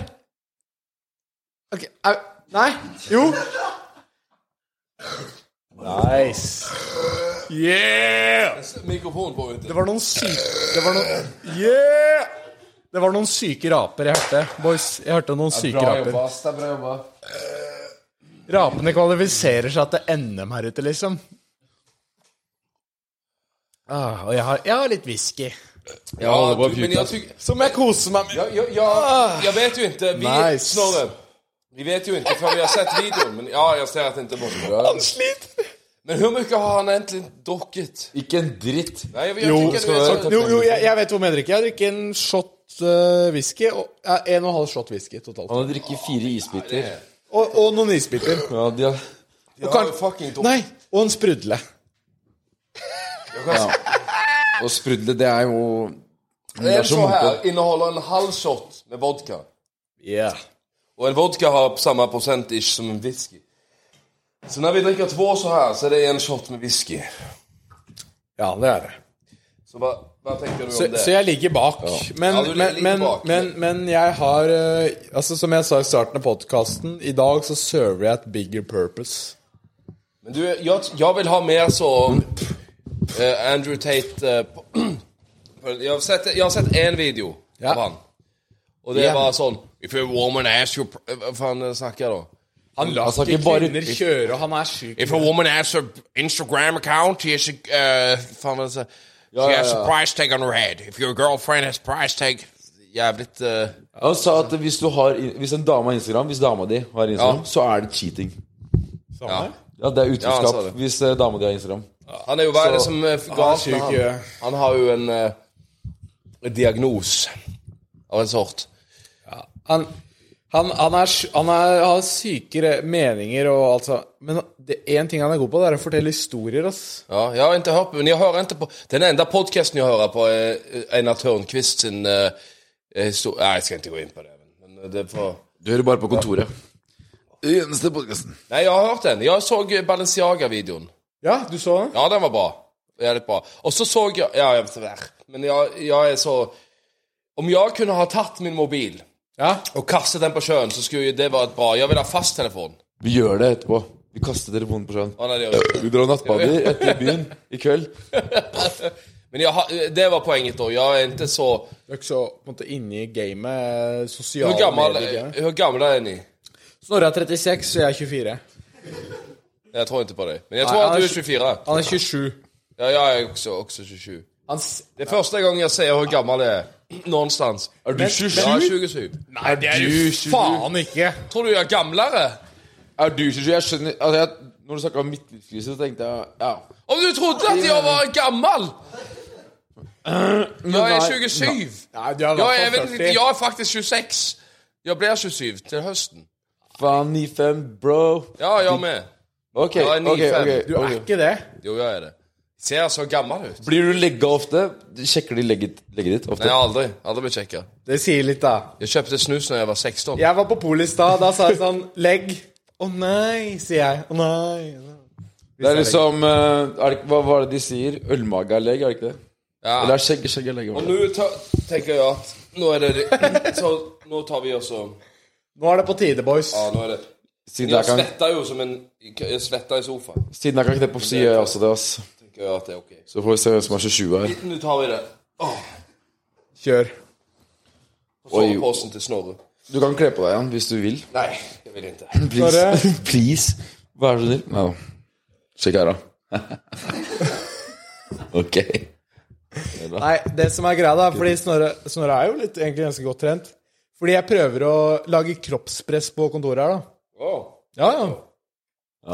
A: Ok, au. Nei. Jo. Nice. Yeah!
B: Mikrofonen på ute.
A: Det var noen syke Det var noen Yeah! Det var noen syke raper jeg hørte. Boys, jeg hørte noen syke raper.
D: ass. Det er bra jobba.
A: Rapene kvalifiserer seg til NM her ute, liksom. Ah, og jeg har, jeg har litt whisky.
B: Ja,
D: det var
B: du, men jeg, tyk,
A: Som jeg koser meg med.
B: ja, ja, ja, jeg vet jo ikke. Vi,
A: Nice.
B: Snorre. Vi vet jo ikke før vi har sett videoen. Men ja, jeg ser at det ikke er borte.
A: Han sliter.
B: Men hvor mye har han egentlig drukket?
D: Ikke en dritt.
B: Nei, jeg, jeg,
A: Jo,
B: tycker det er så-
A: jo, jo jeg, jeg vet hvor mye jeg drikker. Jeg drikker en shot eh, whisky. Og, ja, en og en halv shot whisky totalt.
D: Han har drukket fire isbiter.
A: Og, og noen isbiter.
D: Ja, de har...
B: jeg
A: kan-
B: har jo fucking drukket.
A: Nei, og en sprudle.
D: Og sprudle, det er jo
B: Det
D: er
B: er
D: så
B: så
D: mye.
B: her inneholder en halv shot med vodka.
A: Yeah.
B: Og en vodka har samme prosent-ish som en whisky. Så når vi drikker to så her, så er det en shot med whisky.
A: Ja, det er det.
B: Så hva, hva tenker du om
A: Så,
B: det?
A: så jeg ligger bak. Men,
B: Ja, du ligger
A: men,
B: litt
A: men,
B: bak.
A: men, men jeg har eh, Altså Som jeg sa i starten av podkasten, i dag så server jeg et bigger purpose.
B: Men du, jeg, jeg vil ha mer så eh, Andrew Tate eh, på- Jeg har sett, jeg har sett en video
A: Ja.
B: av han. Og det var sånn If a woman asks you pr- Hva faen eh, snakker jeg da?
A: Han lar
D: Altså,
A: ikke
D: ikke bare-
A: kvinner kjøre, og han er syk.
B: If a woman has her Instagram account, she has a, uh, fan, altså, she has a price tag on her head. If your girlfriend has price tag Jævlig uh,
D: Han sa at hvis, du har, hvis en dame har Instagram, hvis dama di har Instagram,
B: Ja.
D: så er det cheating.
B: ja.
D: Ja, det
B: Ja,
D: er
B: han
D: utroskap
B: sa det.
D: hvis eh, dama di har Instagram.
B: Han er jo hva er det som eh,
A: Han er
B: galt med
A: syk,
B: han?
A: ja.
B: Han har jo en eh, diagnos av en sort.
A: Han, han, han, er, sy- han er, har sykere meninger og alt sånt. Men én ting han er god på, det er å fortelle historier. ass.
B: Ja, jeg har ikke hørt på, men jeg hører ikke på Den enda podcasten jeg hører på, er Einar Tørnquist sin eh, histor- Nei, jeg skal ikke gå inn på det. Men det får
D: Du hører bare på kontoret.
C: Eneste podkasten.
B: Nei, jeg har hørt den. Jeg så Balenciaga-videoen.
A: Ja, du så den?
B: Ja, den var bra. Jævlig bra. Og så så jeg Ja, jeg vet ikke. Men jeg, jeg er så Om jeg kunne ha tatt min mobil
A: Ja.
B: og kastet den på sjøen, så skulle jo det vært bra. Jeg vil ha fasttelefon.
C: Vi gjør det etterpå. Vi kaster telefonen på sjøen.
B: Å, nei, det gjør jeg ikke.
C: Vi drar nattbader etter byen i kveld.
B: Men jeg, har- det var poenget, da. Jeg er ikke så
A: Du er ikke så på en måte inne i gamet eh, sosiale
B: Hvor gammel,
A: medier.
B: hvor gammel er ni?
A: Snorre er 36, og jeg er 24.
B: Jeg tror ikke på deg. Men jeg
A: Nei,
B: tror at
A: jeg
B: du
A: er
B: er 24.
A: Han er 27.
B: Ja, jeg er også, også 27.
A: Han s-
B: Det er første gang jeg ser hvor gammel jeg er noenstans.
C: Er du 27?
B: Ja, 27.
A: Nei, det er
C: du
A: jo
C: 27?
A: faen ikke!
B: Tror du jeg er gamlere?
C: Er du 27? Jeg skjønner altså jeg, Når du snakka om midtlivskrise, så tenkte jeg ja.
B: Om du trodde at jeg var gammel! Jeg er
C: nei,
B: 27.
A: Nei, du er i
B: Jeg er,
A: hvert fall
B: vel-
A: 40.
B: jeg er faktisk 26. Jeg blir 27 til høsten.
C: Faen, 9-5, bro.
B: Ja, jeg er med.
C: Ok,
B: Ja,
C: ok,
B: 9-5.
C: ok.
A: Du er ikke det.
B: Jo, jeg er det. Ser så gammel ut.
C: Blir du legga ofte? Sjekker de legget, legget ditt
B: Nei,
C: ofte?
B: aldri. Aldri blitt sjekka.
A: Det sier litt, da.
B: Jeg kjøpte snus da jeg var 16.
A: Jeg var på polet i stad. Da sa jeg sånn Legg. Å nei, sier jeg. Å nei.
C: Det er liksom eh, er det, Hva var det de sier? Ølmage er legg, er det ikke det?
B: Ja.
C: Eller er skjegg, skjegg er legg?
B: Og nå ta- tenker jeg at nå er det Så nå tar vi også
A: Nå er det på tide, boys.
B: Ja, nå er det
C: Siden
B: Jeg
C: jeg kan,
B: svetter jo som en Jeg svetter i sofaen.
C: siden jeg kan kneppe opp, så gjør jeg også det. ass
B: Tenker jeg at det er ok.
C: Så får vi se hvem som er 27 her.
B: Nå tar vi det.
A: Kjør.
B: Og soveposen til Snorre.
C: Du kan kle på deg igjen hvis du vil.
B: Nei, jeg vil ikke.
C: Please. Please. Vær så snill. No. Sjekk her, da. ok.
A: Nei, det som er greia, da Fordi Snorre, Snorre er jo litt, egentlig ganske godt trent. Fordi jeg prøver å lage kroppspress på kontoret her, da.
B: Wow.
A: Ja, ja.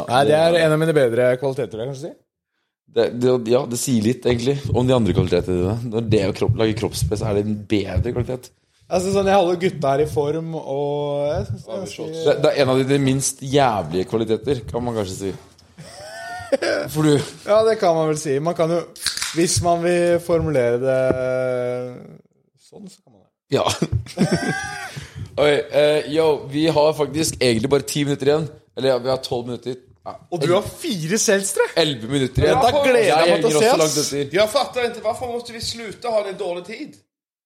A: Nei, det er en av mine bedre kvaliteter, vil jeg kanskje si.
C: Det, det, ja, det sier litt, egentlig, om de andre kvalitetene dine. Når det å kropp, lage kroppspress er det en bedre kvalitet.
A: Altså, sånn, jeg holder gutta her i form, og jeg synes det er ganske...
C: Det, det er en av dine minst jævlige kvaliteter, kan man kanskje si. For du
A: Ja, det kan man vel si. Man kan jo Hvis man vil formulere det sånn, så kan man det.
C: Ja. Oi, eh, yo, vi har faktisk egentlig bare ti minutter igjen. Eller ja, vi har tolv minutter. Ja,
A: Og du har fire selvstrekk!
C: Elleve minutter igjen.
A: Dette gleder jeg meg
C: henger
A: til å se,
C: også
A: ass.
C: langt etter.
B: Jeg fatter ikke. Hvorfor måtte vi slutte å ha den dårlige tid?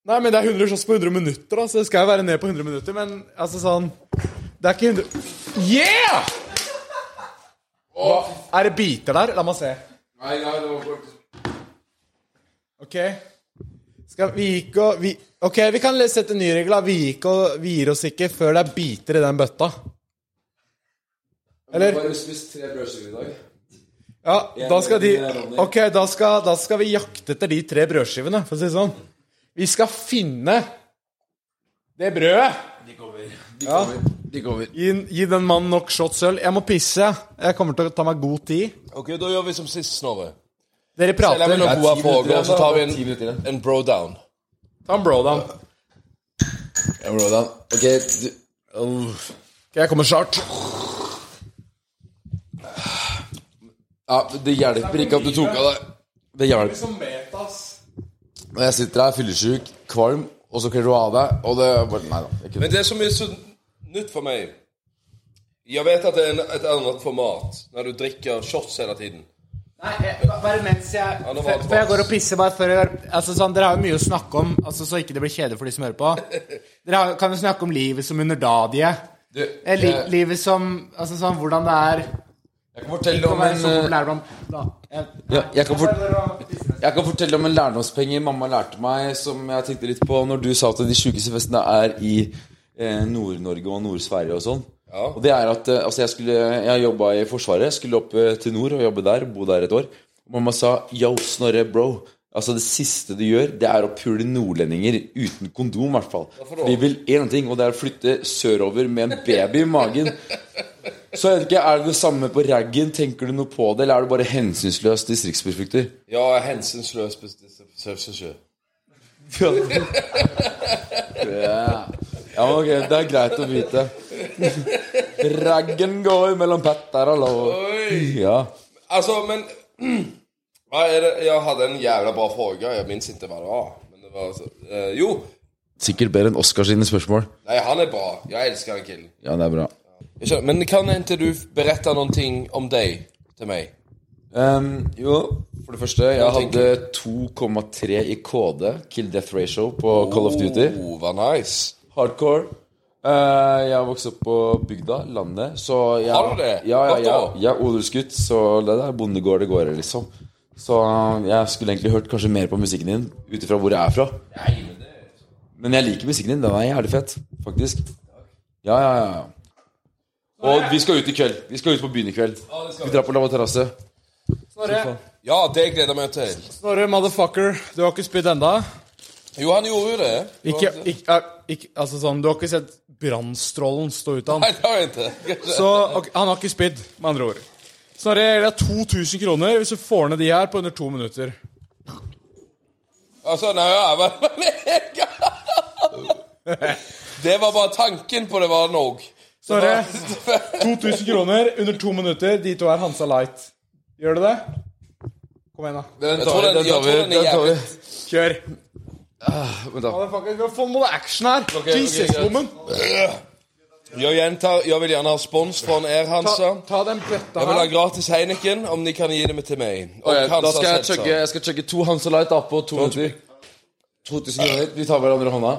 A: Nei, men det er 100 shots på 100 minutter, da, så det skal jo være ned på 100 minutter, men altså sånn Det er ikke 100 Yeah! Hva- er det biter der? La meg se.
C: Nei, nei, det var faktisk
A: OK. Skal vi gikk og vi, OK, vi kan le- sette en ny regel. da. Vi gikk og vi gir oss ikke før det er biter i den bøtta. Eller?
C: Bare spist tre brødskiver i dag.
A: Ja, da skal de OK, da skal, da skal vi jakte etter de tre brødskivene, for å si det sånn. Vi skal finne det brødet.
C: De kommer.
A: Gi, gi den mannen nok shots øl. Jeg må pisse. jeg. Jeg kommer til å ta meg god tid.
B: Ok, Da gjør vi som sist, Snorre.
A: Dere
B: Eller
A: prater.
B: vi noen gode
C: minutter
B: frågor,
C: igjen,
B: og så tar vi
C: ti minutter
B: en,
C: igjen.
B: en bro down.
A: Ta en blowdown.
C: Ja, bro, da. Ok, du Uff.
A: Ok, jeg kommer snart.
C: Ja, Det hjelper ikke at du tok av deg Det hjelper. Når jeg sitter her fyllesjuk, kvalm, og så kler du av deg, og det er bare Nei da. Jeg
B: Men
C: kødder.
B: det som er så nytt for meg Jeg vet at det er en, et annet format når du drikker shots hele tiden.
A: Nei, jeg, bare mens jeg
B: nå var det
A: før, før jeg går og pisser, bare før jeg gjør- altså, sånn, Dere har jo mye å snakke om, altså, så ikke det blir kjedelig for de som hører på. Dere har, kan jo snakke om livet som underdadige.
C: Du,
A: Eh, li,
C: jeg-
A: livet som Altså sånn hvordan det er
C: Jeg kan fortelle
A: å
C: om
A: være
C: en
A: så
C: eh,
A: populær blant da. Jeg,
C: ja, jeg, kan fort,
A: for...
C: jeg kan fortelle om en lærdomspenge mamma lærte meg, som jeg tenkte litt på når du sa at de sjukeste festene er i eh, Nord-Norge og Nord-Sverige og sånn.
B: Ja.
C: Og det er at eh, altså jeg, skulle, jeg jobba i Forsvaret, skulle opp eh, til nord og jobbe der, bo der et år. Mamma sa 'yo, Snorre, bro'. Altså Det siste du gjør, det er å pule nordlendinger uten kondom, i hvert fall. De vil én ting, og det er å flytte sørover med en baby i magen. Så jeg vet ikke, Er det det samme på raggen? Tenker du noe på det, eller er du bare hensynsløs distriktsperspektiv?
B: Jeg er hensynsløs. bes- bes-
C: Ja, ja men ok, det er greit å vite. Raggen går mellom Petter og Lov. Ja.
B: Altså, men Hva er det? Jeg hadde en jævla bra fråga. Jeg minns ikke hva det var. Men det var altså, eh, jo.
C: Sikkert bedre enn Oskar sine spørsmål.
B: Nei, han er bra. Jeg elsker han killen.
C: Ja, det er bra.
B: Jeg skjønner. Men kan inte du berätta någonting om dig till mig?
C: Ehm, jo, for det første, jeg hadde
B: tenker
C: 2,3 i KD, kill death ratio, på Call of Duty.
B: Oh, vad nice.
C: Hardcore. Eh, jeg har vokst opp på bygda, landet, så jeg,
B: Har du det?
C: Ja, ja,
B: Godt
C: ja,
B: da.
C: jeg er odelsgutt, så det er bondegård det går i, liksom. Så um, jeg skulle egentlig hørt kanskje mer på musikken din ut ifra hvor jeg er fra. Men jeg liker musikken din. Den er jævlig fett, faktisk. Ja, ja, ja. ja. Og vi skal ut i kveld. Vi skal ut på byen i kveld. Vi drar på Lava Terrasse.
A: Snorre,
B: Ja, det gleder jeg meg til.
A: Snorre, motherfucker. Du har ikke spydd enda.
B: Jo, han gjorde jo det.
A: Ikke, ikke, eh, ikke, altså sånn, du har ikke sett brannstrålen stå ut av
B: Nei,
A: han.
B: det har jeg ikke.
A: Så ok, han har ikke spydd, med andre ord. Snorre, jeg gir deg 2000 kroner hvis du får ned de her på under to minutter.
B: Altså, nei, jeg var Det var bare tanken på det var nok.
A: Snorre, 2000 kroner under to minutter. De to er Hansa Light. Gjør du det? Kom igjen, da.
C: Den
B: Jeg tror den, jeg tror den er jævlig
A: Kjør.
C: Vent da.
A: Motherfucker, vi får noe action her.
B: Ah,
A: Jesus,
B: ok, greit.
A: woman.
B: Jeg gjentar, jeg vil gjerne ha spons fra en Air Hansa.
A: Ta, ta den bøtta
B: Jeg vil ha
A: her.
B: gratis Heineken, om de kan gi det til meg. Og
C: Ok, da
B: Hansa
C: skal jeg
B: Seltzer.
C: chugge, jeg skal chugge to Hansa Light da på to minutter. 2000 kroner. Vi tar hverandre i hånda.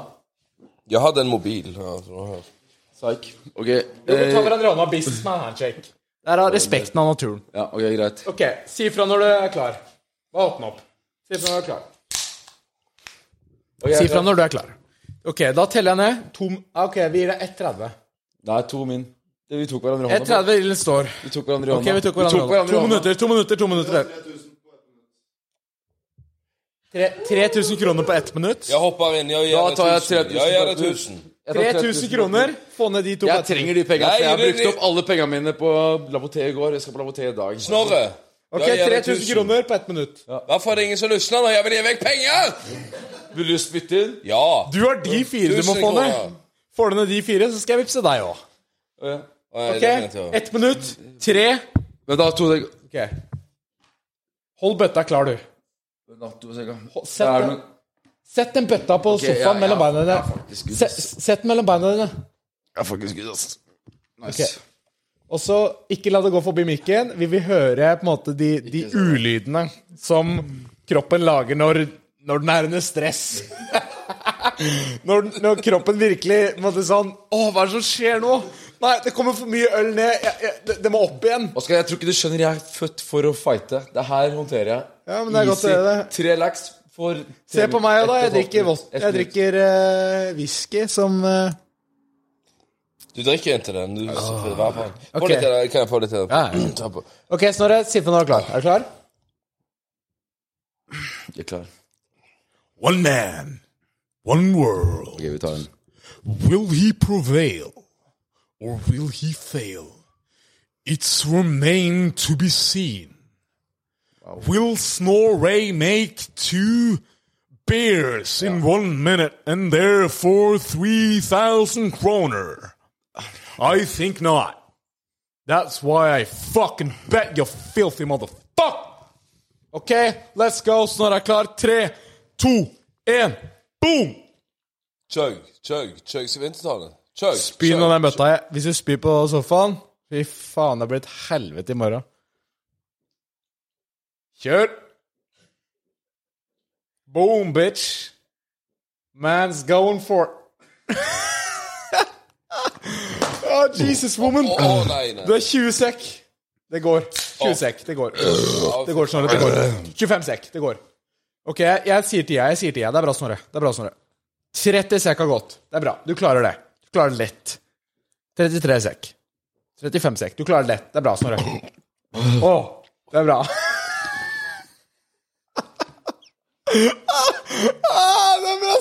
B: Jeg hadde en mobil. ja, tror jeg.
C: Psyk. Ok.
A: Vi tar
C: Eh,
A: hverandre i hånda. Businessman handshake. Det er av respekten av naturen.
C: ja, ok, greit.
A: Ok, si ifra når du er klar. Bare åpne opp. Si ifra når du er klar.
C: Ok,
A: Si ifra når du er klar. Ok, da teller jeg ned. To, ah, ok, vi gir deg 1,30.
C: Nei, to min. Det, vi tok hverandre i hånda.
A: 1,30 ilden står.
C: Vi tok hverandre i hånda.
A: Ok, vi tok hverandre. i hånda.
C: i
A: To
C: hånda.
A: minutter, to minutter, to minutter. Tre- 3000 kroner på ett minutt.
B: Jeg hopper inn. Jeg
C: Da
B: gir
C: tar
B: det
C: jeg
B: 1000. Jeg gir det 1000.
C: 3000. Jeg tar
A: 3000 kroner. Få ned de to.
C: Jeg trenger de pengene.
B: Nei,
C: for jeg har
B: det-
C: brukt opp alle pengene mine på Laboté i går. Jeg skal på Laboté i dag.
B: Snorre.
A: Ok,
B: jeg gir deg
A: 3000 kroner på ett minutt.
B: Hvorfor er det ingen som lysner når jeg vil gi vekk penger?
C: Vil du spytte inn?
B: Ja.
A: Du har de fire du må
B: 1000
A: få ned.
B: kroner.
A: Får du ned de fire, så skal jeg vippse deg òg.
B: Ok,
A: Ok, ett minutt. Tre.
C: Men da to deg...
A: Ok. Hold bøtta klar, du.
C: Det
A: Sett
C: er
A: den,
C: noe...
A: sett den bøtta på
C: ja,
A: sofaen mellom
C: ja,
A: beina
C: ja,
A: dine.
C: faktisk, Gud,
A: Se- Sett den mellom beina dine.
C: Jeg er faktisk gud, ass.
A: Ok. Og så ikke la det gå forbi mikken. Vi vil høre på en måte de, de ulydene som kroppen lager når, når den er under stress. når, den- når kroppen virkelig på en måte sånn Å, hva er det som skjer nå? Nei, det kommer for mye øl ned. Jeg, jeg, det, det må opp igjen.
C: Oskar, jeg tror ikke du skjønner, jeg er født for å fighte. Det her håndterer jeg.
A: Ja, men det er godt å gjøre det.
C: Tre lax for
A: Se på meg, da. Jeg drikker, vått-
C: Et
A: jeg
C: minutt.
A: drikker eh, whisky som eh,
B: Du drikker ikke den. Du, hva faen? Få
A: Ok.
B: litt av det, Kan jeg få litt av det?
A: ja.
B: Ta på.
A: OK, Snorre. Si ifra når du er klar. Er du klar?
C: Jeg er klar.
E: One man, one world.
C: Ok, vi tar den.
E: Will he prevail or will he fail? It's remain to be seen. Will Snorre make two beers in one minute and therefore 3,000 kroner? I think not. That's why I fucking bet you filthy motherfucker.
A: OK, let's go. Snorre er klar. Tre, to, én. Boom!
B: Chug, chug, chug. Skal vi ikke ta den? Chug.
A: Spy
B: chug,
A: nå den bøtta. jeg. Hvis du spyr på sofaen Fy faen, det blir et helvete i morgen. Kjør! Boom, bitch. Man's going for oh, Jesus, woman.
B: Å, å, nei, nei.
A: Du er 20 sekk. Det går. 20 sekk. Det går. Det går, Snorre. Det går. 25 sekk. Det går. Ok, jeg, jeg sier til jeg, jeg sier til jeg. Det er bra, Snorre. Det er bra, Snorre. 30 sekk har gått. Det er bra. Du klarer det. Du klarer det lett. 33 sekk. 35 sekk. Du klarer det lett. Det er bra, Snorre. Å, det er bra. Ah, det er bra.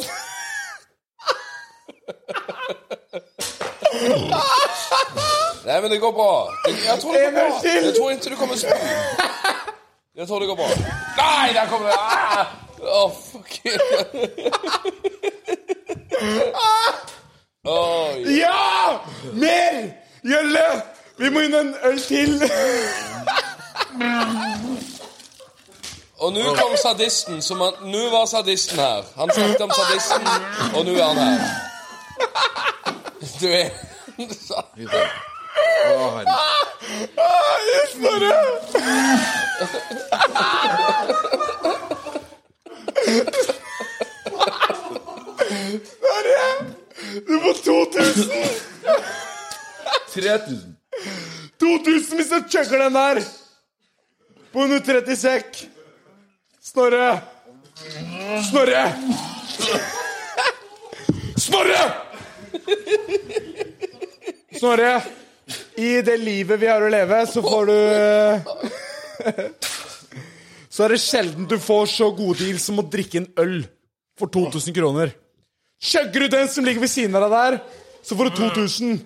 B: Nei, men det går bra. Det, jeg tror det går
A: En
B: bra.
A: øl til.
B: Jeg tror ikke du kommer spy. Jeg tror det går bra. Nei, der kommer det! Ah! Å, fuck. Oi.
A: Ja! Mer! Gjølle! Vi må inn en øl til.
B: Og nå kom sadisten. som han... Nå var sadisten her. Han snakket om sadisten, og nå er han her. Du er
A: far.
C: Tretel.
A: 2000 hvis du chucker den der! På 130 sekk. Snorre! Snorre! Snorre! Snorre, i det livet vi har å leve, så får du eh, Så er det sjelden du får så gode deals som å drikke en øl for 2000 kroner. Chugger du den som ligger ved siden av deg der, så får du 2000.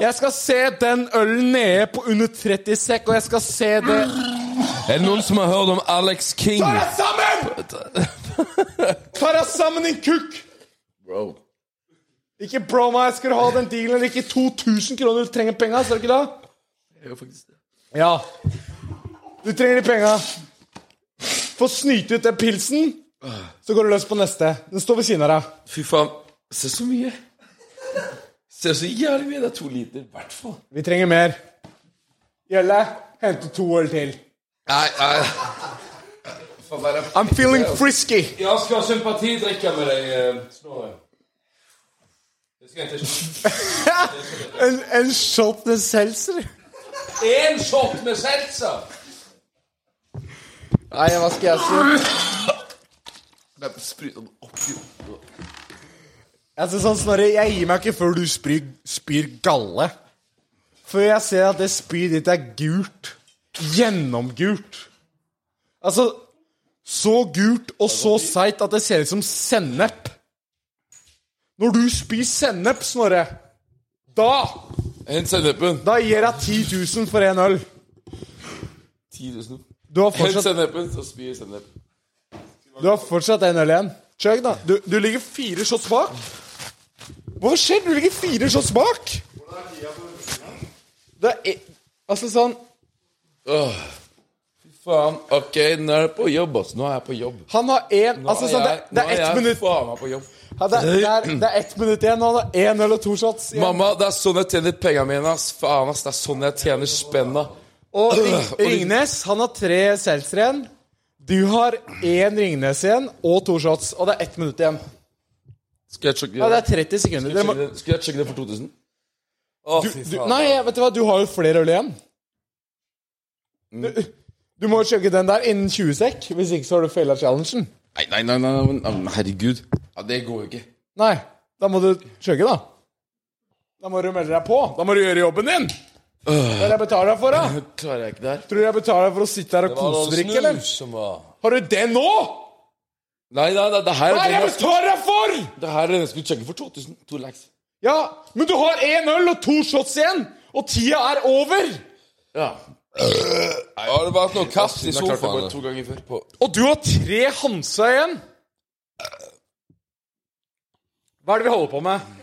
A: Jeg skal se den ølen nede på under 30 sekk, og jeg skal se det
B: Er det noen som har hørt om Alex King?
A: Ta deg sammen! Ta deg sammen, din kukk!
C: Bro.
A: Ikke bro meg, skal du ha den dealen eller ikke 2000 kroner? Du trenger penga, skal du ikke det? Ja. Du trenger de penga. Få snyte ut den pilsen, så går du løs på neste. Den står ved siden av deg.
C: Fy faen. Se så mye. Se så jævlig mye. Det er to liter, i hvert fall.
A: Vi trenger mer. Gjelle, hente to øl til.
C: Nei, nei.
A: I'm feeling frisky.
B: Jeg skal sympatidrikke med deg, eh. Snorre. Det skal jeg ikke
A: En, en shot med seltzer.
B: Én shot med seltzer!
A: Nei, hva skal jeg si?
C: Spruta den opp i
A: Jeg synes sånn, Snorre, jeg gir meg ikke før du spyr, spyr galle. Før jeg ser at det spyet ditt er gult. Gjennomgult. Altså, så gult og så seigt at det ser ut som sennep. Når du spyr sennep, Snorre, da,
C: Hent sennepen.
A: da gir jeg 10 000 for en øl.
C: 10 000.
A: Du har
C: Hent
A: fortsatt,
C: sennepen, så spyr sennep.
A: du har fortsatt en øl igjen. Chug, da. Du, du ligger fire shots bak. Hva skjer? Du ligger fire shots bak. Det er e- Altså sånn
C: Åh. Fy faen. Ok, nå er det på jobb, ass. Nå er jeg på jobb.
A: Han har én
C: Nå
A: altså,
C: er
A: sånn, det,
C: jeg,
A: det
C: nå
A: er ett
C: jeg
A: minutt
C: faen meg på jobb.
A: ja, det, er, det, er, det er ett minutt igjen, og han har én eller to shots. igjen.
C: Mamma, det er sånn jeg tjener pengene mine, ass. Faen, ass. Det er sånn jeg tjener spenna.
A: Og Ring- Ringnes han har tre seltzer igjen. Du har én Ringnes igjen og to shots, og det er ett minutt igjen.
C: Skal jeg sjekke
A: Ja, Det er 30 sekunder. Dere må,
C: Sjekke det- Skal jeg sjekke det for 2000?
B: Å,
A: du,
B: fy
A: du,
B: faen.
A: nei, vet du hva, du har jo flere øl igjen.
C: Mm.
A: Du, du må chugge den der innen 20 sekk, hvis ikke så har du faila challengen.
C: Nei, nei, nei, nei, nei, nei, men herregud. Ja, Det går jo ikke.
A: Nei, da må du chugge, da. Da må du melde deg på. Da må du gjøre jobben din! Det er det jeg betaler deg for, da.
C: Det klarer Øh. jeg ikke det her.
A: Tror du jeg betaler for å sitte her og
B: Var det noen
A: kosedrikke, eller?
B: snus som var
A: Har du det nå?!
C: Nei, nei, nei, det her er
A: Hva er det
C: det
A: jeg
C: jeg,
A: betaler deg for?!
C: det her er det jeg skulle sjekke for 2000. To lax.
A: Ja, men du har én øl og to shots igjen! Og tida er over!
C: Ja.
B: Har det vært noe kast i
C: Jeg klarte det bare
B: sofaen?
C: to ganger før. På.
A: Og du har tre Hansa igjen! Hva er det vi holder på med?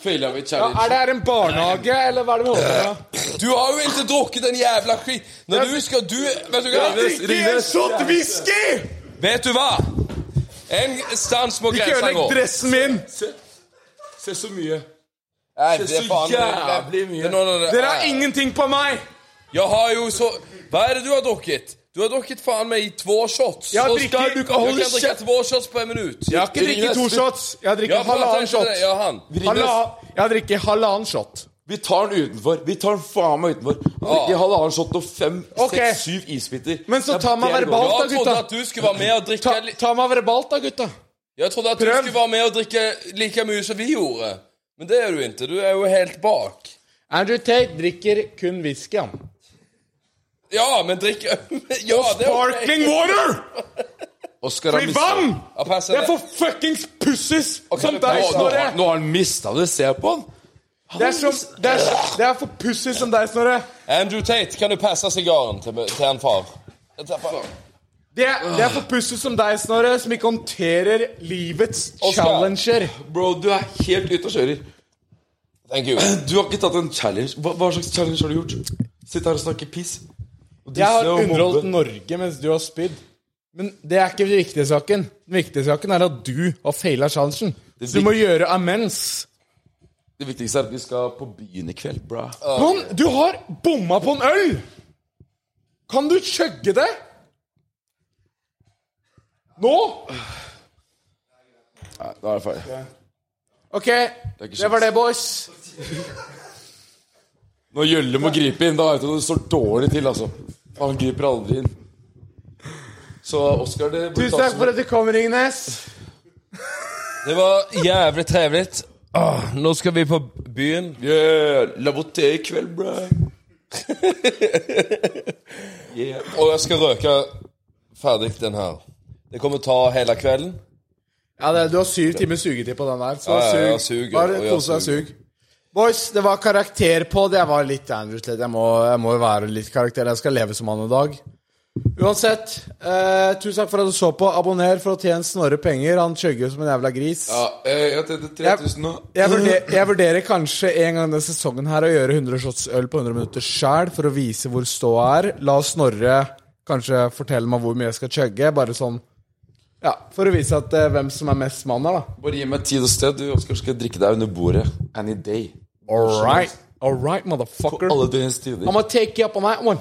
C: Faila vi
A: Ja,
C: challenge.
A: er det her en barnehage, eller hva er det vi holder på med?
B: Du har jo ikke drukket den jævla skit... Når du skal du Vet du hva?
A: Eh,
C: Ringnes.
A: shot whisky!
B: Vet du hva? En stans må
A: Ikke
B: grensa gå.
A: ødelegg dressen min!
C: Se så mye.
B: Nei,
C: Det
B: det
C: er
B: er
C: så
B: faen
C: jævlig mye.
B: Det er noe av det-
A: Dere har ingenting på meg!
B: Jeg har jo så Hva er det du har drukket? Du har drukket faen meg i to shots.
A: Jeg har
B: Så
A: drikket-
B: skal du ikke
A: Hold
B: holde kjeft. Jeg kan drikke to shots på en minutt.
A: Jeg har ikke drikket to shots. Jeg
B: Ja,
A: har drikket
B: for jeg
A: halvannen
B: tenkte
A: shot.
B: det. Ja, han.
A: Halva- Jeg har drikket halvannen shot.
C: Vi tar den utenfor. Vi tar den faen meg utenfor. Ikke halvannen shot og fem,
A: Ok.
C: seks, syv isbiter.
A: Men så
C: Det er
A: ta meg
C: det det går i.
A: verbalt, da,
B: Jeg trodde
A: gutta.
B: at du skulle være med og drikke
A: Ta,
B: li-
A: ta meg verbalt, da, gutta.
B: Jeg trodde at du
A: Prøv.
B: skulle være med og drikke like mye som vi gjorde. Men det er du ikke. Du er jo helt bak.
A: Andrew Tate drikker kun whisky, han.
B: Ja, men drikk Ja, det er ok.
A: Sparkling water!
C: Oscar har
A: I
C: mistet-
A: vann!
B: Ja, pass
A: Det er
B: det.
A: for fuckings pussies som
B: men
A: deg,
C: Nå, nå,
A: Snorre.
C: har- nå har han mista det. Se på han.
A: Det er, som, det, er, det er for pussies som deg, Snorre.
B: Andrew Tate, kan du passe sigaren til, til en far? Jeg tar faen.
A: Det er, det er for pussies som deg, Snorre, som ikke håndterer livets
B: Oscar.
A: challenger.
C: Bro, du er helt ute og kjører.
B: Thank you.
C: Du har ikke tatt en challenge. Hva, hva slags challenge har du gjort? Sitt her og snakke piss. Og
A: Jeg har
C: disse og
A: underholdt
C: mobbe.
A: Norge mens du har spydd. Men det er ikke den viktige saken. Den viktige saken er at du har faila challengen. Så du må gjøre amends.
D: Det viktigste er at vi skal på byen i kveld, bra.
A: Mann, du har bomma på en øl! Kan du chugge det? Nå?
D: Nei, da er jeg ferdig.
A: OK, det var det, boys.
D: Når Gjølle må gripe inn, da vet du det står dårlig til, altså. Han griper aldri inn. Så Oskar, det burde
A: Tusen
D: tas
A: takk
D: som
A: for at du kom, Ringnes.
B: Det var jævlig trevelig. Åh, Nå skal vi på byen.
D: Yeah, la voté i kveld, bra.
B: Og jeg skal røke ferdig den her. Det kommer ta hele kvelden.
A: Ja, det, Du har syv timer sugetid på den der, så
B: Ja, ja, ja,
A: sug.
B: suger,
A: Bare
B: og jeg
A: kos deg og sug. Boys, det var karakter på det. Jeg var litt Andrews litt. Jeg må, jeg må jo være litt karakter. Jeg skal leve som han en dag. Uansett, eh, tusen takk for at du så på. Abonner for å tjene Snorre penger. Han chugger jo som en jævla gris.
D: Ja, eh, jeg tjente 3000 nå.
A: Jeg vurderer, jeg vurderer kanskje en gang denne sesongen her å gjøre 100 shots øl på 100 minutter sjæl, for å vise hvor ståa er. La Snorre kanskje fortelle meg hvor mye jeg skal chugge. Bare sånn Ja, for å vise at eh, hvem som er mest mann her, da.
D: Bare gi meg tid og sted, du, Oskar, skal jeg drikke deg under bordet. Any day.
A: All right. All right, motherfucker.
D: Alle døgnets tider.
A: I'mma take you up on that one.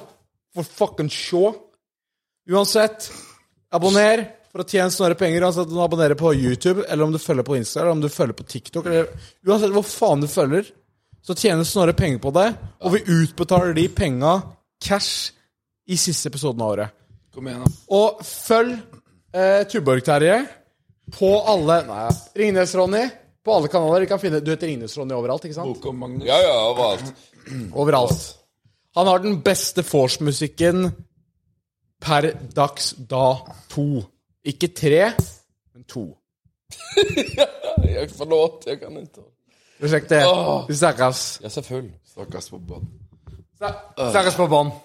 A: For fucking sure. Uansett, abonner for å tjene Snorre penger. Uansett om du abonnerer på YouTube, eller om du følger på Insta, eller om du følger på TikTok, eller uansett hvor faen du følger, så tjener Snorre penger på deg, og vi utbetaler de penga cash i siste episoden av året.
D: Kom igjen, da.
A: Og følg eh, Tuborg-Terje på alle Nei, Ringnes-Ronny på alle kanaler. Du, kan finne, du heter Ringnes-Ronny overalt, ikke sant?
D: Kom, Magnus.
B: Ja, ja, overalt.
A: Overalt. Han har den beste vorspiel-musikken per dags da to. Ikke tre, men to.
B: Jeg Forlåt, jeg kan ikke.
A: Prosjektet. Vi snakkes.
B: Jeg er så full.
D: Stakkars på båten.
A: Snakkes på bånn.